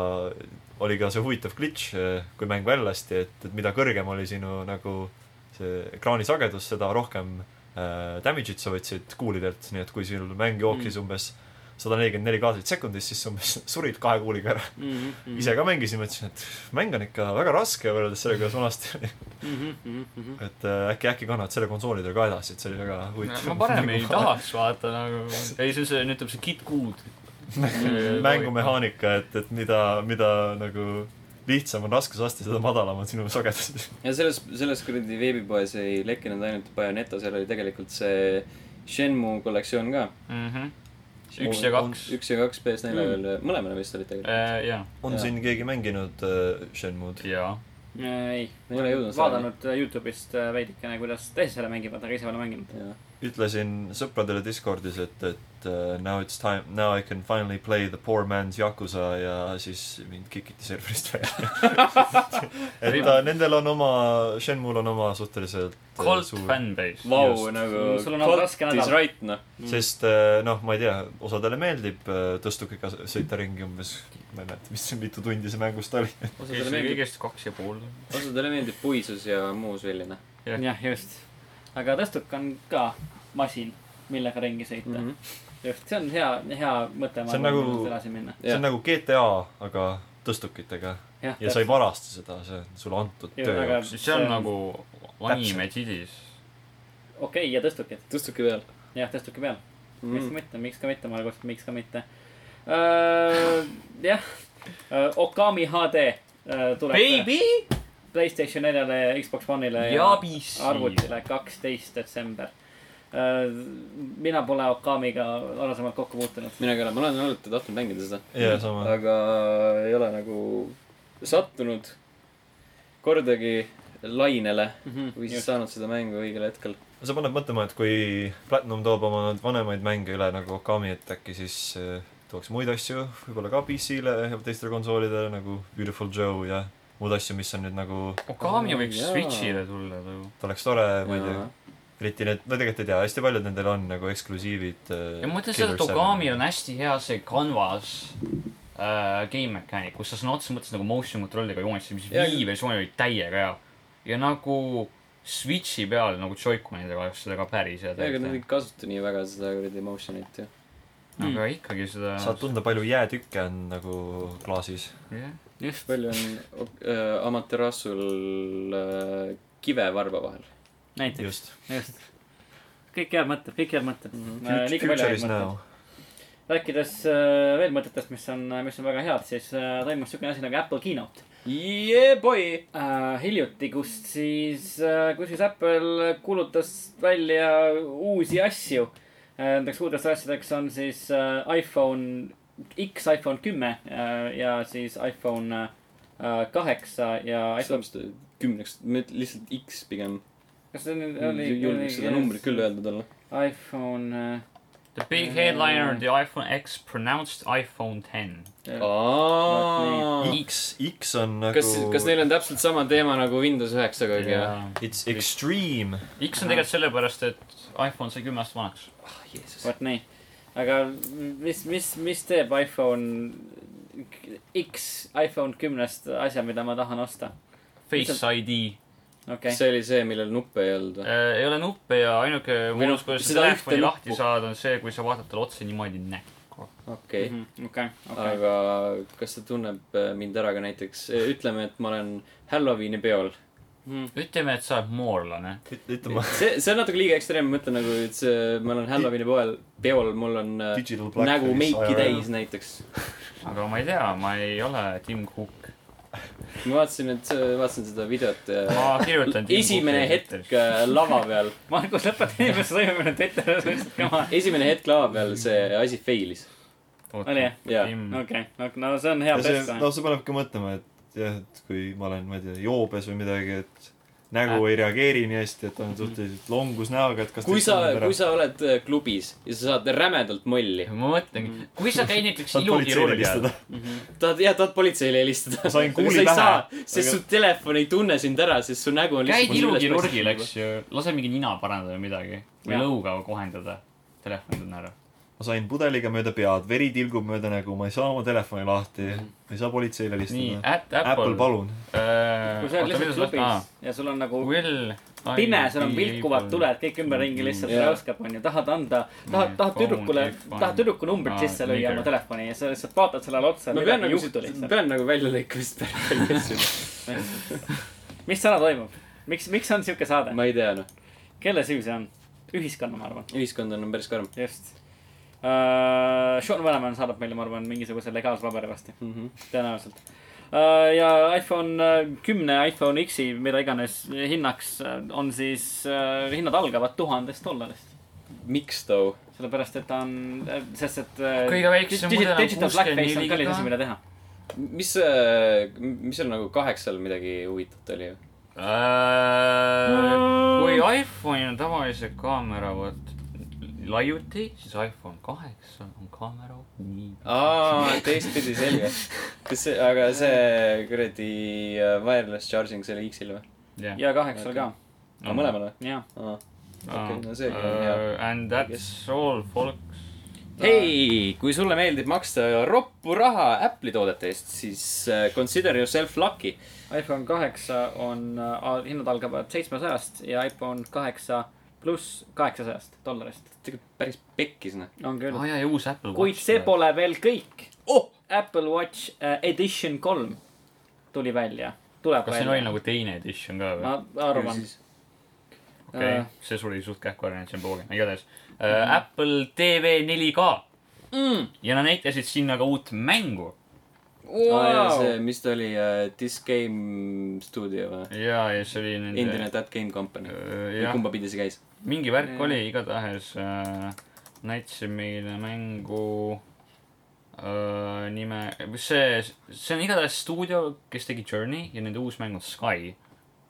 oli ka see huvitav glitch , kui mäng välja lasti , et , et mida kõrgem oli sinu nagu see ekraani sagedus , seda rohkem äh, damage'it sa võtsid kuulidelt , nii et kui sul mäng jooksis mm. umbes sada nelikümmend neli kaadrit sekundis , siis sa umbes surid kahe kuuliga ära .
mhm,
Mm.
ise ka mängisin , mõtlesin , et mäng on ikka väga raske võrreldes sellega , kuidas vanasti oli .
mhm,
et äh, äkki , äkki kannavad selle konsoolidega ka edasi , et see oli väga huvitav .
ma parem ei tahaks vaata nagu . ei , see on see , nüüd tuleb see Kid Good .
mängumehaanika , et , et mida , mida nagu lihtsam on raskusaste , seda madalam on sinu sagedus .
ja selles , selles kuradi veebipoes ei lekkinud ainult Bayoneta , seal oli tegelikult see Shenmue kollektsioon ka .
Mhm. üks ja kaks .
üks ja kaks PS4 veel mm. , Äh, mõlemale vist olid tegelikult .
Äh, jaa ,
on
Jaa.
siin keegi mänginud äh, Shenmue'd ?
jaa .
Äh, ei ,
Ei ole jõudnud
vaadanud äh, Youtube'ist äh, veidikene , kuidas teised selle mängivad , aga ise pole mänginud .
ütlesin sõpradele Discordis , et , et uh, now it's time , now I can finally play the poor man's Yakuza ja siis mind kikiti serverist välja . et ta , nendel on oma , Shenmue'l on oma suhteliselt äh,
Cold fanbase .
Vau
Just. ,
nagu
Mm, sul on olnud raske
Colt is
nädal.
right , noh .
sest äh, noh , ma ei tea , osadele meeldib äh, tõstukiga s- sõita ringi umbes , ma ei mäleta , mis , mitu tundi see mängust oli .
osadele meeldib ,
kõigest kaks ja pool .
osadele meeldib puisus ja noh. muu selline
Jah.
jah , just . aga tõstuk on ka masin , millega ringi sõita mm .
mm .
-hmm. just , see on hea , hea mõte .
See on nagu-
edasi minna .
see on nagu GTA , aga tõstukitega .
jah
ja sa ei varasta seda , see on sulle antud
Jaa,
töö
aga-
jaoks .
see on nagu anime tidis .
okei okay, , ja tõstukid .
tõstuki peal
jah , tõstuki peal mm. . miks ka
mm. .
mitte , miks ka mitte , ma olen kuskilt , miks ka mitte uh, . jah uh, , Okami HD uh, tuleb .
Baby !
Playstation neljale , Xbox One'ile
ja PC .
arvutile kaksteist detsember . mina pole Okamiga varasemalt kokku puutunud .
mina ka , ma olen alati tahtnud mängida seda ,
ja sama .
aga ei ole nagu sattunud kordagi lainele või siis
just ,
saanud seda mängu õigel hetkel .
see paneb mõtlema , et kui Platinum toob oma vanemaid mänge üle nagu Okami , et äkki siis eh, tuuakse muid asju , võib-olla ka PC-le ja teistele konsoolidele nagu Beautiful Joe ja muud asju , mis on nüüd nagu ,
Okami võiks
Jaa.
Switch'ile tulla nagu. ju .
et oleks tore , ma ei tea ,
jah ,
eriti need , ma tegelikult ei tea , hästi paljud nendel on nagu eksklusiivid .
ja ma ütlen seda , et Okami on hästi hea see canvas äh, game mechanic , kus sa sõna otseses mõttes nagu motion control'iga joonistasid , mis
Jaa,
Wii versioonil oli täiega hea . ja nagu Switch'i peal nagu Joy-Conidega oleks seda ka päris hea
ega nad ei
teha .
kasuta nii väga seda kuradi emotion'it ju .
aga ikkagi seda .
saad tunda , palju jäätükke on nagu klaasis .
jah ,
just ,
palju on äh, Amaterasul äh, kive varba vahel
näiteks ,
just .
just . kõik head mõtted , kõik head mõtted
Mhm.
mm .
Future is now .
-hmm. rääkides äh, veel mõtetest , mis on , mis on väga head , siis äh, toimus siukene asi nagu Apple Keynote
yeah, . Boy
äh, hiljuti , kust siis äh, , kus siis Apple kuulutas välja uusi asju . Nendeks uuteks asjadeks on siis äh, iPhone X , iPhone kümme äh, ja siis iPhone äh, kaheksa ja
seda
iPhone ,
vist kümneks , lihtsalt X pigem .
kas see nüüd oli ?
Mm, julgeks seda numbrit küll . öelda talle .
iPhone äh,
The big headliner of the iPhone X pronounced iPhone ten .
Vot
X , X on nagu .
kas , kas neil on täpselt sama teema nagu Windows üheksaga või ?
It's extreme .
X on tegelikult sellepärast , et iPhone sai kümme aastat vanaks .
vot nii , aga mis , mis , mis teeb iPhone X , iPhone kümnest asja , mida ma tahan osta ?
Face ID
okei okay. ,
see oli see , millel nuppe ei olnud või ?
äh, . ei ole nuppe ja ainuke
noh,
moodus , kuidas
seda
sa
ühte
telefoni lahti
nuppu.
saad , on see , kui sa vaatad talle otsa niimoodi näkku .
Mhm. okei ,
Mhm, okei , okei .
aga kas ta tunneb äh, mind ära ka näiteks , ütleme , et ma olen Halloweeni peol .
Mhm.
ütleme , et sa oled moorlane .
ütle ma ,
see , see on natuke liiga ekstreemne , ma mõtlen nagu , et see , ma olen Halloweeni poel , peol , mul on
Nagu
äh,
Digital blackface
nägu meiki
IRL.
täis näiteks .
aga ma ei tea , ma ei ole Tim Cook .
ma vaatasin , et , vaatasin seda videot ja
ma kirjutan Tim
esimene
Cooki
hetk . äh, lava peal ,
Margus , lõpeta nii , kas saime minna Twitteris , come on .
esimene hetk lava peal see asi failis .
Oli jah?
Jaa.
Tim ,
okei , no see on hea
ja see ,
pesta .
no see paneb ka mõtlema , et jah , et kui ma olen , ma ei tea , joobes või midagi , et nägu ei reageeri nii hästi , et on suhteliselt longus näoga , et kas
kui sa , kui sa oled äh, klubis ja sa saad rämedalt molli ,
ma mõtlengi , kui sa käid näiteks
saad politseile
ilukirurgial
helistada ..
tahad , jah , tahad politseile helistada .
Ma sain kuuli pähe,
sest
aga-
su telefon ei tunne sind ära , sest su nägu on
käid
lihtsalt .
ilukirurgil , eks . ju , lase mingi nina parandada või midagi või
Jah.
lõuga kohendada . telefon tunne ära .
ma sain pudeliga mööda pead , veri tilgub mööda nägu , ma ei saa oma telefoni lahti , ma ei saa politseile
nii ,
helistada .
at
Apple ,
Apple . Äh,
palun .
kui sa oled lihtsalt klubis ja sul on nagu
Will .
pime , sul on vilkuvad tuled kõik ümberringi lihtsalt
Mm. Jaa.
räuskab , onju . tahad anda , tahad ,
Mm,
tahad
phone,
tüdrukule
iPhone. ,
tahad tüdruku numbrit
Ah,
sisse lüüa
nigger.
oma telefoni ja sa lihtsalt vaatad sellele otsa ,
ma pean
midagi ei
nagu
juhtu , lihtsalt .
pean nagu välja lõikama vist päris palju asju .
mis täna toimub ? miks , miks on siuke saade ?
ma ei tea , noh .
kelle süü see on ? ühiskonna , ma arvan ,
ühiskond on päris karm
just Äh, uh, . Sean Vanaman saadab meile , ma arvan , mingisuguse legaalse paberi varsti ,
mm . -hmm.
tõenäoliselt Äh, ja iPhone äh, kümne , iPhone X-i , mida iganes hinnaks äh, on siis , hinnad algavad tuhandest dollarist .
miks too ?
sellepärast , et ta on , sest et .
Kõige väiksem mudel on
digital
64
blackface on kallis
giga.
asi , mida teha .
mis , mis seal nagu kaheksal midagi huvitavat oli ?
Äh, kui iPhone'i on tavalise kaamera vot laiuti , siis iPhone kaheksa on kaamera nii .
aa , teistpidi selge . kas see , aga see kuradi äh, wireless charging , see oli X-il või ?
ja kaheksal ka ,
aga mõlemal või ?
jah .
okei, no see on hea.
Äh, And that's all folks .
hei , kui sulle meeldib maksta roppu raha Apple'i toodete eest , siis äh, consider yourself lucky .
iPhone kaheksa on , hinnad algavad seitsmesajast ja iPhone kaheksa pluss kaheksasajast dollarist .
tegelikult päris pekkis , noh .
on küll
aa . Ah, jaa , ja uus Apple .
kuid see . pole veel kõik oh! . Apple Watch äh, Edition kolm tuli välja , tuleb
kas siin oli
välja .
nagu teine edition ka või ?
ma arvan ,
okei
äh. ,
see suri suht kähku ära , nüüd see on pool , igatahes . Apple TV 4K
Mm. .
ja nad näitasid sinna ka uut mängu .
Wow.
see , mis ta oli , This Game Studio või ?
ja , ja see oli nende .
endine That Game Company .
jah ,
kumba pidi see käis ?
mingi värk
Jah.
ja. oli , igatahes äh, näitasid meile mängu äh, nime , see , see on igatahes stuudio , kes tegi Journey ja nende uus mäng on Sky .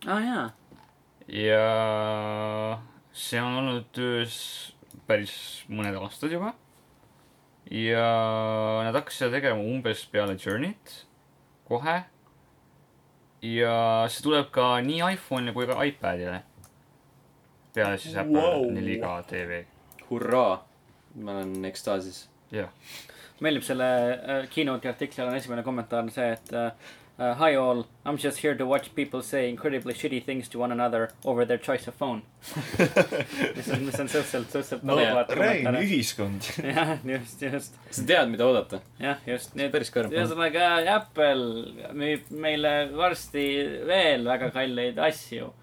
aa jaa .
ja see on olnud töös päris mõned aastad juba . ja nad hakkasid seda tegema umbes peale Journey't , kohe . ja see tuleb ka nii iPhone'ile kui ka iPad'ile . peale siis Apple wow. 4K TV ,
hurraa , ma olen ekstaasis .
jah .
meeldib selle äh, keynote'i artikli all on esimene kommentaar on see , et äh, äh, Hi all , I m just here to watch people say incredibly shitty things to one another over their choice of phone . mis on , mis on suhteliselt , suhteliselt
no
nõudvad
räägime
kommentaarid .
ühiskond .
jah , just , just ,
sa tead , mida oodata .
jah , just , nii et
päris kõrv .
ühesõnaga Apple müüb meile varsti veel väga kalleid asju ,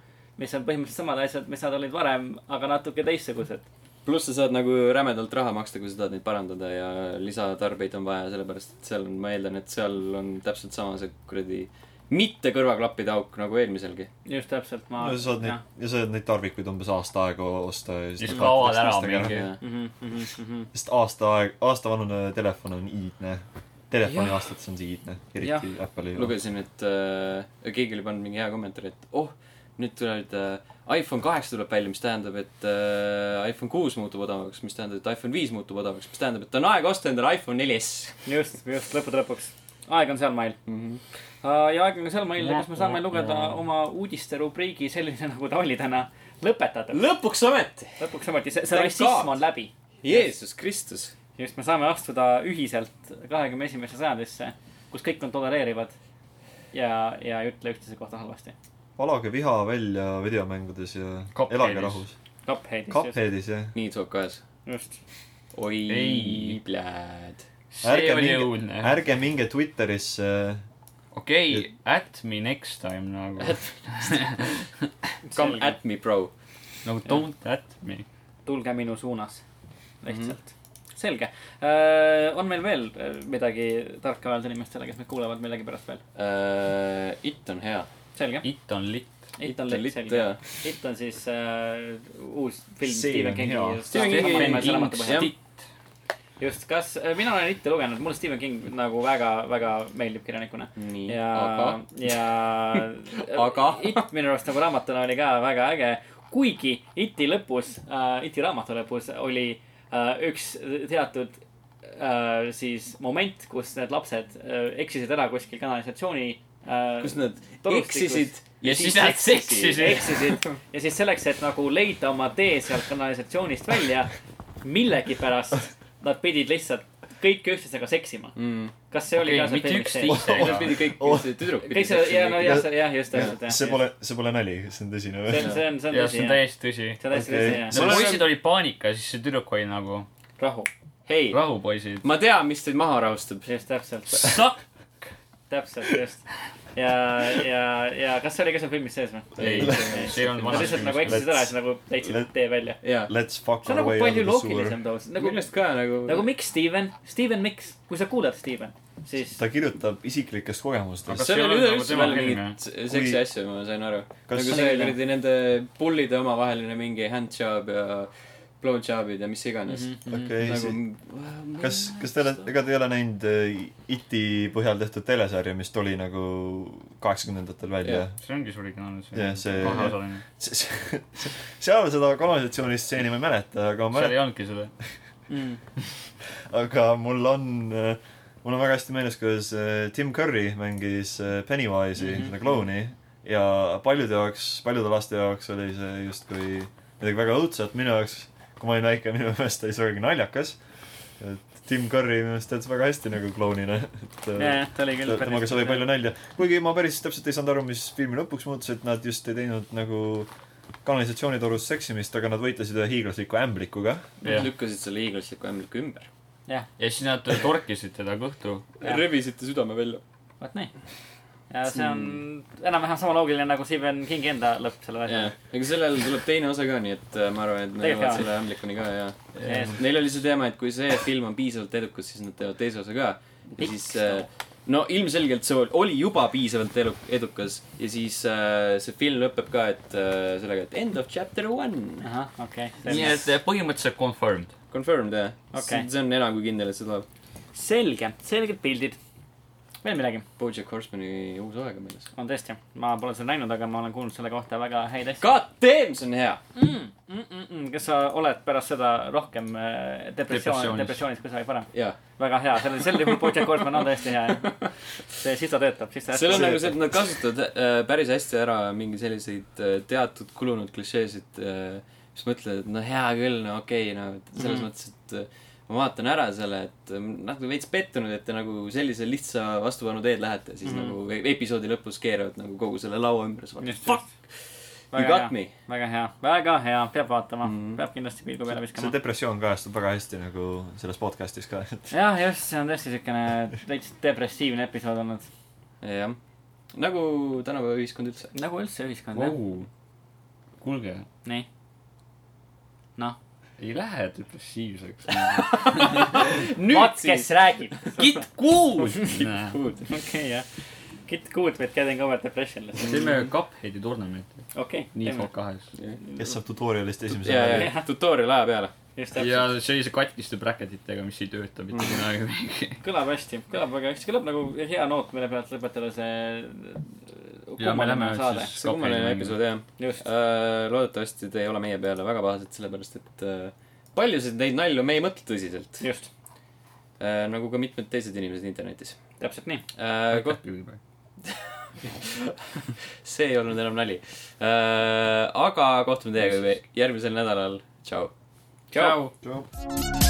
mis on põhimõtteliselt samad asjad , mis nad olid varem , aga natuke teistsugused .
pluss sa saad nagu rämedalt raha maksta , kui sa tahad neid parandada ja lisatarbeid on vaja , sellepärast et seal on , ma eeldan , et seal on täpselt sama see kuradi mitte kõrvaklappide auk nagu eelmiselgi .
just täpselt , ma .
no sa saad neid , ja sa saad neid tarvikuid umbes aasta aega osta ja
siis
siis .
kaovad ära mingi .
jah ,
Mm. Mhm,
sest aasta aeg , aastavanune telefon on iidne . telefoni aastates on see iidne , eriti Apple'i juures .
lugesin , et äh, keegi oli pannud mingi hea kommentaari , et oh , nüüd tulevad äh, , iPhone kaheksa tuleb välja , mis tähendab , et äh, iPhone kuus muutub odavamaks , mis tähendab , et iPhone viis muutub odavamaks , mis tähendab , et on aeg osta endale iPhone 4S
just , just lõppude lõpuks . aeg on seal mail .
mm . -hmm.
ja aeg on seal mail , kas me saame lugeda oma uudisterubriigi sellise , nagu ta oli täna , lõpetatud .
lõpuks ometi ,
lõpuks ometi , see , see
Thank
rassism
God.
on läbi .
Jeesus Kristus .
just , me saame astuda ühiselt kahekümne esimesse sajandisse , kus kõik on tolereerivad ja , ja ei ütle üksteise kohta halvasti .
valage viha välja videomängudes ja
Cupheadis.
elage rahus .
Cupheadis just ,
Cupheadis jah .
nii tuleb kahes .
just .
oi
Ei. ,
pljääd .
see
Ärge
oli
minge-
õudne .
ärge minge Twitterisse .
okei , at me next time nagu .
Come at me , bro .
nagu don't at me .
tulge minu suunas , lihtsalt
Mhm.
mm . -hmm. selge , on meil veel äh, midagi tarka öelda inimestele , kes meid kuulavad millegipärast veel ?
Itt Äh, on hea .
selge ,
It on lit .
It on
lit,
lit , selge
jaa. .
It on siis äh, uus film
See
Stephen
on
Kingi
hea. .
Stephen Kingi jah.
just , kas , mina olen Itti lugenud , mulle Stephen King nagu väga , väga meeldib kirjanikuna .
nii ,
ja
aga ,,
ja
Aga?
It minu arust nagu raamatuna oli ka väga äge , kuigi Iti lõpus uh, , Iti raamatu lõpus oli uh, üks teatud uh, siis moment , kus need lapsed uh, eksisid ära kuskil kanalisatsiooni uh,
kus nad
torustikus-
eksisid
ja siis nad seksisid .
eksisid ja siis selleks , et nagu leida oma tee sealt kanalisatsioonist välja , millegipärast nad pidid lihtsalt kõik üksteisega seksima .
mm. .
kas see oli
Okei,
ka seal
mitte
filmis
üksteist.
sees?
Ise ka.
seal pidi kõik
Oh.
oh. , tüdruk pidi
kõik see , ja no
kõik.
jah , jah , just täpselt jah .
see pole , see pole nali , see on tõsine
see
või
on , see on , see on
ja see
tõsi
on
jah .
täiesti tõsi .
see on täiesti
Okei.
tõsi jah .
no poisid olid paanikas , siis see tüdruk oli nagu
rahu ,
hei ,
rahupoisid .
ma tean , mis teid maha rahustab .
just täpselt ,
Suck
täpselt just . ja , ja , ja kas see oli ka seal filmis sees või ?
ei , see ei olnud
Nad
vanas
lihtsalt nagu
filmis .
eksisid ära , siis nagu leidsid
Let's-
tee välja .
jaa .
Let's fuck
see on
our
nagu
way
palju
out of the sewer
loogilisem tavaliselt ,
nagu
nagu ,
millest ka nagu,
nagu miks Steven , Steven , miks , kui sa kuulad Steven , siis
ta kirjutab isiklikest kogemustest
Aga-
seal
see
oli
ei olnud nagu
üleüldse
tema
veel
film,
mingit seksi
Kui-
asju , ma sain aru .
Kas-
nagu see kuradi nende pullide omavaheline mingi handjob ja blowjobid ja mis iganes mm .
okei
-hmm.
okay, ,
nagu .
Mhm. kas , kas te olete , ega te ei ole näinud äh, IT põhjal tehtud telesarja , mis tuli nagu kaheksakümnendatel välja
Jah.
yeah. ?
see ongi suur originaal .
Jah, see-
kaheosaline .
seal seda kanalisatsioonistseeni ma ei mäleta , aga ma
seal ei olnudki seda .
mm,
aga mul on , mul on väga hästi meeles , kuidas äh, Tim Curry mängis äh, Pennywise'i
Mhm.
mm , -hmm. seda klouni . ja paljude jaoks , paljude laste jaoks oli see justkui midagi väga õudset , minu jaoks , kui ma olin väike , minu meelest oli see väga naljakas . et Tim Curry minu meelest töötas väga hästi nagu klounina , et äh,
jajah , ta oli küll
Ta- temaga sai palju . nalja , kuigi ma päris täpselt ei saanud aru , mis filmi lõpuks muutus , et nad just ei teinud nagu kanalisatsioonitorus seksimist , aga nad võitlesid ühe hiiglasliku ämblikuga .
ja
lükkasid selle hiiglasliku ämbliku ümber .
ja siis nad torkisid teda kõhtu .
Jah.
revisite südame välja .
vot nii . ja see on
Hmm.
enam-vähem sama loogiline nagu Steven Kingi enda lõpp sellele
jaa
asjale .,
aga sellel tuleb teine osa ka , nii et äh, ma arvan , et nad
Tegelikult
jõuavad
jaa.
selle ämblikuni ka ja
Yes.
Neil oli see teema , et kui see film on piisavalt edukas , siis nad teevad teise osa ka . ja siis äh, no ilmselgelt see ol- oli juba piisavalt elu- edukas ja siis äh, see film lõpeb ka , et äh, sellega , et end of chapter one .
ahah , okei
nii
okay. .
et eh, põhimõtteliselt confirmed .
Confirmed jah okay.
Okei. .
see on enam kui kindel , et see tuleb .
selge , selged pildid . veel midagi ?
Bojack Horsemani uus aeg on väljas .
on tõesti , ma pole seda näinud , aga ma olen kuulnud selle kohta väga häid asju . Mm,
God damn , see on hea .
kas sa oled pärast seda rohkem äh, depressioon ,
Depressioonis.
depressioonis kusagil parem ?
jaa .
väga hea , sellel , sel juhul Bojack Horseman on tõesti hea . see , siis ta töötab , siis ta
seal on
hästi
nagu see , et nad kasutavad äh, päris hästi ära mingi selliseid äh, teatud kulunud klišeesid , mis mõtled , et no hea küll , no okei okay, , no et selles mm -hmm.
Mhm.
mõttes , et äh, ma vaatan ära selle , et äh, natuke veits pettunud , et te nagu sellise lihtsa vastupanu teed lähete , siis mm
Mhm.
-hmm. nagu episoodi lõpus keeravad nagu kogu selle laua ümber , siis vaatad ,
Just,
fuck , you
väga
got
hea ,
me .
väga hea , väga hea , peab vaatama mm ,
Mhm.
-hmm. peab kindlasti pilgu peale
see
viskama .
depressioon kajastub väga hästi nagu selles podcast'is ka , et
jah , just , see on tõesti siukene täitsa depressiivne episood olnud .
jah , nagu tänapäeva ühiskond üldse .
nagu üldse ühiskond jah .
kuulge ,
nii . noh ,
ei lähe depressiivseks .
vaat kes räägib .
Git kuul .
okei , jah . Get good with getting over depression .
teeme Cupheadi tournamenti ,
okei ,
nii
teeme
Fallout . kahes .
kes saab tutorialist esimese
ja ,
yeah, .
ja tutorial aja peale .
just
ja
täpselt . Mm.
sellise katkiste bracketitega , mis ei tööta mitte midagi .
kõlab hästi , kõlab väga hästi , kõlab nagu hea noot , mille pealt lõpetada see .
Ja me lähme nüüd
saade .
siis-
see on kummaline
Cupheadi
episood jah
just ,
Äh, loodetavasti te ei ole meie peale väga pahased , sellepärast et äh, paljusid neid nalju me ei mõtle tõsiselt .
just ,
nagu ka mitmed teised inimesed internetis .
täpselt nii .
koht , see ei olnud enam nali . Äh, aga kohtume teiega juba järgmisel nädalal , tšau .
tšau .
osa .